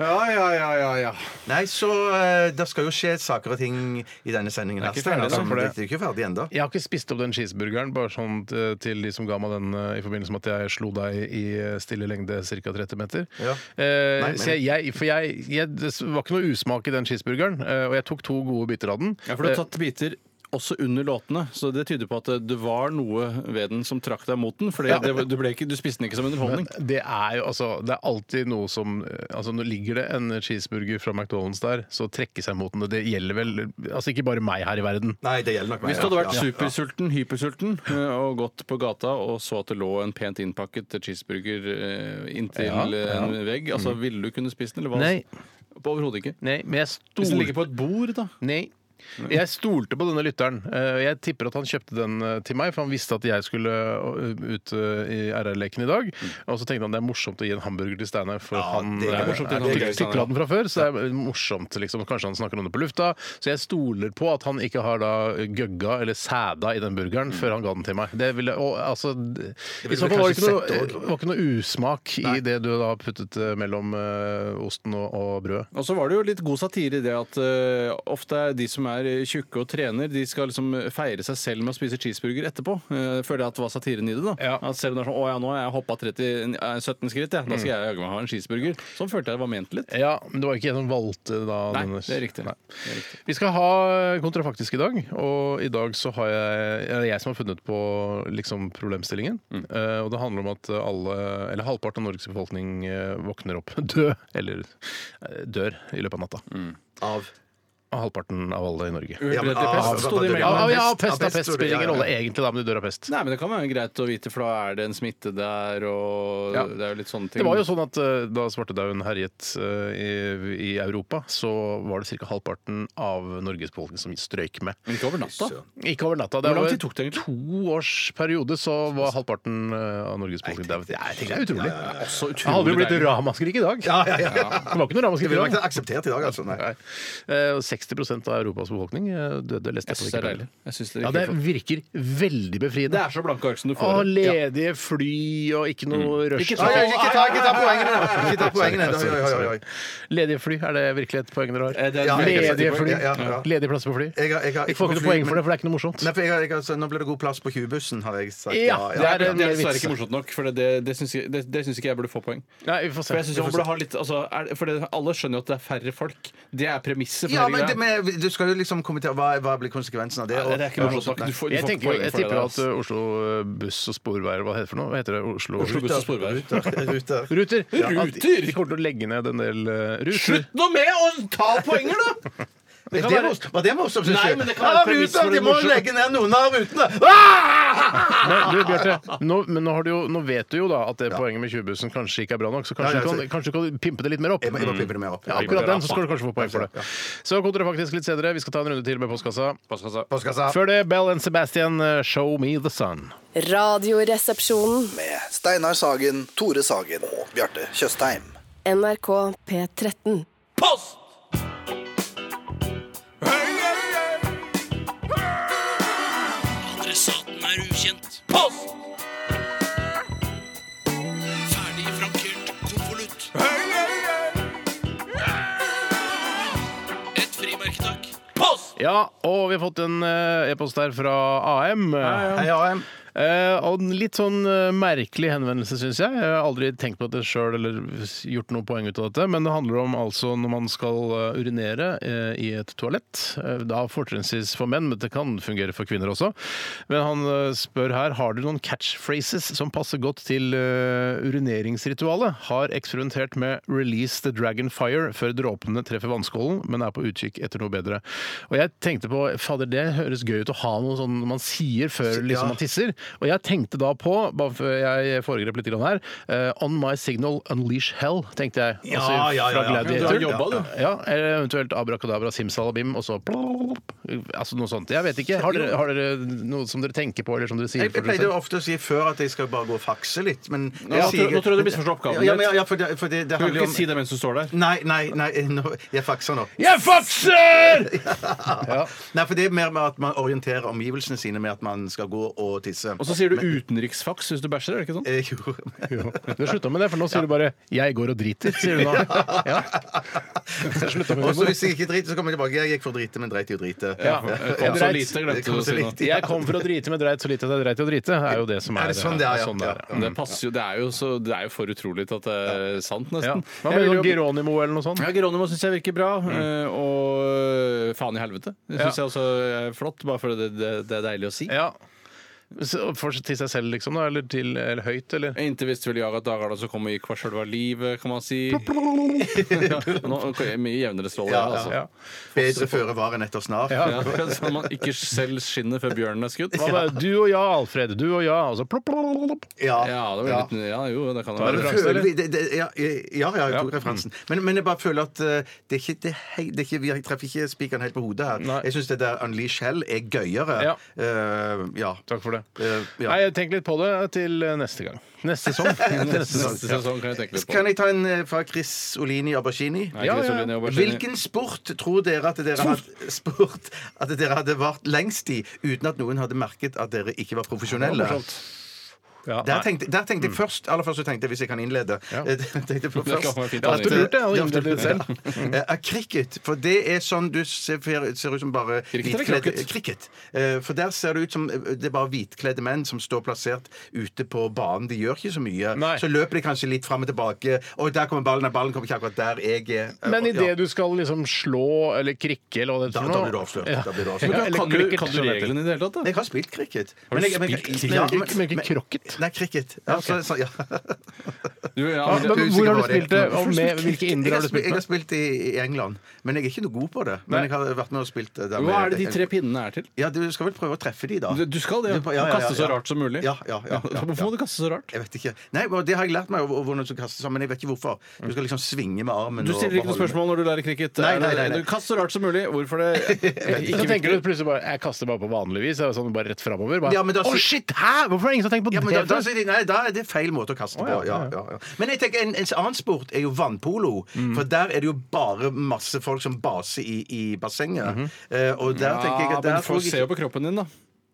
Speaker 2: Ja, ja, ja, ja, ja. Nei, så eh, det skal jo skje saker og ting i denne sendingen.
Speaker 3: Det er ikke
Speaker 2: her,
Speaker 3: ferdig,
Speaker 2: Steinar,
Speaker 3: da,
Speaker 2: som-
Speaker 3: for det-
Speaker 2: det er ikke ferdig ennå.
Speaker 5: Jeg har ikke spist opp den cheeseburgeren, bare sånn t- til de som ga meg den eh, i forbindelse med at jeg slo deg i eh, stille lengde ca. 30 meter.
Speaker 2: Ja.
Speaker 5: Eh,
Speaker 2: Nei, men-
Speaker 5: så jeg, jeg, for jeg, jeg, det var ikke noe usmak i den cheeseburgeren, eh, og jeg tok to gode biter av den. Eh,
Speaker 3: Ja, for du har tatt biter også under låtene, så det tyder på at eh, det var noe ved den som trakk deg mot den. For det- det- du, ble ikke- du spiste den ikke som underholdning.
Speaker 5: Men det er jo altså Det er alltid noe som Altså Nå ligger det en cheeseburger fra McDonald's der, så trekke seg mot den. og Det gjelder vel Altså ikke bare meg her i verden.
Speaker 2: Nei, det gjelder nok meg.
Speaker 3: Hvis du hadde vært
Speaker 2: ja, ja, ja.
Speaker 3: supersulten, hypersulten, eh, og gått på gata og så at det lå en pent innpakket cheeseburger eh, inntil
Speaker 5: Ja, ja.
Speaker 3: en vegg, altså ville du kunne spist den? Eller hva?
Speaker 5: Nei.
Speaker 3: På Overhodet ikke.
Speaker 5: Nei, men jeg
Speaker 3: Hvis den
Speaker 5: stolte-
Speaker 3: ligger på et bord, da.
Speaker 5: Nei. Jeg stolte på denne lytteren. Eh, Jeg tipper at han kjøpte den eh, til meg, for han visste at jeg skulle eh, ut eh, i RR-leken i dag. Og så tenkte han det er morsomt å gi en hamburger til Steinar, for
Speaker 2: Mm. Ja,
Speaker 5: han
Speaker 2: det er
Speaker 5: eh,
Speaker 2: morsomt å gi en
Speaker 5: tyk-
Speaker 2: hamburger til Steinar,
Speaker 5: tykla den fra før. Så det er morsomt, liksom. Kanskje han snakker om det på lufta. Så jeg stoler på at han ikke har da gøgga eller sæda i den burgeren før han ga den til meg. Det ville, og, altså, d- I
Speaker 2: Mm. ville vel
Speaker 5: så fall var det
Speaker 2: kanskje
Speaker 5: ikke noe,
Speaker 2: sett det også.
Speaker 5: var ikke noe usmak i det du da puttet eh, mellom eh, osten og, og brødet.
Speaker 3: Og så var det jo litt god satire i det at eh, ofte er de som er eh, tjukke og trener, de skal liksom feire seg selv med å spise cheeseburger etterpå. Uh, føler jeg at var satiren i det, da.
Speaker 5: Ja.
Speaker 3: At selv om det er sånn 'Å ja, nå har jeg hoppa 30, eh, 17 skritt, ja. da skal jeg jaggu meg ha en cheeseburger'. Sånn følte jeg det var ment litt.
Speaker 5: Ja, men det var ikke jeg som valgte da.
Speaker 3: Nei,
Speaker 5: denne-
Speaker 3: det er riktig.
Speaker 5: Nei.
Speaker 3: Det er riktig.
Speaker 5: Vi skal ha kontrafaktisk i dag, og i dag så har jeg, er det jeg som har funnet på liksom problemstillingen. Eh, og det handler om at alle, eller halvparten av Norges befolkning eh, våkner opp død, eller eh, dør i løpet av natta.
Speaker 2: Av
Speaker 5: Og Halvparten av alle i Norge.
Speaker 2: Ja, men-
Speaker 3: Uhelbredelig
Speaker 2: ah,
Speaker 3: pest, sto det
Speaker 2: ah,
Speaker 3: i
Speaker 5: Ja,
Speaker 3: mellom.
Speaker 2: ah,
Speaker 5: ja,
Speaker 2: pest,
Speaker 5: pest
Speaker 2: ja,
Speaker 5: av pest
Speaker 2: pest,
Speaker 5: spiller ingen
Speaker 2: ja, ja.
Speaker 5: rolle egentlig, da, men du dør av pest.
Speaker 3: Nei, men det kan være greit å vite, for da er det en smitte der, og
Speaker 5: Ja.
Speaker 3: det er jo litt sånne ting.
Speaker 5: Det var jo sånn at eh, Da svartedauden herjet eh, i, i Europa, så var det ca. halvparten av Norges befolkning som strøyk med.
Speaker 3: Men ikke over natta.
Speaker 5: Ikke over natta.
Speaker 3: Hvor lang
Speaker 5: var
Speaker 3: tid tok det egentlig?
Speaker 5: To års periode så var halvparten eh, av Norges befolkning daud. Det er- det er utrolig.
Speaker 3: Så
Speaker 5: Det hadde
Speaker 3: utrolig
Speaker 5: jo blitt
Speaker 3: deilig.
Speaker 5: ramaskrik i dag.
Speaker 2: Ja, ja, ja. ja.
Speaker 5: Det var ikke noe
Speaker 2: Det
Speaker 5: ramaskrik i
Speaker 2: ville vært
Speaker 5: dag.
Speaker 2: akseptert i dag, altså. Nei.
Speaker 5: Nei. Eh, og 60 av Europas befolkning eh, døde. Leste
Speaker 3: Jeg
Speaker 5: jeg på
Speaker 3: syns det er deilig.
Speaker 5: Wikipedia.
Speaker 3: Jeg synes det, er
Speaker 5: Ja, det
Speaker 3: riktig flott.
Speaker 5: virker veldig
Speaker 3: det
Speaker 5: befriende.
Speaker 3: er så blanke ark som du får.
Speaker 5: Og
Speaker 3: ja.
Speaker 5: ledige fly og ikke noe
Speaker 3: Mm.
Speaker 5: rush.
Speaker 2: Nei, nei, Ikke ta, ikke ta poengene! nå. Ikke ta poengene. Oi, oi, oi, oi.
Speaker 5: Ledige fly, er det virkelig et poeng dere
Speaker 3: Eh,
Speaker 5: har?
Speaker 3: det er
Speaker 2: Ja,
Speaker 3: veldig
Speaker 2: jeg-
Speaker 5: Ledige fly.
Speaker 2: Ja, ja, ja.
Speaker 5: Ledige plasser på fly.
Speaker 2: Jeg har- jeg har
Speaker 5: Jeg får
Speaker 2: på
Speaker 5: ikke noe
Speaker 2: fly,
Speaker 5: poeng for
Speaker 2: men-
Speaker 5: det, for det er ikke noe morsomt.
Speaker 2: Nei, for jeg, har- jeg, har- så nå ble det god plass på kubussen, har jeg sagt.
Speaker 5: Ja, det er-
Speaker 3: Det er
Speaker 5: mer
Speaker 3: dessverre
Speaker 5: vits.
Speaker 3: ikke morsomt nok, for det, det, det syns jeg, det, det syns ikke jeg burde få poeng.
Speaker 5: Nei, vi får
Speaker 3: For jeg
Speaker 5: se.
Speaker 3: synes jeg man burde ha litt, altså, er, for det, Alle skjønner jo at det er færre folk. Det er premisset. for
Speaker 2: Ja,
Speaker 3: hele
Speaker 2: men
Speaker 3: greia.
Speaker 2: det det, men du skal jo liksom kommentere hva, hva blir konsekvensen av det.
Speaker 3: Nei, det er ikke noe
Speaker 2: og-
Speaker 3: godt nok. Du får-
Speaker 5: Jeg,
Speaker 3: ikke
Speaker 5: tenker,
Speaker 3: poeng
Speaker 5: jeg
Speaker 3: for det der,
Speaker 5: tipper at
Speaker 3: altså.
Speaker 5: uh, Oslo uh, Buss og Sporveier Hva heter det for noe? Hva heter det? Oslo,
Speaker 3: Oslo Buss og Sporveier.
Speaker 2: Ruter. Ruter.
Speaker 5: Ruter! Ja, at de,
Speaker 3: Ruter!
Speaker 5: de kommer til å legge ned en del uh, ruter.
Speaker 3: Slutt nå med å ta poenger, da!
Speaker 2: Det
Speaker 3: kan
Speaker 2: var-
Speaker 3: være-
Speaker 2: Var det morsomt? synes
Speaker 3: Nei,
Speaker 2: jeg?
Speaker 3: men det kan være
Speaker 2: Ja,
Speaker 3: et premiss
Speaker 2: ruter,
Speaker 3: for
Speaker 2: De
Speaker 3: det
Speaker 2: må
Speaker 3: morsomme.
Speaker 2: legge ned noen av rutene! Ah!
Speaker 5: Men du, Bjarte, nå, men nå, har du jo, nå vet du jo da at det poenget med 20-bussen kanskje ikke er bra nok, så kanskje,
Speaker 2: Ja, ja,
Speaker 5: du,
Speaker 2: så-
Speaker 5: kan, kanskje du kan pimpe det litt mer opp?
Speaker 2: Jeg må, jeg må pipe det mer opp.
Speaker 5: Ja, akkurat den, så skal du kanskje få poeng for det. Så kontra faktisk litt senere. Vi skal ta en runde til med postkassa.
Speaker 2: Postkassa.
Speaker 5: Før det, Bell and Sebastian, uh, Show Me The Sun.
Speaker 8: Radioresepsjonen.
Speaker 10: Med Steinar Sagen, Tore Sagen og Bjarte Tjøstheim.
Speaker 8: NRK P13.
Speaker 9: Post! Adressaten er ukjent. Post! Ferdig frankert konvolutt. Et frimerke, takk. Post!
Speaker 5: Ja, og vi har fått en eh, e-post her fra AM.
Speaker 2: Hei, AM.
Speaker 5: Eh, og en litt sånn eh, merkelig henvendelse, syns jeg. Jeg har aldri tenkt på det sjøl eller gjort noe poeng ut av dette, men det handler om altså når man skal eh, urinere eh, i et toalett. Eh, da fortrinnsvis for menn, men det kan fungere for kvinner også. Men han eh, spør her har dere noen catchphrases som passer godt til eh, urineringsritualet. Har eksperimentert med 'Release the Dragon Fire' før dråpene treffer vannskålen, men er på utkikk etter noe bedre. Og jeg tenkte på Fader, det høres gøy ut å ha noe sånn man sier før liksom, man tisser. Og jeg tenkte da på, bare før jeg foregrep litt grann her, eh, 'On My Signal Unleash Hell', tenkte jeg. Altså,
Speaker 2: Ja,
Speaker 5: fra
Speaker 2: ja, ja, ja.
Speaker 5: Gladiator.
Speaker 2: Du har jobba, du.
Speaker 5: Ja, eller eventuelt abrakadabra simsalabim, og så plop, altså noe sånt. Jeg vet ikke. Har dere, har dere noe som dere tenker på, eller som dere sier?
Speaker 2: Jeg, jeg
Speaker 5: for dere
Speaker 2: pleide
Speaker 5: selv?
Speaker 2: ofte å si før at jeg skal bare gå og fakse litt, men
Speaker 3: Nå, nå tror- nå tror jeg du misforstår oppgaven
Speaker 2: Ja,
Speaker 3: litt.
Speaker 2: men, ja, for det, for det, det
Speaker 3: Du kan
Speaker 2: handler jo
Speaker 3: ikke si
Speaker 2: om
Speaker 3: det mens du står der.
Speaker 2: Nei, nei, nei, nå- jeg fakser nå.
Speaker 5: Jeg fakser!
Speaker 2: Nei, for det er mer med at man orienterer omgivelsene sine med at man skal gå og tisse.
Speaker 3: Og så sier du utenriksfaks hvis du bæsjer, er det ikke sånn?
Speaker 2: Eh, jo.
Speaker 5: Du har slutta med det, for nå sier du bare 'jeg går og driter'. sier du nå. Ja. Så slutta med
Speaker 2: Og så
Speaker 5: humor.
Speaker 2: hvis jeg ikke driter, så kommer jeg tilbake. Jeg gikk for å drite, men dreit i å drite.
Speaker 5: Ja.
Speaker 3: Kom så lite,
Speaker 2: Det
Speaker 3: glemte du
Speaker 2: kom
Speaker 3: å si
Speaker 2: så
Speaker 3: nå.
Speaker 2: lite.
Speaker 5: Jeg kom for å drite med dreit så lite at jeg dreit i å drite. er jo det som er
Speaker 2: Er det sånn det er, ja?
Speaker 5: ja.
Speaker 3: Det, passer jo, det, er jo så, det er jo for utrolig til at det er sant,
Speaker 5: Ja.
Speaker 3: nesten.
Speaker 5: Hva
Speaker 3: Jeg
Speaker 5: mener du om
Speaker 3: vil jo-
Speaker 5: Geronimo eller noe sånt?
Speaker 3: Ja, Geronimo syns jeg virker bra. eh, Og faen i helvete syns
Speaker 5: Mm. Ja.
Speaker 3: jeg også er flott, bare fordi det, det, det er deilig å si.
Speaker 5: Ja. Så, for, til seg selv, liksom? da, Eller, til, eller høyt, eller?
Speaker 3: Inntil hvis du vil jage at dager da så kommer i hva sjølve livet, kan man si. Ja, Nå ok, mye jevnere stråler,
Speaker 2: Ja,
Speaker 3: ja, altså.
Speaker 5: Ja.
Speaker 2: Bedre føre var enn etter snar.
Speaker 3: Ja, så man ikke selv skinner før bjørnen er skutt.
Speaker 5: Hva med du og ja, Alfred? Du og ja, og så plopp, plopp, plopp.
Speaker 2: Ja.
Speaker 3: Ja, det var litt, ja jo, det kan det
Speaker 5: det
Speaker 3: være.
Speaker 5: referanse,
Speaker 2: Føler
Speaker 5: eller?
Speaker 2: vi, det, det, ja, jeg- ja, ja, jeg tok referansen. Men, men jeg bare føler at eh, det er ikke, det, hei, det er ikke, vi treffer ikke spikeren helt på hodet her.
Speaker 5: Nei.
Speaker 2: Jeg syns det der Unleash Hell er gøyere.
Speaker 5: Ja.
Speaker 2: Eh, ja.
Speaker 5: Takk for det.
Speaker 2: Eh, ja.
Speaker 5: Nei, jeg tenker litt på det til neste gang. Neste sesong. Neste sesong.
Speaker 3: Neste sesong kan jeg tenke litt på.
Speaker 2: Kan jeg ta en eh, fra Chris Olini Abergini?
Speaker 3: Nei, Chris
Speaker 5: Ja, ja.
Speaker 3: Olin Jobbersen.
Speaker 2: Hvilken sport tror dere at dere hadde, sport, at dere hadde vært lengst i uten at noen hadde merket at dere ikke var profesjonelle?
Speaker 5: Ja,
Speaker 2: Der
Speaker 5: nei.
Speaker 2: tenkte, der tenkte jeg først Aller først så tenkte jeg, hvis jeg kan innlede eh, tenkte jeg på
Speaker 3: Det kan
Speaker 2: først
Speaker 3: være fint,
Speaker 2: at,
Speaker 3: Anders.
Speaker 2: eh,
Speaker 5: Du lurte, jeg
Speaker 2: ja,
Speaker 5: innledet
Speaker 2: du-
Speaker 5: selv.
Speaker 2: Eh, eh, Cricket. For det er sånn du ser, ser ut som bare
Speaker 3: Cricket eller
Speaker 2: hvitkledd-
Speaker 3: crocket?
Speaker 2: Cricket. Eh, For der ser det ut som eh, det er bare hvitkledde menn som står plassert ute på banen. De gjør ikke så mye.
Speaker 5: Nei.
Speaker 2: Så løper de kanskje litt fram og tilbake. Og der kommer ballen. Nei, Ballen kommer ikke akkurat der jeg er. Eh,
Speaker 5: Men
Speaker 2: og- ja.
Speaker 5: idet du skal liksom slå eller krikke eller hva det
Speaker 2: Da-
Speaker 5: er
Speaker 2: da blir du avslørt. Da blir du avslørt.
Speaker 5: Ja, eller
Speaker 3: Kan du,
Speaker 5: cricket,
Speaker 3: kan du
Speaker 5: som det heter.
Speaker 3: reglene i det hele tatt? da?
Speaker 2: Jeg har spilt cricket.
Speaker 5: Har du
Speaker 2: Men jeg- men-
Speaker 5: spilt cricket?
Speaker 2: Ja,
Speaker 5: Men ikke- men ikke crocket?
Speaker 2: Nei, cricket. Ja, så- så- ja.
Speaker 3: Du, ja,
Speaker 5: Ja,
Speaker 3: men det-
Speaker 5: men
Speaker 2: usikker
Speaker 5: hvor har
Speaker 2: på hva det
Speaker 5: du
Speaker 2: er.
Speaker 5: spilt det? Og med hvilke
Speaker 2: Jeg
Speaker 5: indere
Speaker 2: har,
Speaker 5: har du
Speaker 2: spilt,
Speaker 5: spilt
Speaker 2: jeg har
Speaker 5: med?
Speaker 2: spilt i, i England, men jeg er ikke noe god på det. Men
Speaker 5: Nei.
Speaker 2: jeg har vært med og spilt det der
Speaker 3: Hva
Speaker 2: med-
Speaker 3: er det de tre pinnene er til?
Speaker 2: Ja, Du skal vel prøve å treffe de, da?
Speaker 3: Du, du skal det.
Speaker 2: Ja, ja, ja,
Speaker 3: kaste så
Speaker 2: ja.
Speaker 3: rart som mulig.
Speaker 2: Ja, ja, ja, ja,
Speaker 3: Hvorfor må du kaste så rart?
Speaker 2: Jeg vet ikke. Nei, men Det har jeg lært meg, og- og hvordan du skal kaste sammen. Men jeg vet ikke hvorfor. Du skal liksom svinge med armen.
Speaker 3: Du
Speaker 2: og
Speaker 3: stiller ikke noe
Speaker 2: beholde-
Speaker 3: spørsmål når du lærer cricket. Eh,
Speaker 2: Nei, nei, nei, nei.
Speaker 3: Du kaster så rart som mulig. Hvorfor det?
Speaker 5: Så
Speaker 3: Ikke
Speaker 5: tenker du plutselig bare Jeg kaster bare på vanlig vis. jeg er Sånn, bare rett framover. Bare,
Speaker 2: Ja, men da-
Speaker 5: Å, shit! Hæ?! Hvorfor har ingen som har tenkt på
Speaker 2: Ja, men da,
Speaker 5: det?
Speaker 2: da,
Speaker 5: før?
Speaker 2: sier de, nei, da er det feil måte å kaste på. Ja, ja, ja. Men jeg tenker en, en annen sport er jo vannpolo.
Speaker 3: Mm.
Speaker 2: For der er det jo bare masse folk som baser i, i bassenget. Eh, og der tenker jeg
Speaker 3: Mhm. Ja,
Speaker 2: at der
Speaker 3: men
Speaker 2: tror
Speaker 3: folk
Speaker 2: jeg
Speaker 3: ser jo
Speaker 2: ikke
Speaker 3: på kroppen din, da.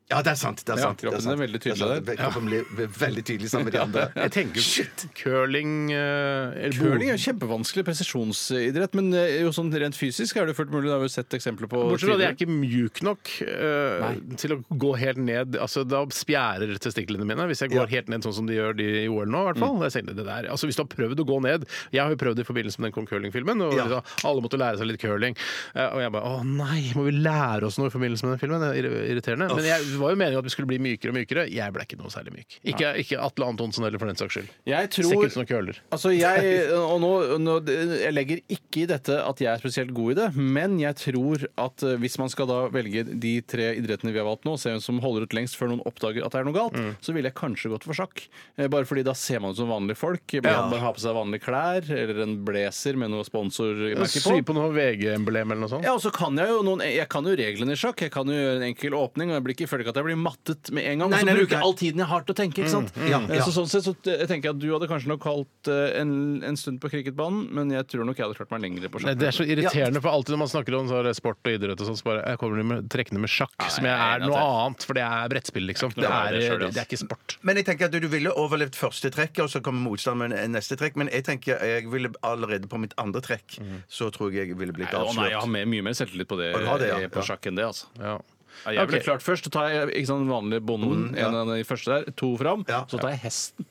Speaker 2: Ja, det er sant. det er
Speaker 3: Ja,
Speaker 2: sant. det
Speaker 3: kroppen
Speaker 2: sant.
Speaker 3: er veldig
Speaker 2: Det
Speaker 3: tydelig
Speaker 2: sant. Kroppen blir blir veldig tydelig sammen med de andre.
Speaker 5: Jeg tenker Shit. curling eh, eller
Speaker 3: Curling er jo kjempevanskelig presisjonsidrett, men eh, jo sånn rent fysisk er det jo fullt mulig. Det har vi jo sett eksempler på
Speaker 5: Bortsett fra at jeg er
Speaker 3: tidligere.
Speaker 5: ikke mjuk nok eh, til å gå helt ned Altså, Da spjærer testiklene mine hvis jeg går helt ned sånn som de gjør de i OL nå. i hvert fall.
Speaker 3: Mm.
Speaker 5: Jeg tenkte, det der. Altså, Hvis du har prøvd å gå ned Jeg har jo prøvd det i forbindelse med den Kong Curling-filmen. og
Speaker 2: Ja.
Speaker 5: liksom, Alle måtte lære seg litt curling. Eh, og jeg bare Å nei, må vi lære oss noe i forbindelse med den filmen? Det er irri- irriterende. Men jeg det var jo meningen at vi skulle bli mykere og mykere. Jeg ble ikke noe særlig myk. Ikke, ikke Atle Antonsen heller, for den saks skyld.
Speaker 3: Jeg
Speaker 5: Ser ikke ut
Speaker 3: tror
Speaker 5: som noen køler.
Speaker 3: Altså jeg, og nå, nå, jeg legger ikke i dette at jeg er spesielt god i det, men jeg tror at eh, hvis man skal da velge de tre idrettene vi har valgt nå, og se hvem som holder ut lengst før noen oppdager at det er noe galt, så ville jeg kanskje gått for sjakk. Eh, Bare fordi da ser man ut som vanlige folk. Man bare har på seg vanlige klær eller en blazer med noe sponsormerke på.
Speaker 5: Sy på noe VG-emblem eller noe sånt.
Speaker 3: Ja, og så kan jeg jo noen Jeg kan jo reglene i sjakk. Jeg kan jo gjøre en enkel åpning, og jeg blir ikke, føler ikke at jeg blir mattet med en gang. Og
Speaker 2: Nei,
Speaker 3: så
Speaker 2: nei,
Speaker 3: bruker
Speaker 2: nei.
Speaker 3: jeg all tiden jeg har til å tenke, ikke
Speaker 5: Mm,
Speaker 3: sant.
Speaker 2: ja, ja.
Speaker 3: Så sånn sett så t- jeg tenker jeg at du hadde kanskje nok holdt eh, en, en stund på cricketbanen, men jeg tror nok jeg hadde klart meg lengre på
Speaker 5: Nei,
Speaker 3: sjakk.
Speaker 5: Eh, det er så irriterende, for alltid når man snakker om så er det sport og idrett, og sånn, så bare jeg kommer de med, trekkende med sjakk, som jeg
Speaker 3: jeg er
Speaker 5: er
Speaker 3: enig i
Speaker 5: noe
Speaker 3: det.
Speaker 5: annet, for det er brettspill, liksom. Det
Speaker 3: noe av det
Speaker 5: er,
Speaker 3: selv, ass.
Speaker 5: det er ikke sport.
Speaker 2: Men jeg tenker at du, du ville overlevd første trekk, og så kommer motstanderen med neste trekk. Men jeg tenker jeg ville allerede på mitt andre trekk, så tror jeg jeg ville blitt
Speaker 3: Å Mhm. nei, jeg har
Speaker 2: avslørt.
Speaker 3: mer, mye mer selvtillit på det,
Speaker 2: Å, du har det, ja.
Speaker 3: eh, på
Speaker 2: Ja.
Speaker 3: sjakk enn det, altså.
Speaker 5: Ja.
Speaker 3: Ja, jeg ville
Speaker 5: Ok.
Speaker 3: klart først, så tar jeg ikke sånn vanlig bonden, en av de første der, to fram,
Speaker 2: Ja.
Speaker 3: så tar jeg hesten.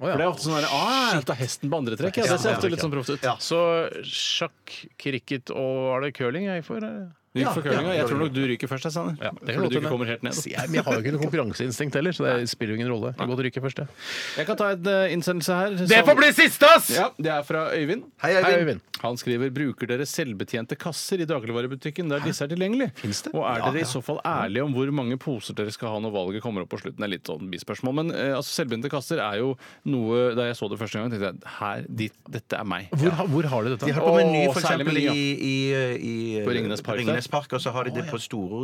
Speaker 5: Å, ja.
Speaker 3: For det er ofte sånn der, ah, jeg tar hesten på andre trekk, ja, det ser ofte litt sånn proft ut.
Speaker 2: Ja.
Speaker 5: Så sjakk, cricket og var det curling jeg gikk for? eller?
Speaker 3: Du gikk for curlinga. Jeg tror nok du ryker først, jeg, Sanner.
Speaker 5: Ja, det
Speaker 3: Fordi du
Speaker 5: kan godt hende.
Speaker 3: ikke kommer helt ned.
Speaker 5: Så Jeg, men jeg har jo ikke noe konkurranseinstinkt heller, så det spiller jo ingen rolle. Jeg kan godt ryke først, jeg.
Speaker 3: Jeg kan ta en eh, innsendelse her.
Speaker 5: Det
Speaker 3: som-
Speaker 5: får bli siste, ass!
Speaker 3: Ja, Det er fra Øyvind.
Speaker 2: Hei,
Speaker 5: Hei,
Speaker 2: Øyvind.
Speaker 5: Øyvind.
Speaker 3: Han skriver bruker dere selvbetjente kasser i dagligvarebutikken der disse er tilgjengelige. Og er dere i så fall ærlige om hvor mange poser dere skal ha når valget kommer opp på slutten? Det er litt sånn bispørsmål, men eh, altså, selvbetjente kasser er jo noe Da jeg så det første gang, tenkte jeg her, dit, dette er meg.
Speaker 5: Hvor, ha- hvor har du dette?
Speaker 2: De har det på Meny,
Speaker 3: Åh,
Speaker 2: for
Speaker 3: særlig
Speaker 2: eksempel,
Speaker 3: Meny, ja.
Speaker 2: i, i, i
Speaker 3: På Ringenes Park der.
Speaker 2: Ringenes Park, og så har de det på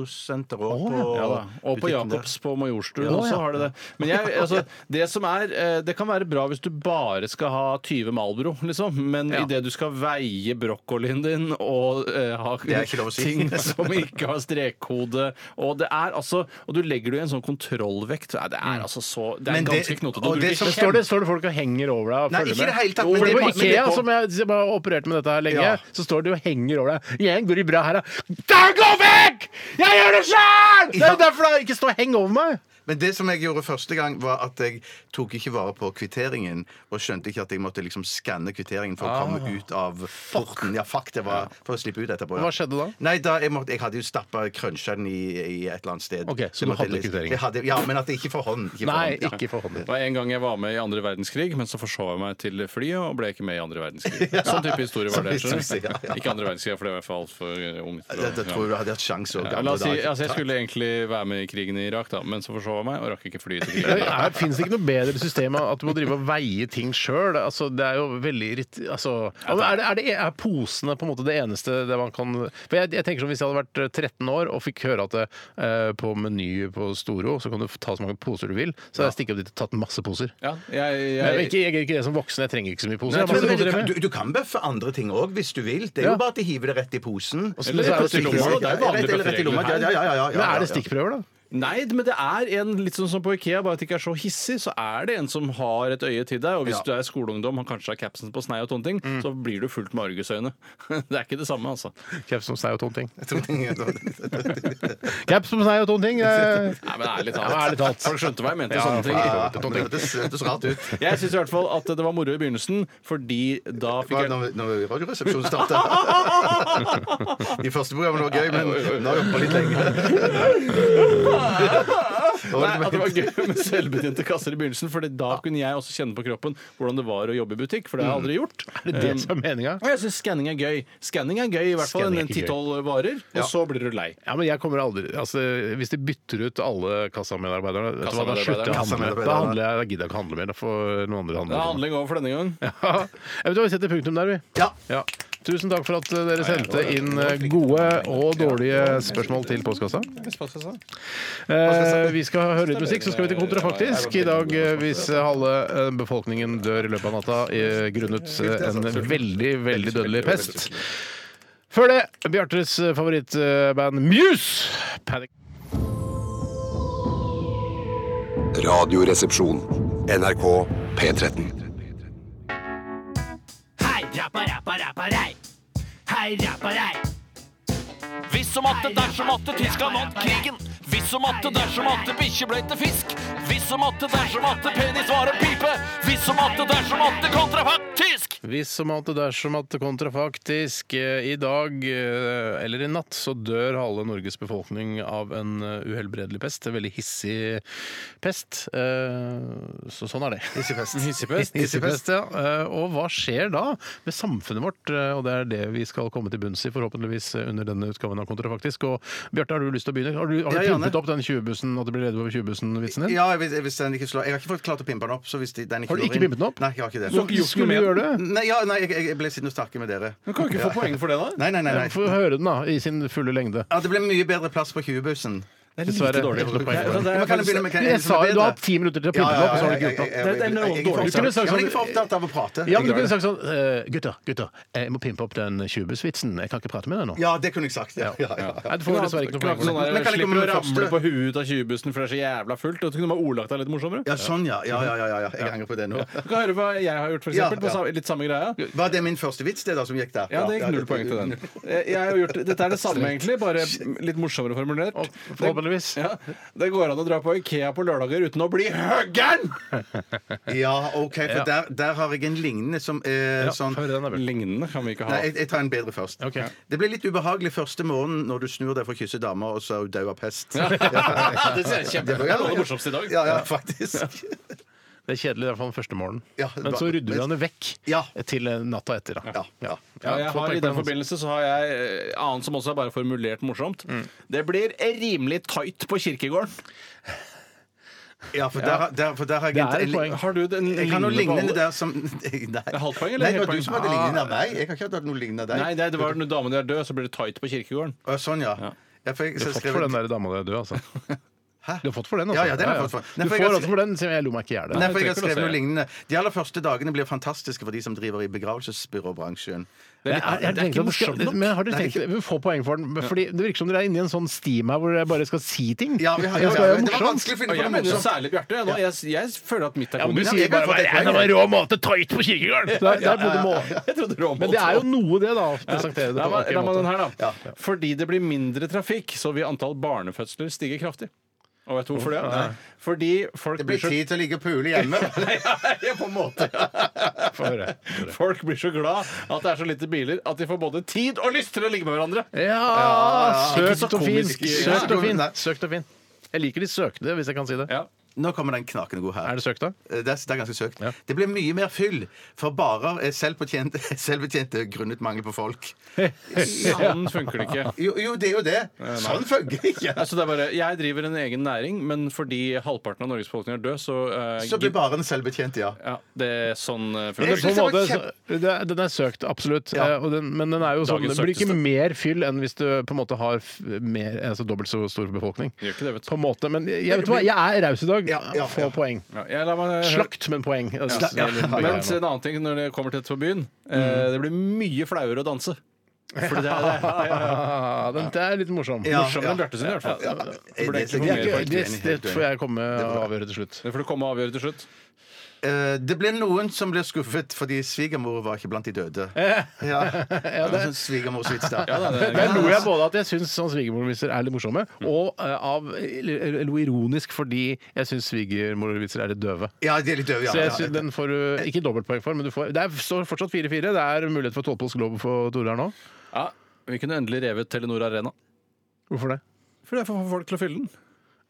Speaker 2: Storosenteret og
Speaker 5: Åh,
Speaker 2: på
Speaker 5: ja.
Speaker 3: Ja, da. Og på
Speaker 2: butikken der.
Speaker 3: Jacobs på Majorstuen
Speaker 5: Ja,
Speaker 3: også
Speaker 5: ja.
Speaker 3: har det det. Men jeg, altså, det som er eh, Det kan være bra hvis du bare skal ha 20 Malbro, liksom. Men i idet du skal veie brokkolien din og eh, ha
Speaker 2: er ikke lov å si.
Speaker 3: ting som ikke har strekkode Og det er altså Og du legger det i en sånn kontrollvekt. Nei, Det er altså så Det er
Speaker 2: Mm. Men det-
Speaker 3: ganske knotete.
Speaker 2: og
Speaker 3: og du
Speaker 2: det
Speaker 3: blir
Speaker 2: som-
Speaker 5: Men står det, står det folk og henger over deg og
Speaker 2: Nei,
Speaker 5: følger
Speaker 2: ikke i det hele tatt,
Speaker 5: Jo,
Speaker 2: men
Speaker 5: for
Speaker 2: det-
Speaker 5: på
Speaker 2: men det-
Speaker 5: Ikea, som jeg, som jeg har operert med dette her lenge,
Speaker 2: Ja.
Speaker 5: så står de og henger over deg. Jeg går i bra her, da. Da gå vekk! Jeg gjør det sjøl! Det er jo derfor det er ikke står og heng over meg.
Speaker 2: Men det som jeg gjorde første gang, var at jeg tok ikke vare på kvitteringen. Og skjønte ikke at jeg måtte liksom skanne kvitteringen for å komme ut av porten. Ja, fuck, det var For å slippe ut etterpå. Ja.
Speaker 5: Ah. Hva skjedde da?
Speaker 2: Nei, da, jeg, måtte, jeg hadde jo stappa crunchen i, i et eller annet sted.
Speaker 5: Ok, så
Speaker 2: Jeg
Speaker 5: du
Speaker 2: måtte
Speaker 5: hadde
Speaker 2: lese-
Speaker 5: kvitteringen?
Speaker 2: Jeg hadde, ja, men at det ikke for hånd. Ikke for
Speaker 5: Nei,
Speaker 2: hånd, ja.
Speaker 5: ikke for hånden.
Speaker 3: Det var en gang jeg var med i andre verdenskrig, men så forsov jeg meg til flyet og ble ikke med i andre verdenskrig. Sånn type historie var det. skjønner du?
Speaker 2: Sånn type historie, ja.
Speaker 3: Ikke andre verdenskrig, for det var jeg for altfor ung. til å-
Speaker 2: Dette tror jeg du hadde hatt sjanse òg.
Speaker 3: Ja, la oss si, altså jeg skulle egentlig være med i krigen i Irak, da, men så forsov jeg meg og rakk ikke flyet til krigen.
Speaker 5: Fins det ikke noe bedre system enn at du må drive og veie ting sjøl? Altså, det er jo veldig irrit... Altså, ja, men er, det, er, det, er posene på en måte det eneste det man kan For jeg, jeg tenker som Hvis jeg hadde vært 13 år og fikk høre at det, eh, på Meny på Storo så kan du ta så mange poser du vil, så hadde jeg stikket opp dit og tatt masse poser.
Speaker 3: Ja, jeg,
Speaker 5: Jeg,
Speaker 3: jeg,
Speaker 5: ikke, jeg er ikke det som voksen, jeg trenger ikke så mye poser.
Speaker 2: Nei,
Speaker 5: Jeg har
Speaker 2: men,
Speaker 5: masse
Speaker 2: men, du,
Speaker 5: poser
Speaker 2: kan, du,
Speaker 5: hjemme.
Speaker 2: du kan bøffe andre ting òg, hvis du vil. Det er
Speaker 5: Ja.
Speaker 2: jo bare at de hiver det rett i posen. Eh,
Speaker 5: så- Eller så er det
Speaker 2: Rett i
Speaker 5: stikkprøver, da.
Speaker 2: posen.
Speaker 3: Det er jo vanlig
Speaker 2: Rett- eller rett i lomma. Ja,
Speaker 3: bøffering.
Speaker 2: ja, ja, ja, ja,
Speaker 5: Men
Speaker 2: ja,
Speaker 5: er det
Speaker 2: ja.
Speaker 5: stikkprøver, da?
Speaker 3: nei, men det er en litt sånn som på Ikea, bare at det ikke er så hissig, så er det en som har et øye til deg. Og hvis
Speaker 2: Ja.
Speaker 3: du er skoleungdom og kanskje har capsen på snei og sånne ting,
Speaker 5: Mm.
Speaker 3: så blir du fullt med argusøyne. Det er ikke det samme, altså.
Speaker 5: Caps som seg og tonting.
Speaker 2: Ja,
Speaker 5: Caps som seg og tonting. eh.
Speaker 3: Nei, men ærlig talt.
Speaker 5: Ja, ærlig talt.
Speaker 3: Folk skjønte hva jeg mente.
Speaker 5: Ja,
Speaker 3: sånne ting.
Speaker 5: ja.
Speaker 2: men Det hørtes det hørtes rart ut.
Speaker 3: Jeg syns i hvert fall at det var moro i begynnelsen, fordi da fikk
Speaker 2: Hva,
Speaker 3: jeg
Speaker 2: når, når Radioresepsjonen starta. De første programmene var gøy, men nå har vi holdt på litt lenger.
Speaker 3: Nei, at det var gøy med selvbetjente kasser i begynnelsen, Fordi da kunne jeg også kjenne på kroppen hvordan det var å jobbe i butikk, for det har jeg aldri gjort.
Speaker 5: Er det det som er meninga?
Speaker 3: Og jeg syns skanning er gøy. Skanning er gøy i hvert fall
Speaker 5: Scanning er
Speaker 3: en
Speaker 5: ikke gøy.
Speaker 3: ti-tolv varer, og så blir du lei.
Speaker 5: Ja, men jeg kommer aldri altså, Hvis de bytter ut alle kassamedarbeiderne, vet du hva, da
Speaker 3: Kassamedarbeiderne.
Speaker 5: slutter jeg å handle.
Speaker 2: Kassamedarbeiderne.
Speaker 5: Da, handler jeg, da gidder jeg ikke handle mer. Da får noen andre
Speaker 3: Det er
Speaker 5: handle.
Speaker 3: handling over for denne gang.
Speaker 5: Ja. Jeg vet hva, Vi setter punktum der, vi.
Speaker 2: Ja.
Speaker 5: Ja. Tusen takk for at eh, dere sendte inn eh, gode og dårlige spørsmål til postkassa. Eh, vi skal høre litt musikk, så skal vi til kontrafaktisk. I dag, eh, hvis halve eh, befolkningen dør i løpet av natta eh, grunnet eh, en veldig, veldig dødelig pest. Før det, eh, Bjartes favorittband Muse! Panic
Speaker 4: Radioresepsjon. NRK P13.
Speaker 9: Hei, rappa, rappa, rappa, rei. Hei, rappa, rei. Hvis og matte, dersom matte, Tyskland vant krigen. Hvis og matte, dersom matte, bikkje ble til fisk. Hvis og matte, dersom matte, penis var en pipe. Hvis og matte, dersom matte, kontrafaktisk.
Speaker 5: Hvis som at det dersom at kontrafaktisk eh, i dag eh, eller i natt så dør halve Norges befolkning av en eh, uhelbredelig pest. En veldig hissig pest. Eh, Så sånn er det. Hissigpest. Hissigpest, ja. Eh, Og hva skjer da med samfunnet vårt? Eh, Og det er det vi skal komme til bunns i, forhåpentligvis eh, under denne utgaven av Kontrafaktisk. Og Bjarte, har du lyst til å begynne? Har du, har du
Speaker 2: Ja, gjerne.
Speaker 5: pumpet opp den 20-bussen, at du blir redd for 20-bussen-vitsen din?
Speaker 2: Ja, hvis, hvis den ikke slår Jeg har ikke fått klart å pimpe den opp. Så hvis de- den ikke
Speaker 5: Har du
Speaker 2: slår
Speaker 5: ikke
Speaker 2: inn-
Speaker 5: pimpet den opp?
Speaker 2: Nei, jeg har ikke det.
Speaker 5: Du har ikke gjort noe med den?
Speaker 2: Nei, ja, nei jeg, jeg ble sittende og snakke med dere.
Speaker 3: Du kan ikke få poeng for det, da.
Speaker 2: Nei, nei, nei. nei.
Speaker 5: Få høre den, da, i sin fulle lengde.
Speaker 2: Ja, det ble mye bedre plass på 20-bussen.
Speaker 3: Det er
Speaker 5: Dessverre.
Speaker 3: lite dårlig.
Speaker 5: Jeg tror på en gang.
Speaker 3: Ja, det er
Speaker 2: Men kan jeg
Speaker 3: faktisk-
Speaker 2: begynne med- kan jeg-
Speaker 5: Jeg sa jo, Du har hatt
Speaker 2: bedre?
Speaker 5: ti minutter til å pimpe den opp, og så har du ikke gjort
Speaker 2: jeg-
Speaker 5: noe.
Speaker 2: jeg-
Speaker 3: Det er noe
Speaker 2: jeg- jeg- jeg- jeg-
Speaker 3: dårlig.
Speaker 2: Du kunne sagt sånn- Jeg er ikke for opptatt av å prate.
Speaker 5: Ja, men du
Speaker 2: Jeg-
Speaker 5: kunne sagt sånn eh, Gutter, gutter, jeg må pimpe opp den 20-bussvitsen. Jeg kan ikke prate med deg nå.
Speaker 2: Ja, det kunne jeg sagt. Ja, ja, ja.
Speaker 5: Nei, du får dessverre ikke
Speaker 3: Sånn
Speaker 5: noe poeng.
Speaker 3: der,
Speaker 5: for det.
Speaker 2: Men kan
Speaker 3: slipper
Speaker 2: jeg komme
Speaker 3: å
Speaker 2: med
Speaker 3: ramle
Speaker 2: første?
Speaker 3: på huet ut av 20-bussen, for det er så jævla fullt. Og så kunne man ordlagt deg litt morsommere.
Speaker 2: Ja, sånn, ja. Ja, ja, ja, ja, ja. Jeg henger på det nå.
Speaker 3: Du kan høre hva jeg har gjort, for
Speaker 2: Ja,
Speaker 3: eksempel. På
Speaker 2: ja.
Speaker 3: sa- Litt samme greia.
Speaker 2: Var det min første vits, det da, som gikk der?
Speaker 3: Ja, det gikk null poeng til den. Jeg jeg har gjort, dette er det samme, egentlig, bare litt morsommere formulert.
Speaker 5: Forhåpentligvis.
Speaker 3: Ja, det går an å dra på Ikea på lørdager uten å bli høggern!
Speaker 2: Ja, OK, for der, der har jeg en lignende som eh, sånn
Speaker 5: Hør den, da, Bjørn.
Speaker 3: Lignende kan vi ikke
Speaker 2: Nei,
Speaker 3: ha.
Speaker 2: jeg, jeg tar en bedre først.
Speaker 5: Ok.
Speaker 2: Det blir litt ubehagelig første morgenen når du snur deg for å kysse dama, og så er hun død av pest. Ja,
Speaker 3: det ser jeg
Speaker 2: Det var- ja, ja.
Speaker 3: morsomst i dag.
Speaker 2: ja, faktisk.
Speaker 5: Det er kjedelig i hvert fall den første morgenen.
Speaker 2: Ja,
Speaker 5: Men så rydder du den vekk
Speaker 2: Ja.
Speaker 5: til eh, natta etter. Da.
Speaker 2: Ja, ja.
Speaker 3: Ja, jeg
Speaker 5: få
Speaker 3: har,
Speaker 5: poeng
Speaker 3: I
Speaker 5: på
Speaker 3: den
Speaker 5: den.
Speaker 3: forbindelse så har jeg eh, annet som også er bare formulert morsomt.
Speaker 5: Mm.
Speaker 3: Det blir rimelig tight på kirkegården.
Speaker 2: ja, for der, har- der, for der har jeg
Speaker 3: Det er et poeng. Har du den
Speaker 2: Jeg kan noe
Speaker 3: lignende på
Speaker 2: lignende
Speaker 3: alle?
Speaker 2: der som Nei. Det
Speaker 3: er halvt poeng, eller
Speaker 2: Nei, det
Speaker 3: helt poeng?
Speaker 2: var
Speaker 3: Ah.
Speaker 2: du som hadde lignende av meg. Jeg har ikke hatt noe lignende av deg.
Speaker 3: Nei, det, det var når damen din er død, så blir det tight på kirkegården.
Speaker 2: Å, Sånn, ja. Ja, for jeg-
Speaker 5: Du
Speaker 2: så
Speaker 5: har fått
Speaker 2: skrev
Speaker 5: for
Speaker 2: jeg-
Speaker 5: den der dama di er død, altså.
Speaker 2: Hæ?
Speaker 5: Du har fått for den, altså.
Speaker 2: Ja, ja, den har jeg fått for. Nei,
Speaker 5: Du
Speaker 2: for jeg
Speaker 5: får
Speaker 2: har
Speaker 5: altså for den, siden jeg lo meg ikke i hjel.
Speaker 2: Nei, for jeg har
Speaker 3: trenger ikke å
Speaker 2: skrevet noe
Speaker 3: se.
Speaker 2: lignende. De aller første dagene blir fantastiske for de som driver i begravelsesbyråbransjen.
Speaker 5: Jeg- jeg-
Speaker 3: det er
Speaker 5: jeg
Speaker 3: ikke
Speaker 5: tenkte at du skal-
Speaker 3: morsomt nok.
Speaker 5: Men har du tenkt Vi får poeng for den. Fordi det virker som dere er inne i en sånn steam her hvor dere bare skal si ting.
Speaker 2: Ja, vi har- ja,
Speaker 5: Jeg skal
Speaker 2: ja,
Speaker 5: være
Speaker 2: men det var
Speaker 5: morsom.
Speaker 2: vanskelig å finne
Speaker 3: Og jeg
Speaker 2: på noe
Speaker 3: mener
Speaker 2: morsomt.
Speaker 3: særlig Bjarte. jeg nå. Jeg, jeg føler at mitt er
Speaker 5: Ja, men du
Speaker 3: komisk.
Speaker 5: sier bare
Speaker 2: få det
Speaker 5: «Ja, det var rå måte, tight på kirkegården! Det er- det er på en måte.
Speaker 3: Jeg trodde det var
Speaker 5: Men det er jo noe, det, da. å Presentere det
Speaker 3: La
Speaker 5: på
Speaker 3: meg,
Speaker 5: en
Speaker 3: la meg
Speaker 5: måte.
Speaker 3: den her, da. Fordi det blir mindre trafikk, så vil antall barnefødsler stige kraftig. Og vet du hvorfor det? Fordi folk
Speaker 2: Det blir
Speaker 3: så-
Speaker 2: tid til å ligge og pule hjemme.
Speaker 3: Ja, på en måte.
Speaker 5: Få høre.
Speaker 3: Folk blir så glad at det er så lite biler at de får både tid og lyst til å ligge med hverandre.
Speaker 5: Ja,
Speaker 2: Ikke
Speaker 5: søkt
Speaker 2: så
Speaker 5: og fin.
Speaker 2: komisk.
Speaker 5: Søkt og fin.
Speaker 2: Nei.
Speaker 5: Søkt og fin. Jeg liker de søkte, hvis jeg kan si det.
Speaker 3: Ja.
Speaker 2: Nå kommer den knakende god her.
Speaker 5: Er det søkt, da?
Speaker 2: Eh, Det er, det er ganske søkt.
Speaker 5: Ja.
Speaker 2: Det blir mye mer fyll, for barer er selvbetjente, selvbetjente grunnet mangel på folk.
Speaker 3: Sånn funker det ikke.
Speaker 2: Jo, jo det er jo det. Sånn funker det ikke.
Speaker 3: Altså, det er bare, jeg driver en egen næring, men fordi halvparten av Norges befolkning er død, så, eh,
Speaker 2: Så blir baren selvbetjent, ja.
Speaker 3: ja, det er sånn eh,
Speaker 5: Men
Speaker 3: funker
Speaker 2: Jeg
Speaker 5: det, på
Speaker 2: synes
Speaker 5: en
Speaker 2: det var
Speaker 5: måte,
Speaker 2: kjempe-
Speaker 5: så- det, er- den er søkt, absolutt.
Speaker 2: Ja.
Speaker 5: Eh, Og den, men den er jo sånn,
Speaker 3: Dagens
Speaker 5: det blir ikke
Speaker 3: søkteste.
Speaker 5: mer fyll enn hvis du på en måte har f- mer, altså dobbelt så stor befolkning.
Speaker 3: Gjør ikke det, vet du.
Speaker 5: På en måte, men jeg, vet du hva, jeg er raus i dag.
Speaker 2: Ja, ja,
Speaker 5: Få
Speaker 2: ja.
Speaker 5: poeng.
Speaker 3: Ja, jeg lar meg høre-
Speaker 5: Slakt, men poeng. Altså,
Speaker 2: Ja.
Speaker 5: eller-
Speaker 3: Men en annen ting når det kommer til dette på byen. Eh,
Speaker 2: Mm.
Speaker 3: det blir mye flauere å danse. Fordi det er, det er, ja, ja,
Speaker 5: Ah, den der er litt morsom.
Speaker 2: Ja,
Speaker 3: ja.
Speaker 2: ja.
Speaker 3: Morsommere enn Bjarte sin, i hvert fall.
Speaker 2: Ja,
Speaker 3: Det
Speaker 2: det-
Speaker 3: burde egentlig få
Speaker 2: det-
Speaker 5: Det,
Speaker 3: mer
Speaker 5: er
Speaker 2: helt
Speaker 5: ikke,
Speaker 3: poeng.
Speaker 2: enig, helt
Speaker 5: det, det
Speaker 2: enig.
Speaker 5: får jeg komme og avgjøre til slutt.
Speaker 3: Det får du komme og avgjøre til slutt.
Speaker 2: Eh, Det blir noen som blir skuffet fordi svigermor var ikke blant de døde. Ja, ja det er svigermorsvits der.
Speaker 3: Ja, det
Speaker 5: Der
Speaker 3: er,
Speaker 5: lo jeg både at jeg syns sånn svigermorvitser er litt morsomme, og eh, av eller- eller eller ironisk fordi jeg syns svigermorvitser er litt døve.
Speaker 2: Ja, de er litt døve, ja.
Speaker 5: Så jeg
Speaker 2: ja.
Speaker 5: synes den får du ikke dobbeltpoeng for, men du får Det er, står fortsatt 4-4. Det er mulighet for tolvpolsk globe for Tore her nå.
Speaker 3: ja, vi kunne endelig revet Telenor Arena.
Speaker 5: Hvorfor det?
Speaker 3: For det får folk til å fylle den.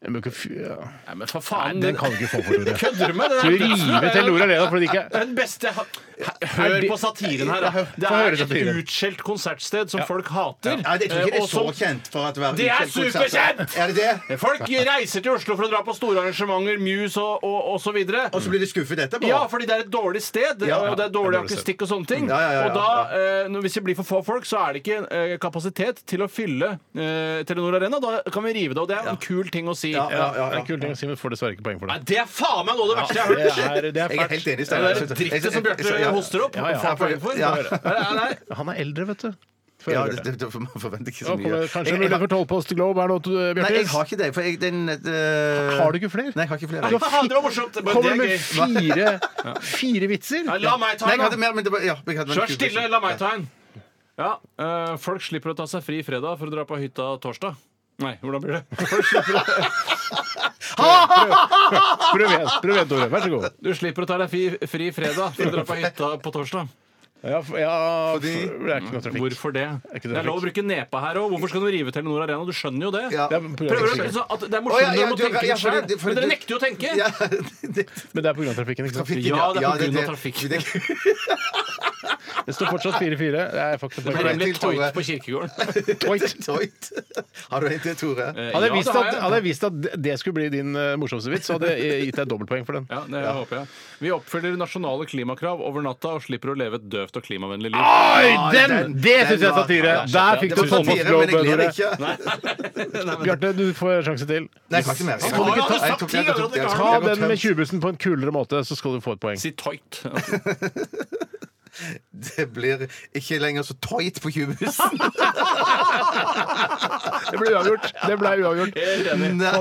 Speaker 5: Jeg må ikke fy... Ja.
Speaker 3: Nei, men for faen!
Speaker 5: Den kan du ikke få for Tore.
Speaker 3: kødder du med?
Speaker 5: Skal vi rive
Speaker 3: dødsfløy.
Speaker 5: Telenor Arena fordi det ikke er
Speaker 3: Den beste jeg har- Hør på satiren her. da. Det
Speaker 5: Få høre
Speaker 3: er et
Speaker 5: satiren.
Speaker 3: utskjelt konsertsted som folk hater.
Speaker 2: Nei, jeg tror ikke det
Speaker 3: Eh, og
Speaker 2: er så
Speaker 3: som-
Speaker 2: kjent for at
Speaker 3: Det er superkjent!
Speaker 2: Er det det?
Speaker 3: Folk reiser til Oslo for å dra på store arrangementer, Muse og, og, og så videre.
Speaker 2: Og så blir de skuffet etterpå?
Speaker 3: Ja, fordi det er et dårlig sted,
Speaker 2: Ja,
Speaker 3: og det er dårlig akustikk og sånne ting.
Speaker 2: Ja, ja, ja, ja,
Speaker 3: og da, eh, når- Hvis det blir for få folk, så er det ikke eh, kapasitet til å fylle eh, Telenor Arena. Da kan vi rive det, og det er en kul ting å si.
Speaker 2: Ja, ja, ja,
Speaker 5: Det er en
Speaker 2: ja.
Speaker 5: kul ting å si, men får dessverre ikke poeng for
Speaker 3: Nei,
Speaker 5: det.
Speaker 3: det er faen meg noe av det verste jeg har hørt!
Speaker 5: Det er, det er
Speaker 2: Jeg er
Speaker 5: fælt.
Speaker 2: helt enig i
Speaker 3: Det
Speaker 2: Steinar.
Speaker 3: er det drittet som Bjarte
Speaker 2: Ja.
Speaker 3: hoster opp.
Speaker 5: Ja, ja.
Speaker 3: Får poeng for.
Speaker 2: Ja.
Speaker 3: Nei, nei, nei.
Speaker 5: Han er eldre, vet du. Før
Speaker 2: Ja,
Speaker 5: jeg
Speaker 2: det,
Speaker 5: gjør det.
Speaker 2: det, det, man forventer ikke
Speaker 5: Nå
Speaker 2: så mye.
Speaker 5: kommer det
Speaker 2: Jeg- jeg
Speaker 5: kanskje en
Speaker 2: har-
Speaker 5: mulighet for tolvpost globe. Er det noe til
Speaker 2: Nei,
Speaker 5: eh,
Speaker 2: jeg
Speaker 5: Bjørtis?
Speaker 2: har ikke det. For jeg, den, eh,
Speaker 5: Har du ikke flere?
Speaker 2: Nei, jeg har ikke flere.
Speaker 5: Du har fi-
Speaker 6: det var morsomt. men
Speaker 5: Kommer
Speaker 6: det
Speaker 5: du
Speaker 6: er
Speaker 5: med
Speaker 6: gøy.
Speaker 5: fire, fire vitser?
Speaker 3: Nei, la meg ta
Speaker 2: Nei, jeg hadde
Speaker 3: en! da.
Speaker 2: mer, men det var ja, jeg hadde
Speaker 3: Vær
Speaker 2: bare en kul
Speaker 3: stille,
Speaker 2: person.
Speaker 3: la meg ta en! Ja, eh, folk slipper å ta seg fri fredag for å dra på hytta torsdag. Nei, hvordan blir det? Folk slipper å,
Speaker 5: Prøv igjen, prøv igjen, Tore. Vær så god.
Speaker 3: du slipper å ta deg fri, fri fredag for å dra på hytta på torsdag.
Speaker 5: Ja, f- ja, f- det er ikke noe trafikk.
Speaker 3: Hvorfor det?
Speaker 5: ikke
Speaker 3: Det er lov å bruke nepa her òg. Hvorfor skal du rive Telenor Arena? Du skjønner jo det.
Speaker 2: Ja.
Speaker 5: Det er på grunn av
Speaker 3: Prøver å,
Speaker 5: trafikken.
Speaker 3: så at det er
Speaker 2: Å,
Speaker 3: morsomt
Speaker 2: ja,
Speaker 3: når
Speaker 2: ja,
Speaker 3: du må
Speaker 2: du-
Speaker 3: tenke
Speaker 2: ja,
Speaker 3: litt
Speaker 2: for
Speaker 3: sjøl,
Speaker 2: det- det- for
Speaker 3: men
Speaker 2: det-
Speaker 3: dere nekter jo å tenke.
Speaker 2: Ja, det,
Speaker 5: Men det er på grunn av trafikken. ikke sant?
Speaker 2: trafikken,
Speaker 3: Ja, det er på grunn av
Speaker 2: det-
Speaker 3: trafikken.
Speaker 2: det-
Speaker 5: Det står fortsatt 4-4. Det er faktisk
Speaker 3: Det
Speaker 5: på
Speaker 3: ble
Speaker 2: en
Speaker 5: grunn av-
Speaker 2: til,
Speaker 3: litt toit
Speaker 2: Tore.
Speaker 3: på kirkegården.
Speaker 5: Toit.
Speaker 2: Toit. Har du en til, Tore?
Speaker 3: Eh,
Speaker 5: Hadde
Speaker 3: ja,
Speaker 5: jeg visst
Speaker 3: det har
Speaker 5: at,
Speaker 3: jeg.
Speaker 5: hadde jeg visst at det skulle bli din eh, morsomste vits, så hadde jeg gitt deg dobbeltpoeng for den.
Speaker 3: Ja, det håper jeg. Vi oppfyller nasjonale klimakrav over natta og slipper å leve et døvt og klimavennlig liv.
Speaker 5: Oi,
Speaker 2: den- den var- ja,
Speaker 5: Der
Speaker 2: Det var satire, men jeg ler ikke.
Speaker 5: Bjarte, du får en sjanse til.
Speaker 2: Nei, jeg har ikke mer. Jeg
Speaker 3: Å,
Speaker 2: tok-
Speaker 3: jeg hadde
Speaker 2: jeg
Speaker 3: sagt
Speaker 2: tok-
Speaker 3: ti
Speaker 2: jeg tok-
Speaker 3: ganger at
Speaker 2: jeg
Speaker 3: det
Speaker 2: tok-
Speaker 5: Ta
Speaker 2: jeg tok-
Speaker 5: den med 20-bussen på en kulere måte, så skal du få et poeng.
Speaker 3: Si toit.
Speaker 2: Det blir ikke lenger så tight på kubusen.
Speaker 5: Det ble uavgjort. Det ble uavgjort.
Speaker 2: Nei.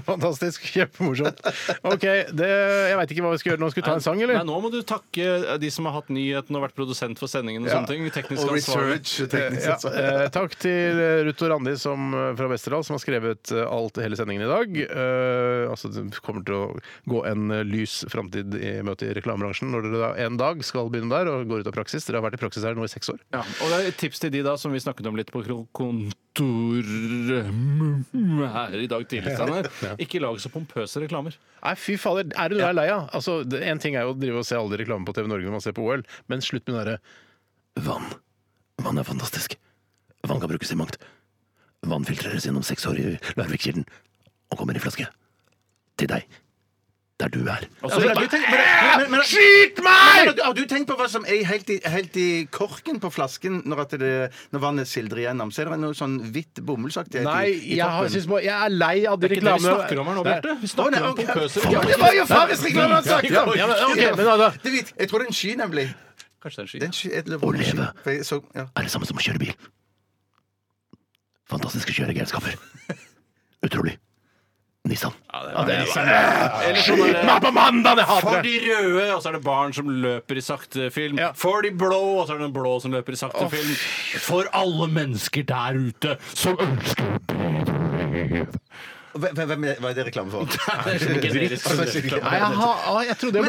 Speaker 5: Fantastisk. Kjempemorsomt. OK, det, jeg veit ikke hva vi skal gjøre nå. Skal vi ta en sang,
Speaker 3: Nei,
Speaker 5: eller?
Speaker 3: nå må du takke eh, de som har hatt nyheten og vært produsent for sendingen og sånne ting. Teknisk
Speaker 2: Og
Speaker 3: ansvarlig.
Speaker 2: research teknisk
Speaker 5: Ja,
Speaker 2: sett. så-
Speaker 5: eh, takk til eh, Ruth og Randi som, eh, fra Westerdal som har skrevet eh, alt hele sendingen i dag. Eh, altså, det kommer til å gå en eh, lys framtid i møte i reklamebransjen når dere da en dag skal begynne der og går ut av praksis. Dere har vært i praksis her nå i seks år.
Speaker 3: Ja, og det er et tips til de da som vi snakket om litt på kro- kontoret her i dag tidlig. Steinar. Ikke lag så pompøse reklamer.
Speaker 5: Nei, fy fader. Er det noe jeg er lei av? Altså, det- en ting er jo å drive og se alle reklame på TV Norge når man ser på OL, men slutt med den derre Vann. Vann er fantastisk. Vann kan brukes i mangt. Vann filtreres gjennom seks år i Larvikkilden og kommer i flaske. Til deg. Der du er.
Speaker 3: Altså,
Speaker 2: Men
Speaker 3: det-
Speaker 2: har du tenkt- men- men- men-
Speaker 5: Skyt
Speaker 2: men har
Speaker 5: meg!
Speaker 2: du- Har du tenkt på hva som er helt i, helt i korken på flasken når, at det, når vannet sildrer igjennom? Så er det noe sånn hvitt bomullsaktig
Speaker 5: Nei,
Speaker 2: i, i
Speaker 5: jeg, har,
Speaker 2: toppen.
Speaker 5: synes bare, jeg er lei av de
Speaker 3: Det er ikke det vi
Speaker 5: reklamene
Speaker 3: snakker om her nå,
Speaker 5: Nei.
Speaker 3: Bjarte. Vi
Speaker 2: Å,
Speaker 3: snakker
Speaker 2: nei,
Speaker 3: om
Speaker 2: ok.
Speaker 3: pompøse
Speaker 2: Ja, men
Speaker 3: reklamer.
Speaker 2: Det var jo faen hvis reklamen hadde sagt!
Speaker 5: Ja, ja, men, ok, men da, da.
Speaker 2: Det vet- Jeg tror det er en sky, nemlig.
Speaker 3: Kanskje det er en sky.
Speaker 2: Det er en sky, et eller annet sky.
Speaker 5: leve.
Speaker 2: For jeg så- ja.
Speaker 5: er det samme som å kjøre bil. Fantastiske kjøregenskaper. Utrolig. Nissan. Ja, det er Skyt meg på mandag! Jeg
Speaker 3: For
Speaker 5: hater
Speaker 3: de
Speaker 5: det!
Speaker 3: røde, og så er det barn som løper i sakte film.
Speaker 5: Ja.
Speaker 3: For de blå, og så er det den blå som løper i sakte film. For alle mennesker der ute som ønsker
Speaker 2: Hvem- hvem- hvem er- Hva er det reklame for?
Speaker 5: Nei, Altså, jeg, har, jeg trodde jeg
Speaker 2: Men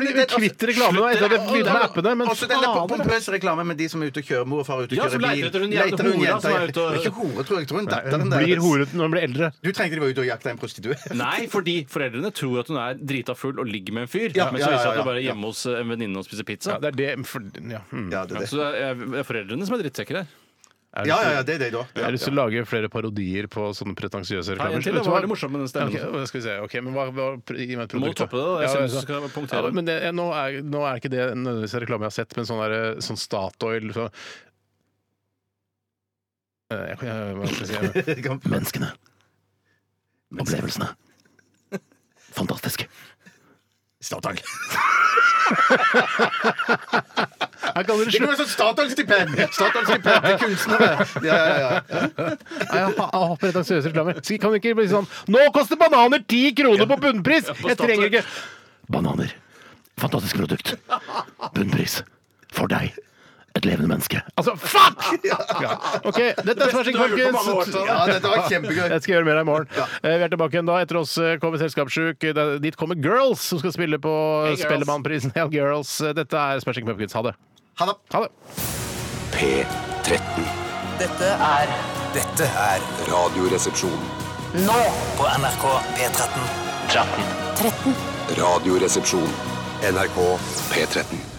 Speaker 5: ble
Speaker 2: det- det-
Speaker 5: kvitt reklame nå etter at jeg begynte altså, med appene, men
Speaker 2: Også denne
Speaker 5: fader.
Speaker 2: pompøse reklamen med de som er ute og kjører, mor og far er ute og
Speaker 3: Ja,
Speaker 2: kjører
Speaker 3: som
Speaker 2: bil.
Speaker 3: leiter etter hun jævla
Speaker 2: Leiter hun
Speaker 3: hora
Speaker 2: jenta
Speaker 3: som er
Speaker 2: i-
Speaker 3: ute og-
Speaker 2: Det er Ikke hore, tror jeg. jeg tror hun datteren
Speaker 5: Hun
Speaker 2: deres.
Speaker 5: blir horete når hun blir eldre.
Speaker 2: Du trengte de var ute og jakta en prostituert.
Speaker 3: Nei, fordi foreldrene tror at hun er drita full og ligger med en fyr.
Speaker 2: Ja,
Speaker 3: men
Speaker 2: ja,
Speaker 3: så
Speaker 2: ja,
Speaker 3: viser det seg at
Speaker 2: ja,
Speaker 3: hun bare er
Speaker 2: ja.
Speaker 3: hjemme hos en venninne og spiser pizza.
Speaker 5: Ja, det er det for, ja. mm.
Speaker 2: Ja, det er det.
Speaker 3: Så det er det er foreldrene som er drittsekker her.
Speaker 5: Er det
Speaker 2: Ja,
Speaker 5: så-
Speaker 2: ja, ja, det er det, da.
Speaker 5: Jeg
Speaker 2: Ja,
Speaker 5: har lyst til å lage flere parodier på sånne pretensiøse
Speaker 3: Ta
Speaker 5: reklamer.
Speaker 3: en til, det
Speaker 5: Vet du
Speaker 3: var
Speaker 5: hva?
Speaker 3: veldig morsomt med den
Speaker 5: Ja,
Speaker 3: stemmen.
Speaker 5: ok, hva skal vi se. Ok, men hva, hva, gi meg et
Speaker 3: Må
Speaker 5: produkt.
Speaker 3: du toppe det, da? Jeg
Speaker 5: Ja,
Speaker 3: synes
Speaker 5: ja,
Speaker 3: du skal punktere.
Speaker 5: Ja, men det, nå, er, nå er ikke det nødvendigvis en reklame jeg har sett, men sånn, der, sånn Statoil så, Eh, jeg, kan- jeg, hva skal jeg si?
Speaker 2: ja. Jeg kan-
Speaker 5: Menneskene. Opplevelsene. Fantastisk.
Speaker 2: Statoil.
Speaker 5: Her kan dere
Speaker 2: Det kan
Speaker 5: slutte.
Speaker 2: være sånn Statoil-stipend! Statoil-stipend til kunstnere. Ja, ja, ja.
Speaker 5: Nei, Jeg har- jeg har pretensiøse reklamer. Skal- Kan vi ikke bli sånn Nå koster bananer ti kroner på bunnpris! Jeg trenger ikke Bananer. Fantastisk produkt. Bunnpris. For deg. Et levende menneske. Altså, fuck! Ja. OK. Dette er Smashing Pumpkins.
Speaker 2: ja dette var kjempegøy.
Speaker 5: Jeg skal gjøre mer av i morgen. Eh, Vi er tilbake igjen da. Etter oss eh, kommer Selskapssjuk. Det- Dit kommer Girls, som skal spille på Spellemannprisen. Hell Girls. Dette er Smashing Pumpkins. Ha det.
Speaker 2: Ha det.
Speaker 5: Ha det.
Speaker 4: P13.
Speaker 11: Dette er
Speaker 4: Dette er Radioresepsjon.
Speaker 11: nå på NRK P13. 13.
Speaker 4: Radioresepsjon. NRK P13.